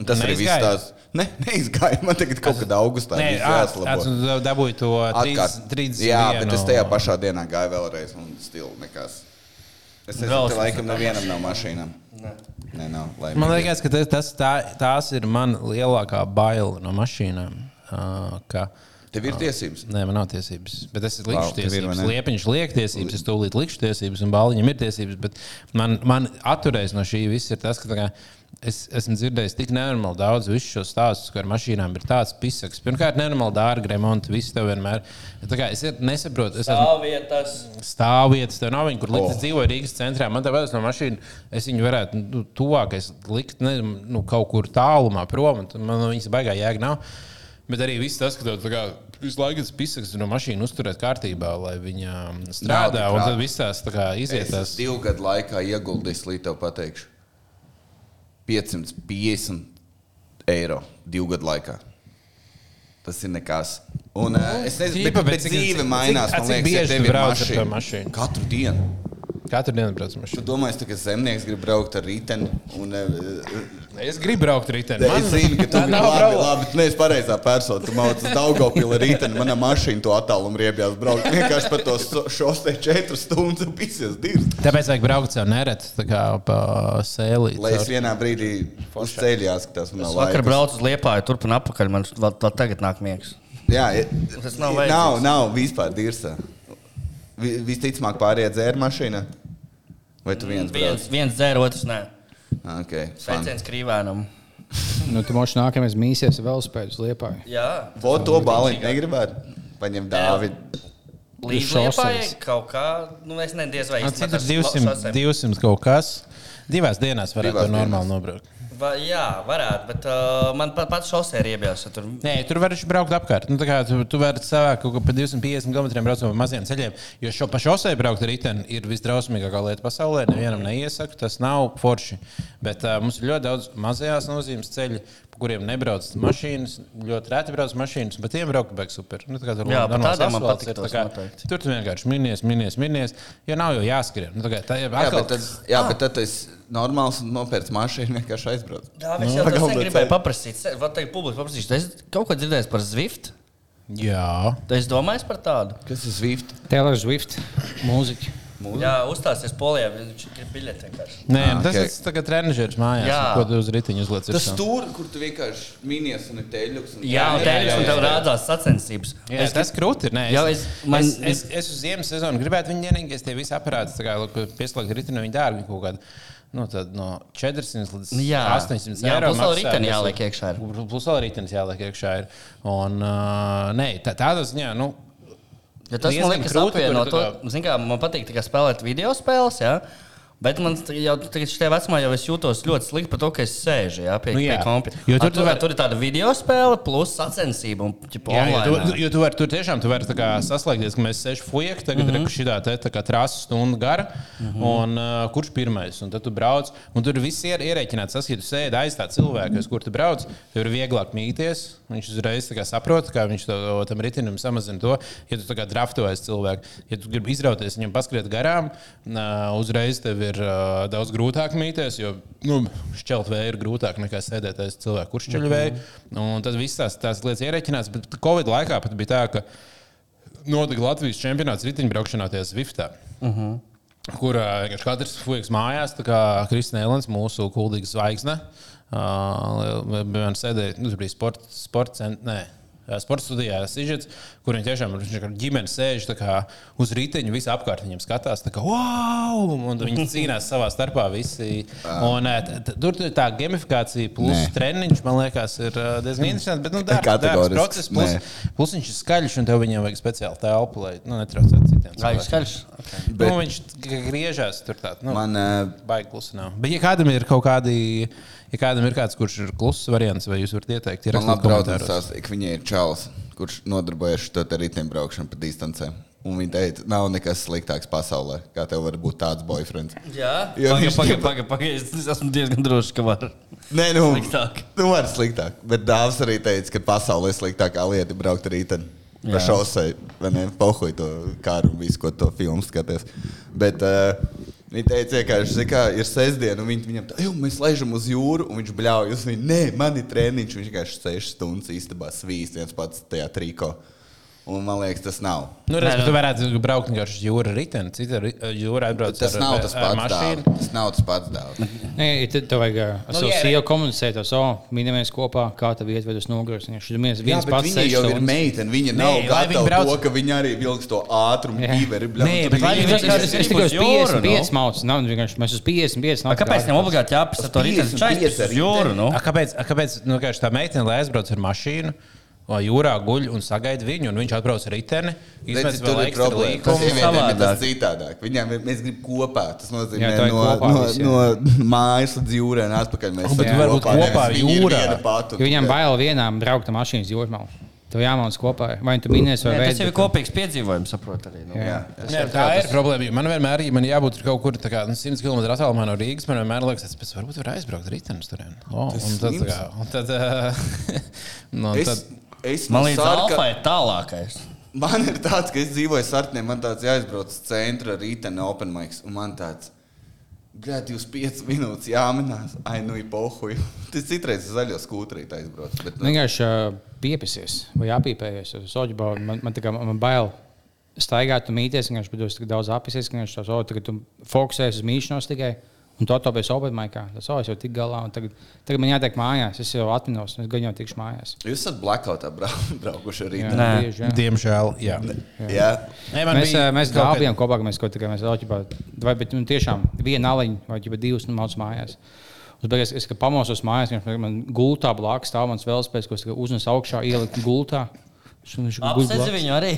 F: Un Tas arī viss
A: Neizgāja?
F: tās. Ne, neizgāja. Man tagad kaut kad augustā
A: Nē,
F: viss
A: tas
F: jāslabo.
A: dabūja to
F: Atkārt.
A: 30.
F: Jā, bet es tajā pašā dienā gāju vēlreiz, un stila nekas. Es nezinu,
B: Vēl
F: ka
B: esmu
F: laikam nevienam nav mašīnām. Nē, nav. laimīgi.
A: Man liekas, ka tas, tas tā, tās ir mana lielākā baila no mašīnām. ā, ka
F: Tev ir tiesības.
A: Nē, man nav tiesības. Bet es
F: Vau,
A: likšu
F: tev ir,
A: tiesības.
F: vai ne?
A: Liepiņš liek tiesības, es tūlīt likšu tiesības, un bāliņam ir tiesības. Bet man, man atturējis no šī viss ir tas, ka tā kā, es esmu dzirdējis tik nenormāli daudz visu šo stāstu, ka ar mašīnām ir tāds pisaks. Pirmkārt, nenormāli dārgi remonti, viss tev vienmēr. Tā kā es ir- nesaprotu, es esmu
B: Tā vietas.
A: stāvvietas, tev nav viņa, kur likt.
F: Oh.
A: Oh. Es dzīvoju Rīgas centrā, man te vēlas no mašīnas, es viņu varētu nu, tuvākais likt, nezinu, nu, kaut kur tālumā prom, un tad man no viņas baigā jēga nav. Bet arī viss tas, ka tev tā kā visu laiku tas pisaks no mašīnas uzturēt kārtībā, lai viņa um, strādā, un
F: Nav tik traki.
A: tad viss tās tā kā
F: Es
A: izietās.
F: esmu divu gadu laikā ieguldījis, līdz tev pateikšu, 550 eiro divu gadu laikā. Tas ir nekas. Un, uh, es nezinu,
A: Ķipa,
F: kāda
A: bet
F: ir
A: cik-
F: dzīve.
A: cik-
F: Mainās,
A: cik-
F: man
A: cik
F: liekas, ja
A: bieži
F: tev
A: tu
F: ir
A: brauc ar to
F: mašīna.
A: mašīnu?
F: Katru dienu.
A: Katru dienu braucu
F: Tu
A: mašīnu.
F: domā, ka zemnieks grib braukt ar rīteni. Un, uh,
A: Es gribu braukt rītdien.
F: Man, es zinu, ka tu
A: tā
F: biji
A: nav
F: labi,
A: problēma.
F: labi. Tu neesi pareizā persona. Tu mācies Daugopilā rītdienā. Manā mašīnā to attālumu riebjās braukt. Vienkārši pa to so- šosei četras stundas un pisies dirzt.
A: Tāpēc vajag braukt sev nereti, tā kā pa sēlī.
F: Lai es vienā brīdī uz ceļa jāskatās. Man
B: Es
F: nav
B: vakar
F: Nu, laikas.
B: braucu uz Liepāju, turp un atpakaļ. Man vēl vēl tagad nāk miegs.
F: Jā, e-
B: Tas nav
F: Nav,
B: vajadzīgs.
F: nav vispār dirza. Vi, visticamāk, pārējie dzēra mašīna. Vai tu viens brauc?
B: Mm,
F: Ah,
B: Viens, viens dzēr, otrs nē.
F: Okay, fun.
B: Sveiciens krīvēnam.
E: Nu, tu moši nākamais mīsies velospēdus liepā.
B: Jā.
F: Vo to baliņu negribētu? Paņem Dāvidu.
B: Līdz
E: šoseis.
B: Liepājai kaut kā, nu es nediez vai
A: Tas ir
B: izmetos
A: 200,
B: šosei.
A: 200 kaut kas. Divās dienās
F: Divās
A: varētu to
F: dienās.
A: normāli nobraukt.
B: Va, jā, varētu, bet uh, man pat, pats šosei ir iebijās. Tur
A: Nē, tur var arī braukt apkārt. Nu, tā kā tu, tu vari savākt kaut ko pa 250 km braucot pa maziem ceļiem. Jo šo pašu osēju braukt ar riteni ir visdrausmīgākā lieta pasaulē. Nevienam neiesaku, tas nav forši. Bet uh, mums ir ļoti daudz mazajās nozīmes ceļu, pa kuriem nebrauc mašīnas. Ļoti reti brauc mašīnas, bet tiem braukt beigas super. Nu, tā kā tur
B: Jā, pa
A: normāls
B: tādām man
A: asfalts ir,
B: patiktos
A: tā kā
B: noteikti.
A: Tur tu vienkārši minies, minies, minies, jo nav jau jāskrien. Nu, tā kā tā jau
F: Jā,
A: atkal-
F: bet tad, jā,
B: Ah.
F: bet tad es normāls un nopērts mašīnu vienkārši aizbraucu.
B: Jā, es jau tādu gribēju paprasīt. Se- Vēl tagad publiski paprasīšu. Es kaut ko dzirdēju par Zwift.
A: Jā.
B: Tu esi domājis par tādu?
F: Kas ir Zwift?
E: Taylor Swift, mūziķi.
B: Jā, uzstāsies polijā, viņš grib biļeti vienkārši.
A: Nē,
F: Ah,
A: ah, tas
F: ok.
A: okay. ir tagad treniņš mājās,
B: Jā.
A: ko tu uz ritiņa uzliec.
F: Tas tur, kur tu vienkārši minies un ir teļuks. un-
B: Jā, un
A: jā,
B: tev
A: jā.
B: tev rādās sacensības.
A: Jā, es, tas krūti ir. Nē,
B: Jā,
A: es,
B: es-
A: es,
B: man-
A: man, es, es, es uz ziemas sezonu gribētu viņu vienīgi, es tie visi aparāti, tā kā lūk, pieslēgt ritinu, viņa dārgi kaut kādu. Nu, tad no 400 līdz
B: Nu Jā.
A: 800
B: Jā,
A: eiro.
B: plus vēl
A: maksā,
B: riteni
A: kas
B: jāliek iekšā ir.
A: Pl- Plus vēl rītdienas jāliek iekšā. Ir. Un, uh, nē, tā, tādā ziņā, nu,
B: Ja tas man
A: Diezgan
B: liekas,
A: krūti,
B: apvienot
A: Nu, kur
B: to,
A: tu
B: zin kā, man patīk tikai spēlēt video spēles. Jā. Bet man st- jau tagad šajā vecumā jau es jūtos ļoti slikti par to, ka es sēžu jā, pie,
A: Nu
B: nu, pie
A: jā.
B: kompjutera.
A: Jo tur
B: Tur,
A: tu
B: tur,
A: vari-
B: tur ir tāda video spēle, plus sacensība un ķipa,
A: Jā, jo
B: online.
A: tu, nu- jo tu vari tur tiešām tu vari, tā kā, saslēgties, ka mēs sešam fujekam, tagad mm -hmm. ir šī tā kā trāsa stunda gara, mm -hmm. un uh, kurš pirmais, un tad tu brauc, un tur viss ir ierēķināts, tas, ja tu sēdi aiz tā cilvēka, aiz kur tu brauc, tev ir vieglāk mīties, viņš uzreiz tā kā saprot, kā viņš to, tam ritinam samazina to, ja tu tā kā draftojies cilvēku, ja tu gribi izrauties viņam paskriet garām, uh, uzreiz tev ir uh, daudz grūtāk mīties, jo nu, šķelt vēju ir grūtāk nekā sēdēt aiz cilvēka, kurš šķeļ vēju, un tad viss tās, tās lietas ierēķinās, bet Covid laikā pat bija tā, ka notika Latvijas čempionāts riteņbraukšanā, tie Zviftā. Uh -huh. Kur ā, vienkārši katrs fuks mājās, tā kā Kristina Elens, mūsu kuldīga zvaigzne. eh, Viņam sēdēja, nu, tur bija sporta, sporta centrā. eh, Sports studijā ir izžēts, kur viņi tiešām viņš ar ģimeni sēž tā kā uz riteņa, visi apkārt viņam skatās, tā kā wow! Un viņi cīnās savā starpā visi. Un, ā, t- t- tur ir tā gamifikācija, plus
F: Nē.
A: treniņš, man liekas, ir ā, diezgan interesants. Bet, nu, darbs, darbs,
F: Kategorisks,
A: process, plus,
F: nē.
A: Plus viņš ir skaļš, un tev viņam vajag speciāli telpu, lai nu, netraucētu citiem.
B: Ai,
A: cilvēkiem.
B: skaļš.
A: Nu, viņš g- griežās tur tādā nu,
F: Man, uh,
A: baigā klusumā. Bet, ja kādam ir kaut kādi, ja kādam ir kāds, kurš ir kluss variants, vai jūs varat ieteikt, ir
F: Man labi draudzene stāstīja, ka viņai ir čalis, kurš nodarbojas ar to riteņbraukšanu pa distancēm. Un viņa teica, nav nekas sliktāks pasaulē, kā tev var būt tāds boyfriends.
B: Jā,
F: Jā,
B: pagaidi,
F: viņš-
A: (laughs)
B: pagaidi, pagaidi. Paga. Es es esmu diezgan drošs, ka var.
F: Nē, nu,
B: Sliktāk.
F: nu var sliktāk. Bet dāvs arī teica, ka pasaulē sliktākā lieta ir braukt ar riteņu. Pa
B: Jā.
F: šosei, vai ne? Pohuj to kāru un visu, ko to filmu skaties. Bet uh, viņa teica, vienkārši, zini kā ir sestdiena, un viņa viņam tā, jo mēs laižam uz jūru, un viņš bļauj uz viņu. Nē, man ir treniņš, viņš vienkārši 6 stundas īstenībā svīst viens pats tajā trīkā. Un man liekas, tas nav.
A: Nu, redz, bet tu varētu braukt vienkārši jūra riteni, cita ri- jūra atbrauc
F: Tas
A: ar- eh,
F: nav tas
A: ar
F: pats
A: mašīnu.
F: dāvā. Tas nav tas pats dāvā.
E: Nē, ir tad tev vajag uh, ar
A: Nu,
E: savu
A: jā,
E: sievu komunicēt, ar savu minējumu kopā, kā tev iet, vai tas nogurs. Viņš ir viens, viens pats
F: viņa jau ir
E: sēž.
F: meitene. Viņa nav
A: Nē, lai viņa
F: gatava
A: brauc-
F: to, ka viņa arī vilks to ātrumu,
E: Jā.
F: ķīveri.
A: Nē, bet lai
E: Es
A: viņa
E: es- es tikai uz
B: Uz jūru,
E: 55 maucu, nav nu, vienkārši mēs uz 55
B: A,
E: maucu.
B: Kāpēc tam obligāti jāpasa to rītdienas
F: 55
B: čaļus uz jūru? Nu?
A: A, Kāpēc, a, kāpēc nu, vienkārši tā meitene, lai aizbrauc ar mašīnu? lai Jūrā guļ un sagaida viņu, un viņš atbrauc ar riteni.
F: Redzi,
A: izmet vēl
F: tur ir
A: ekstra
F: problēma.
A: līkumu.
F: Tas sievietēm ir tas
B: Savādāk.
F: citādāk. Viņām ir, mēs gribam kopā. Tas
E: Jā,
F: nozīmē,
E: tā ir
F: no,
E: kopā
F: no,
E: visi, jā.
F: no mājas līdz jūrai un atpakaļ. Mēs
A: Un, bet
F: esam
A: varbūt kopā
F: nevis viņi ir
A: jūrā.
F: viena pati un
E: Jo viņam
F: tikai-
E: bail vienām braukt ar mašīnas jūrmā. Tev jāmācās kopā, vai nu tu minēsi, vai
B: Nē, tas
E: veidi,
B: jau ir
E: bet-
B: kopīgs piedzīvojums, saprot arī. Nu.
F: Jā, jā.
A: Nē, tā ir problēma. jo Man vienmēr ir man jābūt tur kaut kur tā kā, nu, 100 km attālumā no Rīgas. Man vienmēr liekas, tas varbūt var aizbraukt ar rītdienu tur. Oh, un tad, tā kā, un tad, eh, nu, un
F: Es,
A: tad (laughs)
F: es nu
B: Man
F: no
B: liekas,
F: Sarka-
B: Alfa ir tālākais.
F: Man ir tāds, ka es dzīvoju Sartnē, man tāds jāizbrauc uz centra rīta no Open Mikes, un man tāds gada 25 minūtes jāminās, ai nu ir pohuļi. (laughs) Tas citreiz ir zaļo skūtrītā aizbrauc. Bet, nu,
E: Vienkārši uh, piepesies vai apīpējies uz soģibu. Man, man, tā kā- man bail staigāt un mīties, vienkārši bet es tik daudz apēsies, ka viņš to savu tagad tu fokusējies uz mīšanos tikai. Un to tāpēc obaidmaikā. Tas oh, es jau tik galā. un Tagad, tagad man jātiek mājās. Es jau atminos, un es gan jau tikšu mājās.
F: Nu, jūs esat blackoutā brau, (laughs) braukuši arī.
E: Jā,
F: Jā.
B: Nē.
E: bieži, jā.
A: diemžēl, jā.
F: Jā.
A: Nē,
E: Mēs, bija, mēs
A: kaut kad-
E: gāvām kopā, ka mēs kaut kādā veidā strādājām, bet nu, tiešām viena aliņa vai ģipa, divas nu, mācās mājās. Uz beigās es kad pamosos mājās, vienkārši man gultā blakus stāv mans vēlspēks, ko es tikai uznesu augšā, ieliku gultā. Viņš viņš ir guļ
B: Apsēdz
E: blakus.
B: viņu arī.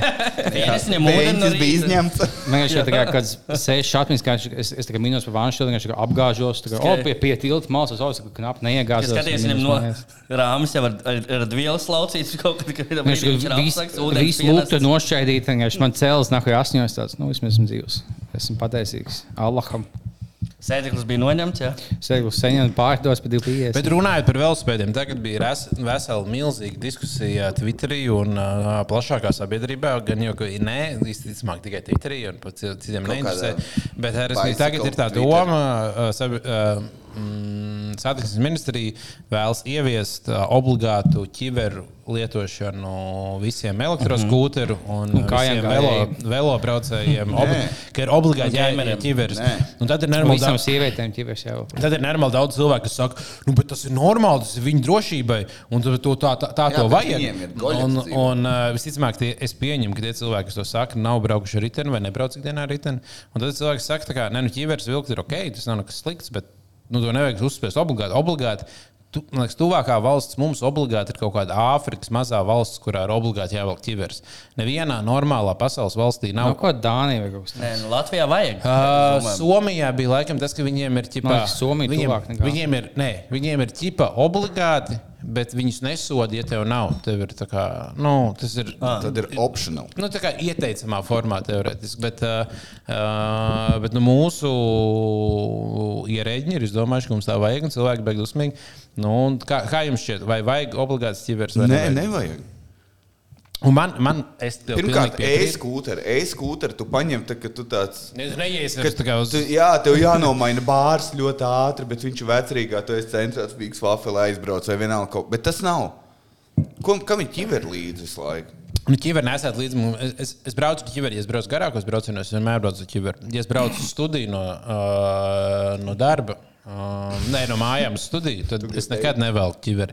B: (laughs) Vienas ņem ūdeni. no
F: Mēģinājums bija
B: rīta.
F: (laughs) izņemts.
E: Man liekas, ka tas ir sešs šāpnes, kā viņš- es, es tā kā minos par vānu šodien, ka apgāžos, tā kā
B: Skai-
E: oh, pie, pie tilta malas, es kā knapi neiegāzos.
B: Es skaties,
E: un
B: viņam
E: minos
B: no
E: mājās.
B: rāmas jau ar, ar, ar dvielas laucītas kaut kad, kad
E: Viņš
B: brīdī
E: ir
B: ir apsakts, ūdens
E: visu
B: pienācis.
E: lūgtu nošķaidīt, vienkārši man cēlis nākamajā asņos tāds, nu, vismaz esmu dzīvs. Esmu pateicīgs Allaham.
B: Sēdeklis bija noņemts, jā.
E: Sēžu saņemt pārdos par 2,5.
A: Bet runājot par velospēdiem, tagad bija res- vesela milzīga diskusija Twitterī un uh, plašākā sabiedrībā. Gan jau, ka ir nē, visticamāk, tikai Twitterī un par ci- citiem
F: Kaut
A: neinteresē.
F: kādā
A: Bet eh, respektīvi,
F: bicycle
A: tagad ir tā
F: Twitter.
A: doma, uh, sabi, uh, mm, satiksmes ministrija vēlas ieviest uh, obligātu ķiveru lietošanu visiem elektroskūteru un, Mhm. un
E: kājām
A: visiem
E: gājēji.
A: velo, velobraucējiem, obli- ka ir obligāti jāiet ķiveres.
F: Nē.
A: Un Tad ir normāli.
E: Visām sievietēm ķiveres jau.
A: Tad ir normāli daudz cilvēku, kas saka, nu, bet tas ir normāli, tas ir viņu drošībai, un to, to, tā, tā, tā
F: Jā,
A: to
F: bet
A: vajag.
F: viņiem ir goļi
A: Un,
F: dzīvē.
A: un uh, visticamāk, tie, es pieņemu, ka tie cilvēki, kas to saka, nav braukuši ar riteni vai nebrauc ikdienā ar riteni. Un tad cilvēki saka, ka, nu, ķīveres vilkt ir ok, tas nav nekas slikts, bet nu, to nevajag uzspiest obligāti. obligāti. Tu, man liekas, tuvākā valsts mums obligāti ir kaut kāda Āfrikas mazā valsts, kurā ir obligāti jāvelk ķiveres. Nevienā normālā pasaules valstī nav.
E: Nav Nu, ko Dānija vai kaut kas
B: Nē, nu, Latvijā vajag.
A: Uh, Somijā bija laikam tas, ka viņiem ir ķipa,
E: Man liekas, Somija
A: viņiem,
E: tuvāk nekā.
A: viņiem ir, nē, viņiem ir ķipa obligāti, bet viņus nesod, ja tev nav. Tev ir, tā kā, nu, tas ir
F: Tad ir optional.
A: nu, tā kā ieteicamā formā teorētiski, bet, uh, uh, bet nu, mūsu ierēģiņi ir izdomājuši, ka mums tā vajag, un cilvēki beigas dusmīgi. Nu, un kā, kā jums šķiet, vai vajag obligāti ķiveres vai nevajag?
F: Nē, nevajag.
A: Un man, man, es tev
F: Pirmkārt,
A: pilnīgi piekrītu.
F: e-skūteri. E-skūteri tu paņem, tad, kad tu tāds.
A: Ne- neies
F: Kad
A: vairs tā kā uz-
F: tu, jā, tev jānomaina bārs ļoti ātri, bet viņš ir vecrīgā. Tu esi centrāts, bija vāfelē aizbraucis vai vienalga kaut kas. Bet tas nav. Ko, kam ir ķiver līdzi visu laiku?
A: Nu, ķiver nesat līdzi. mums. Es, es, es braucu ar ķiveri, ja es braucu garākos braucienos, es vienmēr braucu ar ķiveri. Ja es braucu uz studiju no, uh, no darba, uh, nē, no mājām uz studiju, tad es nekad nevelku ķiveri.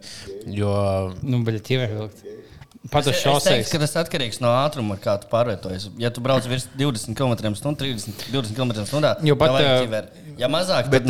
A: Jo
E: Nu, bet ķiveres vilkt. Pat uz
B: Es, es teiktu,
E: šoseiks.
B: ka tas atkarīgs no ātruma, ar kā tu pārvietojies. Ja tu brauc virs 20 km/h, 30 20 km/h,
E: Jo pat, eh,
B: ja mazāk,
F: Bet
B: bet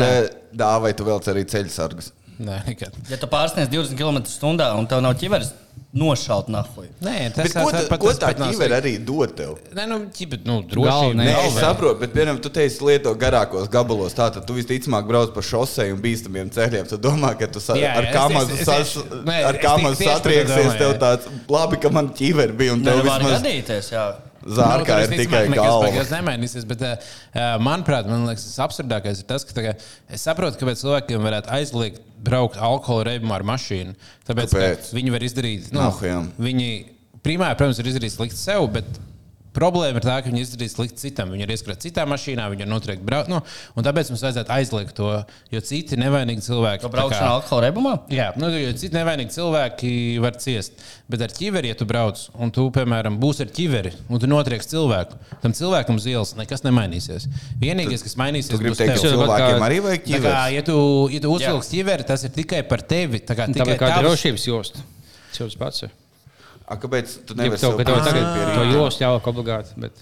B: nē.
F: dāvai tu velc arī ceļu sargus.
A: nē, nekad.
B: Ja tu pārsniedz 20 km/h un tev nav ķiveres, nošaut nahuj.
A: Nē,
F: Bet
A: tas
F: ko
A: tas
F: tā,
A: pat-
F: ko
A: tas
F: tā
A: pat nav
F: ķiver
A: slikti.
F: arī dod tev?
A: Nē, nu, ķiver, nu,
E: Galvenais.
A: drošība.
F: Nē,
E: Nav
F: es
E: vēl.
F: saprotu, bet, piemēram, tu teici, lieto garākos gabalos. Tātad tu visticamāk brauc pa šosei un bīstamiem ceļiem. Tu domā, ka tu sa
A: Jā,
F: ar
A: es
F: kāmazu
A: tieši- es
F: sas-
A: tieši- nē,
F: ar
A: es tieši-
F: kāmazu
A: tieši par to
F: satrieksies.
A: domāju,
F: Tev
A: jā.
F: tāds labi, ka man ķiver bija un tev
B: Nu, Nevar
F: vismaz
B: gadīties, jā.
A: Nu,
F: zārkā ir tikai galva.
A: Tas nemainīsies, bet, uh, manuprāt, man liekas, tas absurdākais ir tas, ka tā kā, es saprotu, kāpēc cilvēkiem varētu aizliegt braukt alkohola reibumā ar mašīnu. Tāpēc ka
F: Kāpēc?
A: viņi var izdarīt,
F: Nahujam.
A: viņi primāri, protams, ir izdarījis slikti sev, bet problēma ir tā, ka viņi izdarīja slikti citam. Viņi ir ieskrējuši citā mašīnā, viņi ir notriekti braukt. Nu, un tāpēc mums vajadzētu aizliegt to, jo citi nevainīgi cilvēki.
B: Kā
A: tā kā-
B: braukšana alkohola rebumā?
A: Jā, nu, jo citi nevainīgi cilvēki var ciest. Bet ar ķiveri, ja tu brauc un tu, piemēram, būsi ar ķiveri un tu notrieks cilvēku, tam cilvēkam uz ielas nekas nemainīsies. Vienīgais, kas mainīsies,
F: Tu gribi
A: būs
F: teikt,
A: tev.
F: ka
E: tev
F: cilvēkiem
E: kā-
F: arī vajag
A: Tā kā,
F: ķīvēs.
A: ja tu, ja tu uzvilksi ķiveri, tas ir tikai par tevi. Tā kā
E: Tā
A: tikai
E: ir kā
A: tavs-
E: drošības josta. Cilvēks pats ir.
F: A, Kāpēc tu
E: Gribu
F: nevari
E: to,
F: sev
E: ka tev
F: pierādīt
E: tagad
F: pie
E: to
F: rīta?
E: jostu jāvāk obligāti, bet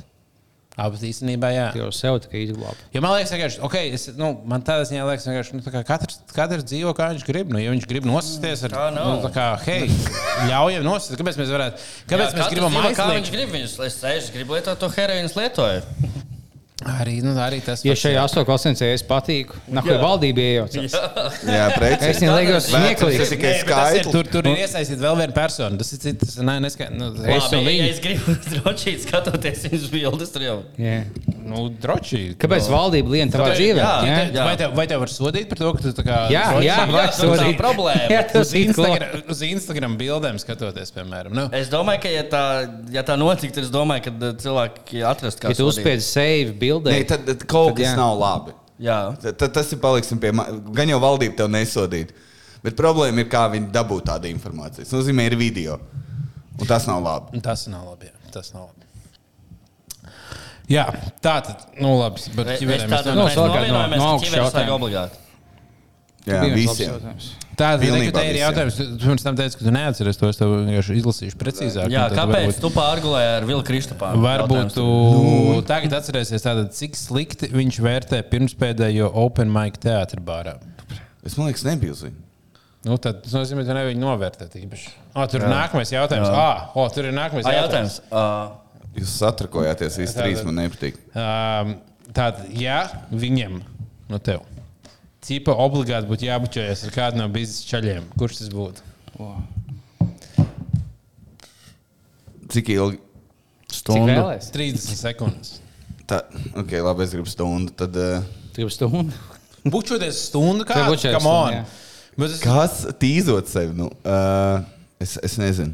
A: Ah, bet īstenībā, jā.
E: tu jau sev tikai izglābi.
A: Jo man liekas, vienkārši, ok, es, nu, man tādā ziņā liekas, vienkārši, nu, tā kā katrs, katrs dzīvo kā viņš grib. Nu, ja viņš grib nosisties ar
B: Tā nav.
A: nu, tā kā, hei, ļaujam nosisties, kāpēc mēs varētu, kāpēc jā, mēs gribam
B: kā viņš
A: aizliegt?
B: grib. Viņš es sēž, grib lietot to heroīnu, es lietoju.
A: Arī, nu, arī tas.
E: Ja
A: pats, jā.
E: šajā astotnē klasē es patīku, nahuj valdība iejaucas.
F: Jā,
E: Es
F: precīzi.
E: nelieku
F: Tas ir
E: smieklīgi.
F: tikai
A: Nē, bet tas ir-
F: skaitlis.
A: Tur, tur ir iesaistīta vēl viena persona. Tas ir cits. Nē, neskaidrs. Nu,
E: Es
A: es
B: Labi,
E: un
B: ja
E: viņi.
B: es gribu (laughs) drošīgi skatoties viņas bildes, tur jau.
E: Jā.
A: nu, droši.
E: Kāpēc valdība lien tavā
A: Tāpēc-
E: dzīvē?
B: jā,
E: Jā.
B: jā.
A: Vai tev, vai tev var sodīt par to, ka tu tā kā.
E: Jā,
A: droši-
E: jā,
B: jā,
E: vai
B: tā ir
E: sodīt.
B: problēma.
E: Jā, tas
A: Uz
E: ir
A: Instagram, uz Instagram bildēm skatoties, piemēram. Nu,
B: Es domāju, ka, ja tā, ja tā notiktu, tad es domāju, ka eh, cilvēki atrastu
E: Ja
B: kādu
E: tu uzspied save
F: Nē,
E: bildē,
F: tad tad
E: Tad
F: kaut kas
E: jā.
F: nav labi.
B: Jā,
F: Tad- Tad tas ir paliksim pie manis. Gan jau valdība tev nesodīt. Bet problēma ir, kā viņi dabū tādu informāciju. Tas nozīmē, ir video. Un tas nav labi.
A: un Nu, tas nav labi. Jā, tas nav labi. Jā, tā tad, nu labi. Bet
B: Es-
A: ķiverēm
B: es
A: mēs
B: tā
A: nevaram-
E: Nu,
B: domāju,
E: sākāt no-
B: ka
E: no
B: tas
E: augšas
B: ir
E: jautājumu.
B: obligāti.
F: Jā,
E: bija viens Nu, labs
F: visiem.
E: jautājums.
A: tā nu, ir
F: Pilnībā
A: tā līnija.
F: visiem.
A: Jautājums, tu tu pirms tam teici, ka tu neatceries to. Es tev vienkārši izlasīšu precīzāk.
B: Jā,
A: un tad
B: kāpēc
A: varbūt-
B: tu pārgulēji ar Vilku Kristupānu?
A: Varbūt jūs
E: Nu.
A: tagad atcerēsieties, tātad, cik slikti viņš vērtē pirmspēdējo Open Mic teātrī bārā.
F: Es domāju, ka nebija uz viņu.
A: Nu, tad, tas nozīmē, ka nevienu novērtēt īpaši. O, tur ir nākamais jautājums. Ah, o, tur ir nākamais
B: Ai,
A: jautājums.
B: jautājums. Uh,
F: Jūs satrakojāties, visi trīs man nepatīk.
A: Um, Tātad, ja viņam no tev. Cipa obligāti būtu jābučojas ar kādu no biznesa ceļiem. Kurš tas būtu?
F: Cik ilgi?
E: cik
F: Stundu.
E: vēlēs?
A: 30 sekundes.
F: Tā, ok, labi, es gribu stundu. Tad, uh,
E: Gribu stundu.
A: Bučoties stundu, kā
E: Tev bučojas
A: Come on!
E: stundu, jā.
A: Bet es-
F: kas tīzot sevi? Nu, uh, es, es nezinu.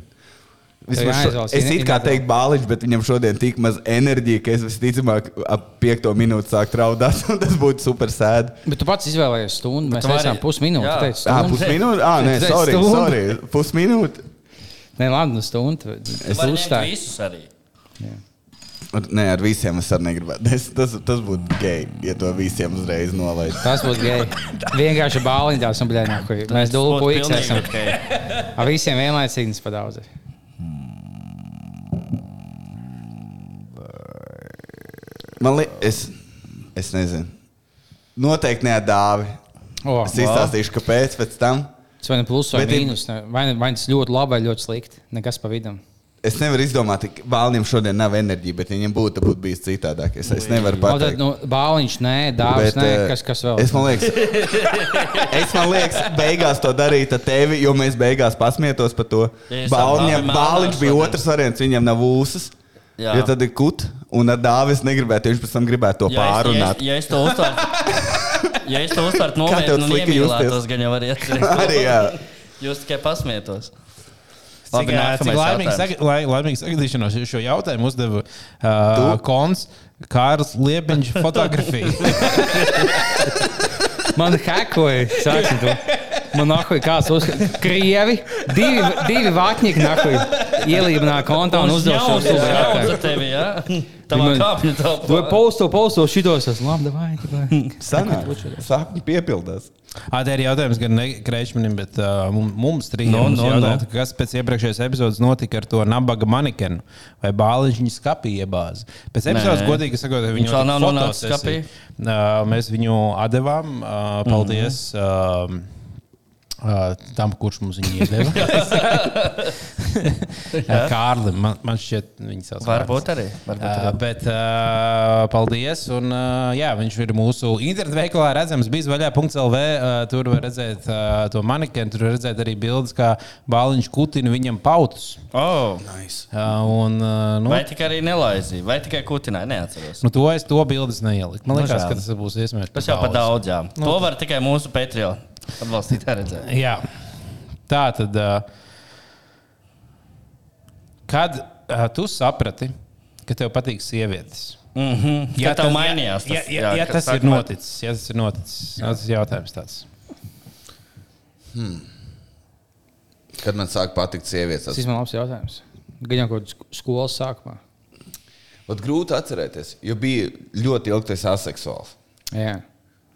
F: Vismaz
E: Tev
F: šo,
E: jāizvēlas,
F: es
E: ja ne-
F: it kā
E: ja
F: teiktu bāliņš, bet viņam šodien tik maz enerģija, ka es visticamāk ap piekto minūti sāku traudāt, (laughs) un tas būtu super sēdi.
E: Bet tu pats izvēlējies stundu. Mēs
B: tu vari-
E: teicām, pusminūti.
B: Jā.
E: Tu teici,
F: Ah,
E: stundu.
F: pusminūte? Ah, nē,
E: Tu teici
F: sorry,
E: stundu.
F: sorry. Pusminūte.
E: Nē, labi, nu stundu.
B: es
E: Es
B: uzstāju
E: uzstāju.
B: visus arī.
F: Ar- Nē, ar visiem es arī negribētu. Es, tas, tas būtu gei, ja to visiem uzreiz nolaistu.
E: Tas
B: (laughs)
E: būtu gēni. Vienkārši bāliņdās un blēņā. Mēs dulku
B: Būtu
E: x
B: pilnīgi
E: esam.
B: ok.
E: Ar visiem vienlaicīgi nu, tas padaudz.
F: Man liekas, es, es nezinu. Noteikti ne ar dāvi.
E: O,
F: Es izstāstīšu, kāpēc pēc tam.
E: Tas vai nu pluss vai
F: Bet ir-
E: mīnus. ne- Vai, ne- vai tas ļoti labi vai ļoti slikti. Nekas pa vidu.
F: Es nevaru izdomāt, ka Bālim šodien nav enerģija, bet ja viņam būtu, tad būtu bijis citādāk. Es, es nevaru
E: Tad,
F: pateikt. eh,
E: nu, bāliņš, nē, dāvis, nē, kas, kas vēl.
F: Es man liekas, es man liekas, (laughs) beigās to darīt ar tevi, jo mēs beigās pasmietos par to.
B: Ja es ar
F: Bāliņam,
B: Dāvi
F: Bāliņš bija
B: mēlnās šodien.
F: otrs variants, viņam nav ūsas.
B: Jā.
F: Jā. Ja tad ir kut, un ar dāvis negribētu, viņš pēc tam gribētu to
B: Ja es- Ja
F: pārunāt.
B: es, ja es to uzstāstu,
F: (laughs)
B: ja es to uzstāstu
F: Kā tev
B: nopietni, tad
F: slika
B: iemīlētos,
F: justies?
B: gan jau arī
F: (laughs) Arī, jā.
B: atcerēties. Jūs tikai pasmietos.
A: Cik, ā, cik laimīgi
B: jautājums.
A: sag- lai- laimīgi sagadīšanos jo šo jautājumu uzdeva uh,
F: Tu?
A: Kons Kārls Liepiņš fotografija.
E: Man hekoja, sāksim to. Man nahoja kāds uz Krievi, divi, divi vātnieki nahoja ielīmenā kontā un uzdeva nu, šo
B: Uzņauts, uzņauts
E: sūdzību.
B: ar tevi,
E: (laughs)
B: jā? Tavā
E: Viņi man-
B: kāpņu
E: (laughs) Tu
B: telpā.
E: posto, posto šitos, es labi, davai, davai.
F: Sanāk, Sapņi piepildās.
A: Ā, Tā ir jautājums gan Kreičmanim, bet uh, mums trijiem.
B: Nu,
A: No, no,
B: nu, nu.
A: no. Kas pēc iepriekšējās epizodes notika ar to nabaga manikenu? Vai bāliņš viņa skapīja iebāzi? Pēc epizodes, godīgi sakot,
B: Viņš
A: viņš
B: vēl nav nonācis skapī.
A: Mēs viņu atdevām. ā, Paldies.
B: Mhm.
A: Mm. Uh, tam, kurš mums viņu
B: (laughs)
A: iedeva, (laughs) Jā, Kārlim, man, man šķiet, viņa sauc. Kārlis.
B: Varbūt arī. Varbūt arī.
A: Uh, bet uh, paldies. Un, uh, jā, viņš ir mūsu internetu veikalā redzams. Bija zvaigžā.CLV. Uh, tur var redzēt uh, to manikenu, tur var redzēt arī bildes, kā bāliņš kutina viņam pautus.
B: Oh.
A: Uh, un, uh, nu,
B: Vai tikai arī nelaizīja, vai tikai kutināja, neatceros.
A: nu, to es to bildes neieliku. Man liekas,
B: Nožēl.
A: ka tas būs iespējams.
B: Nu, Tas jau par daudz, jā.
A: Nu,
B: To var tikai mūsu Patreon atbalstītāji redzēt.
A: Jā. Tā tad, uh, kad uh, tu saprati, ka tev patīk sievietes.
B: Mm -hmm. Jā, tā
A: tas-
B: mainījās.
A: Ja, ja, ja, ja
B: kad
A: tas
B: sāk
A: ir
B: man-
A: noticis, ja tas ir noticis, jā. tas ir jautājums tāds.
F: Kad man sāk patikt sievietes, tas
E: Tas ir man labs jautājums. Gan jau kaut kādā skolas sākumā.
F: ir grūti atcerēties, jo bija ļoti ilgi tas aseksuāls.
E: Jā.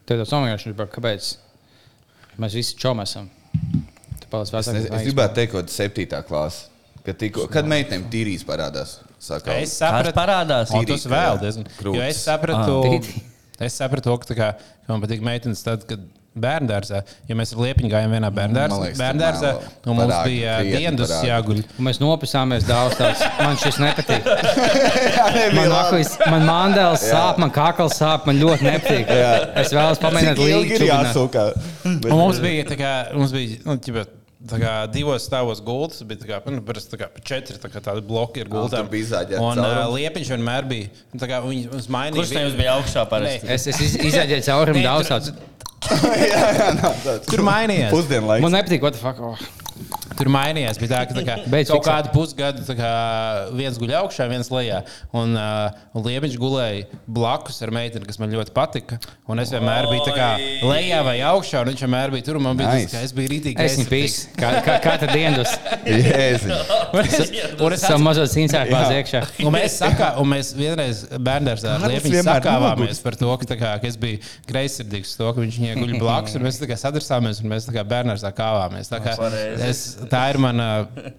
E: Tad tas nomierināšu, kāpēc mēs visi čom esam. Tāpēc
F: Es, ne, es gribētu teikt, ka tas ir 7. klases. Kad, tiko, kad meitenēm tīrīs parādās, saka,
A: Es
B: Kāds
A: sapratu,
B: parādās?
A: O, tas vēl diezgan
F: Krūtis.
A: grūti. Es sapratu,
E: Ah.
A: es sapratu to, ka, tā kā, ka man patīk meitenes, tad, kad bērngārzā, ja mēs ar liepiņu gājām vienā bērngārzā,
F: liekas,
A: bērngārzā
F: tu melo.
A: un mums
F: Parādi,
A: bija eh,
F: krietni
A: dienas
F: parādi.
A: jāguļ.
E: Mēs nopisāmies daudz. Tāds. Man šis
F: (laughs)
E: nepatīk.
F: Jā, nebija
E: Man
F: labi.
E: aklis, man mandēlis sāp, man kakls sāp, man ļoti nepatīk. Es vēlos pamēģināt
F: Cik ilgi
E: līdzi.
F: ir
E: čubināt.
F: (laughs) jāsūkā?
A: Un mums bija, tā kā, mums bija nu, ķipa, tā kā, divos stāvos gultas, bija tā kā, nu, parasti tā kā, pa četri tā kā, tādi bloki ir gultā.
F: tur bija izāģēts
A: Un uh,
F: caurums.
A: liepiņš vienmēr bija. un Tā kā viņi mums mainīja.
B: Kurš tev bija augšā parasti? (laughs)
E: Es, es iz- izrādīju caurumu
A: Nē,
E: daudz.
A: tur-
E: Tāds.
F: jā, jā, nav tāds.
A: Tur mainījās.
F: Pusdienlaiks.
E: Man nepatīk, what the fuck. Oh.
A: Tur mainījās. Bija tā, ka tā kā,
E: Beidz
A: kaut
E: fiksēt.
A: kādu pusgadu tā kā, viens guļ augšā, viens lejā. Un uh, Liebiņš gulēja blakus ar meiteni, kas man ļoti patika. Un es vienmēr biju tā kā,
B: Oi!
A: lejā vai augšā, un viņš vienmēr bija tur. un Man bija nice.
F: Nice.
A: tas, ka es biju rītīgi.
E: Es viņu pīsu. Kā, kā, katru dienu (laughs) tas
F: Jēziņ.
A: Un es
E: savu mazo cīņā pāri iekšā.
A: (laughs) Un mēs, sakā, un mēs vienreiz bērnās ar
F: Kārlis
A: Lietuvu
F: vienmēr
A: sakāvāmies par to, ka, tā kā, ka es biju greizsirdīgs, to, ka viņš ieguļ blakus, un mēs tā kā sadursāmies, un mēs tā kā bērnās kāvāmies. Tā, kā
B: Nu, Pareizi.
A: es, tā ir mana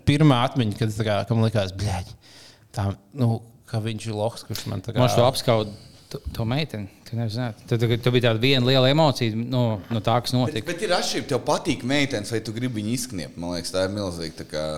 A: pirmā atmiņa, kad es tā kā, ka man likās, bļaļ, tā, nu, ka viņš ir loks, kurš man tā kā.
E: Man šo apskaudu. To, to meiteni, tu nezināji. Tad tu, tu bija tāda viena liela emocija no, no tā, kas
F: Bet,
E: notika.
F: bet ir atšķirība, tev patīk meitenes, vai tu gribi viņu izkniept. Man liekas, tā ir milzīga. tā kā-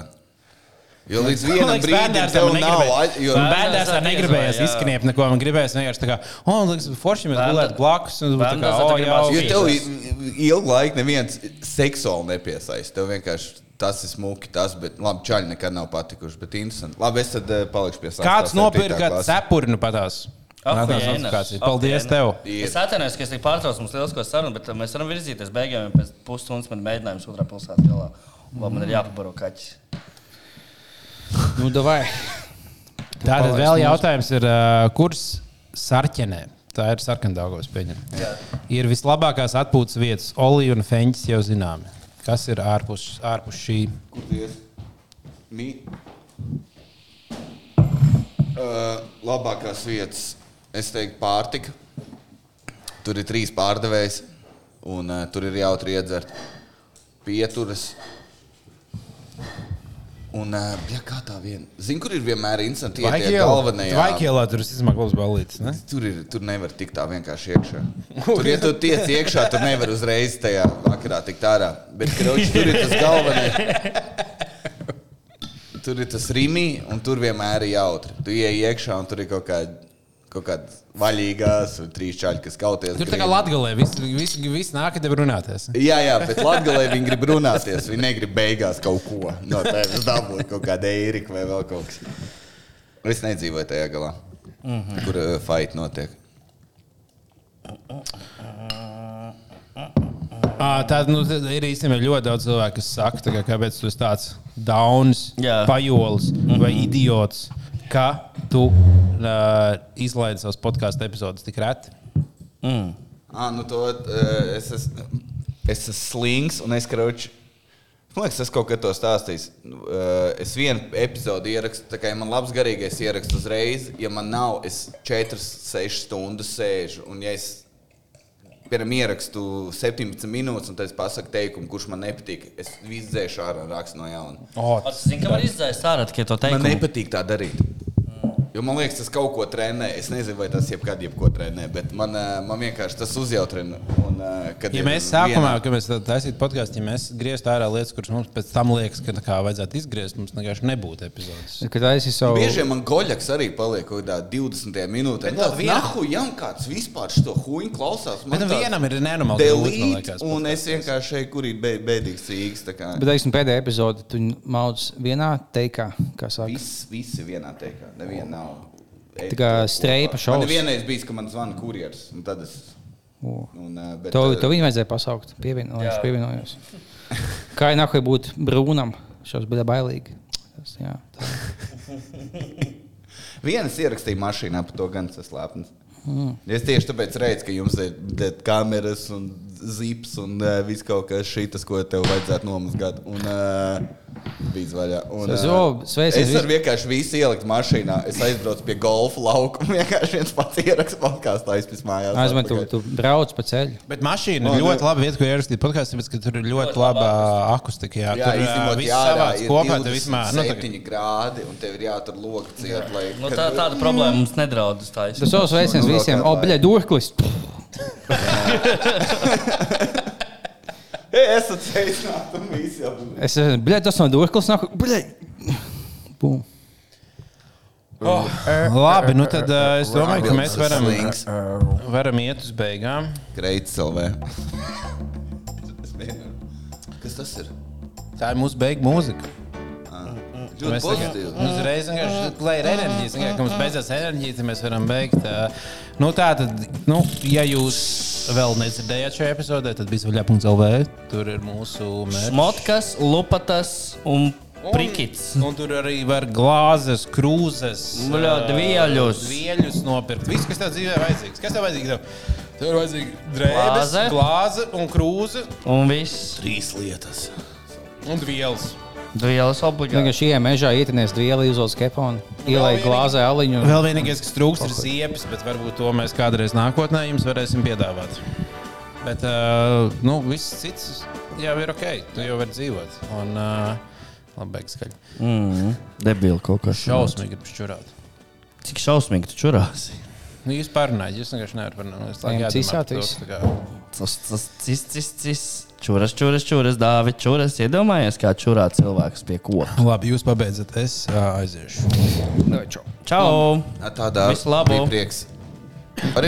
F: Jo līdz vienam brīdim tev nav a- jo-
A: Bērnās
B: Bērndārzā
A: ar negribējās
B: diez vai, jā.
A: izskriet neko. Man gribējās vienkārši tā kā, o, man liekas, forši mēs
B: Bērndā-
A: gulējām blakus. Un, tā kā,
B: Bērndārzā
A: o,
B: tā
A: jā,
B: gribās
F: Jo
A: jā.
F: tev i- ilgu laiku neviens seksuāli nepiesaista. Tev vienkārši tas ir smuki, tas, bet labi, čaļi nekad nav patikuši. Bet interesanti. Labi, es tad eh, palikšu pie sākuma.
A: Kāds nopirka cepurnu patās?
B: Ak,
A: Nākamās
B: jēnas.
A: notifikācijas.
B: Ak,
A: Paldies
B: jēnas.
A: tev!
B: Es atceros, ka es tik pārtraucu mums lielisko sarunu, bet uh, mēs varam virzīties beigām, jo pēc pusstundas man ir mēģinājums otrā pilsētā galā. Un vēl man ir jāpabaro kaķis.
E: Nu, davai.
A: Tātad
E: Palaist
A: vēl
E: mums.
A: jautājums ir, uh, kurš sarkanē? Tā ir sarkandāgos pieņemta. Ir vislabākās atpūtas vietas, Olija un Feņģis jau zināmi. Kas ir ārpus, ārpus šī?
F: Uh, labākās vietas, es teiktu, pārtika. Tur ir trīs pārdevējs, un uh, tur ir jautri iedzert pieturas. Un, uh, ja kā tā viena, zinu, kur ir vienmēr interesanti, ja tie galvenie.
A: Vaikielā tur ir izmaklās balītes, ne?
F: Tur, ir, tur nevar tikt tā vienkārši iekšā. Tur, ja tu tiec iekšā, tur nevar uzreiz tajā vakarā tikt ārā. Bet krauts, tur ir tas galvenais. Tur ir tas rīmi, un tur vienmēr ir jautri. Tu ieej iekšā, un tur ir kaut kāda. Kaut kādas vaļīgās, un trīs čaļi, kas kauties.
A: Tur tā
F: grib.
A: kā Latgalē viss vis, vis nāk, tev runāties.
F: Jā, jā, bet Latvijā viņi grib runāties. Viņi negrib beigās kaut ko no tevis dabūt, kaut kāda īrika vai vēl kaut kas. Es nedzīvoju tajā galā, mm
A: Mhm.
F: -hmm. kur uh, fight notiek.
A: Ā, Tā nu, tad ir īstenībā ļoti daudz cilvēku, kas saka, tā kā, kāpēc tu esi tāds dauns,
B: Jā.
A: pajolis
F: Mhm.
A: vai idiots, ka tu uh, izlaidi savus podkāstu epizodus tik reti.
B: Mm.
F: Ah, nu to eh, es esmu. Es esmu slings un es krauču. Man liekas, tas kaut kad to stāstīs. Nu, eh, Es vienu epizodi ierakstu, tā kā ja man labs garīgais ieraksts uzreiz. Ja man nav, es 4, 6 stundas sēžu. Un ja es, piemēram, ierakstu 17 minūtes, un tad es pasaku teikumu, kurš man nepatīk, es visu dzēšu ārā un rakstu no jauna.
A: Oh,
B: O, tu Zini, ka man izdzēs ārā tikai to
F: Man
B: teikt.
F: nepatīk tā darīt. Jo man liekas, tas kaut ko trenē. Es nezinu, vai tas jebkad, jebko trenē, bet man, eh, man vienkārši tas uzjautrina. Un, eh, kad
A: Ja
F: ir
A: mēs sākumā, kad mēs tā- taisītu podkāstu, ja mēs grieztu ārā lietas, kuras mums pēc tam liekas, ka tā kā vajadzētu izgriezt, mums vienkārši nebūtu epizodes.
E: Kad es savu
F: Bieži vien man goļaks arī paliek kaut kādā 20. minūtē. Tā vienkārši ir jām kāds vispār šo huņu klausās.
A: Bet tam vienam ir nenormāli. grūti, man
F: delīt,
A: liekas,
F: un
A: podcasts.
F: es vienkārši šeit, kur ir bē- bēdīgs rīks, tā kā
E: Bet, teiksim, pēdējā epizode, tu maudz vienā teikā, kā saka.
F: viss, visi vienā teikā, neviena nav.
E: Tā kā streipa šovs.
F: Man vienreiz bijis, ka man zvana kurjers, un tad es... Un, eh, bet,
E: To,
F: eh,
E: to viņu vajadzēja pasaukt, pievien, lai viņš
B: Jā.
E: pievienojās. Kā jau nahuj būt brūnam, šos bija bailīgi. Tas, jā, tā.
F: Vienas ierakstīja mašīnā, par to gan tas slēpnis. Mm. Es tieši tāpēc redzu, ka jums ir de- kameras un zips un uh, viss kaut kas šis, ko tev vajadzētu nomazgāt. Un uh, bija zvaigžā. Un,
E: Es vēl sveicienu
F: es
E: vis-
F: varu vienkārši visu ielikt mašīnā. Es aizbraucu pie golfa laukuma. (laughs) Vienkārši viens pats ierakstu podkāstu aizpis mājās.
E: Aizmet, tu,
F: Atpakaļ.
E: tu brauc pa ceļu.
A: Bet mašīna
F: O,
A: ir
F: nu.
A: ļoti laba vieta, kur ierakstīt podkāstu, tāpēc, ka tur ir ļoti laba akustika. Jā,
F: Jā,
A: tur ā,
F: izņemot,
A: viss
F: jā, tā
A: savāc
F: ir
A: kopā. tev
F: 27
A: vismaz- nu, tā-
F: grādi, un tev ir jātur logs ciet, lai...
B: Nu, tā, tāda problēma mums nedraud.
E: Tas savs veicins
F: Nu, vēl
E: visiem.
F: kādā
E: O,
F: vajag.
E: bļaļ, durklis.
F: Ei, (laughs) Es atceicinātu, un visi jau...
E: Es esmu, bļaļ, tas nav durklis. Nāk, bļaļ. Bum.
A: Labi, nu tad ā, es domāju, ka mēs varam,
F: Slings.
A: varam iet uz beigām.
F: Greits LV. Kas tas ir?
A: Tā ir mūsu beigu mūzika.
F: Ļoti
A: Mēs tagad nu,
F: pozitīvi.
A: uzreiz vienkārši, lai ir enerģija, vienkārši, ka mums beidzās enerģija, tad mēs varam beigt. ā. Nu, tā tad, nu, ja jūs vēl nedzirdējāt šajā epizodē, tad bija zvaigžā.lv. Tur ir mūsu mērķis.
B: Motkas, lupatas un prikits. Nu,
A: Un tur arī var glāzes, krūzes,
B: Bļa,
A: ā,
B: dvieļus.
A: dvieļus nopirkt. Viss, kas tev dzīvē vajadzīgs. Kas tev vajadzīgs? Tev, tev ir vajadzīga drēbes,
B: Glāze.
A: glāze un krūze
B: Un viss.
F: Trīs lietas.
A: un dvieļas.
B: Dvielas obligāti.
E: Vienkārši ienāk mežā, ietinās dvieli, izolē skeponu, ielai
A: vienīgi-
E: glāzē aliņu.
A: Vēl vienīgais, kas trūks, ir ziepes, bet varbūt to mēs kādreiz nākotnē jums varēsim piedāvāt. Bet uh, nu, viss cits jau ir ok, tu jau vari dzīvot. Un, uh, labi, beigas skaļi.
B: Debili kaut kas.
A: Šausmīgi grib šķurāt.
B: Cik šausmīgi tu čurās?
A: Nu, jūs pārunājat, jūs vienkārši nevarat parunāt.
E: Ejam
A: Es
E: cisāt visu.
A: domāju,
B: Tas cis, cis, cis. Čuras, čuras, čuras, dāvi, čuras. Iedomājies, kā čurā cilvēks pie koka.
A: ka labi, jūs pabeidzat, es uh, aiziešu.
B: Čau!
F: Tādā
B: Visu labu.
F: bija prieks. Arī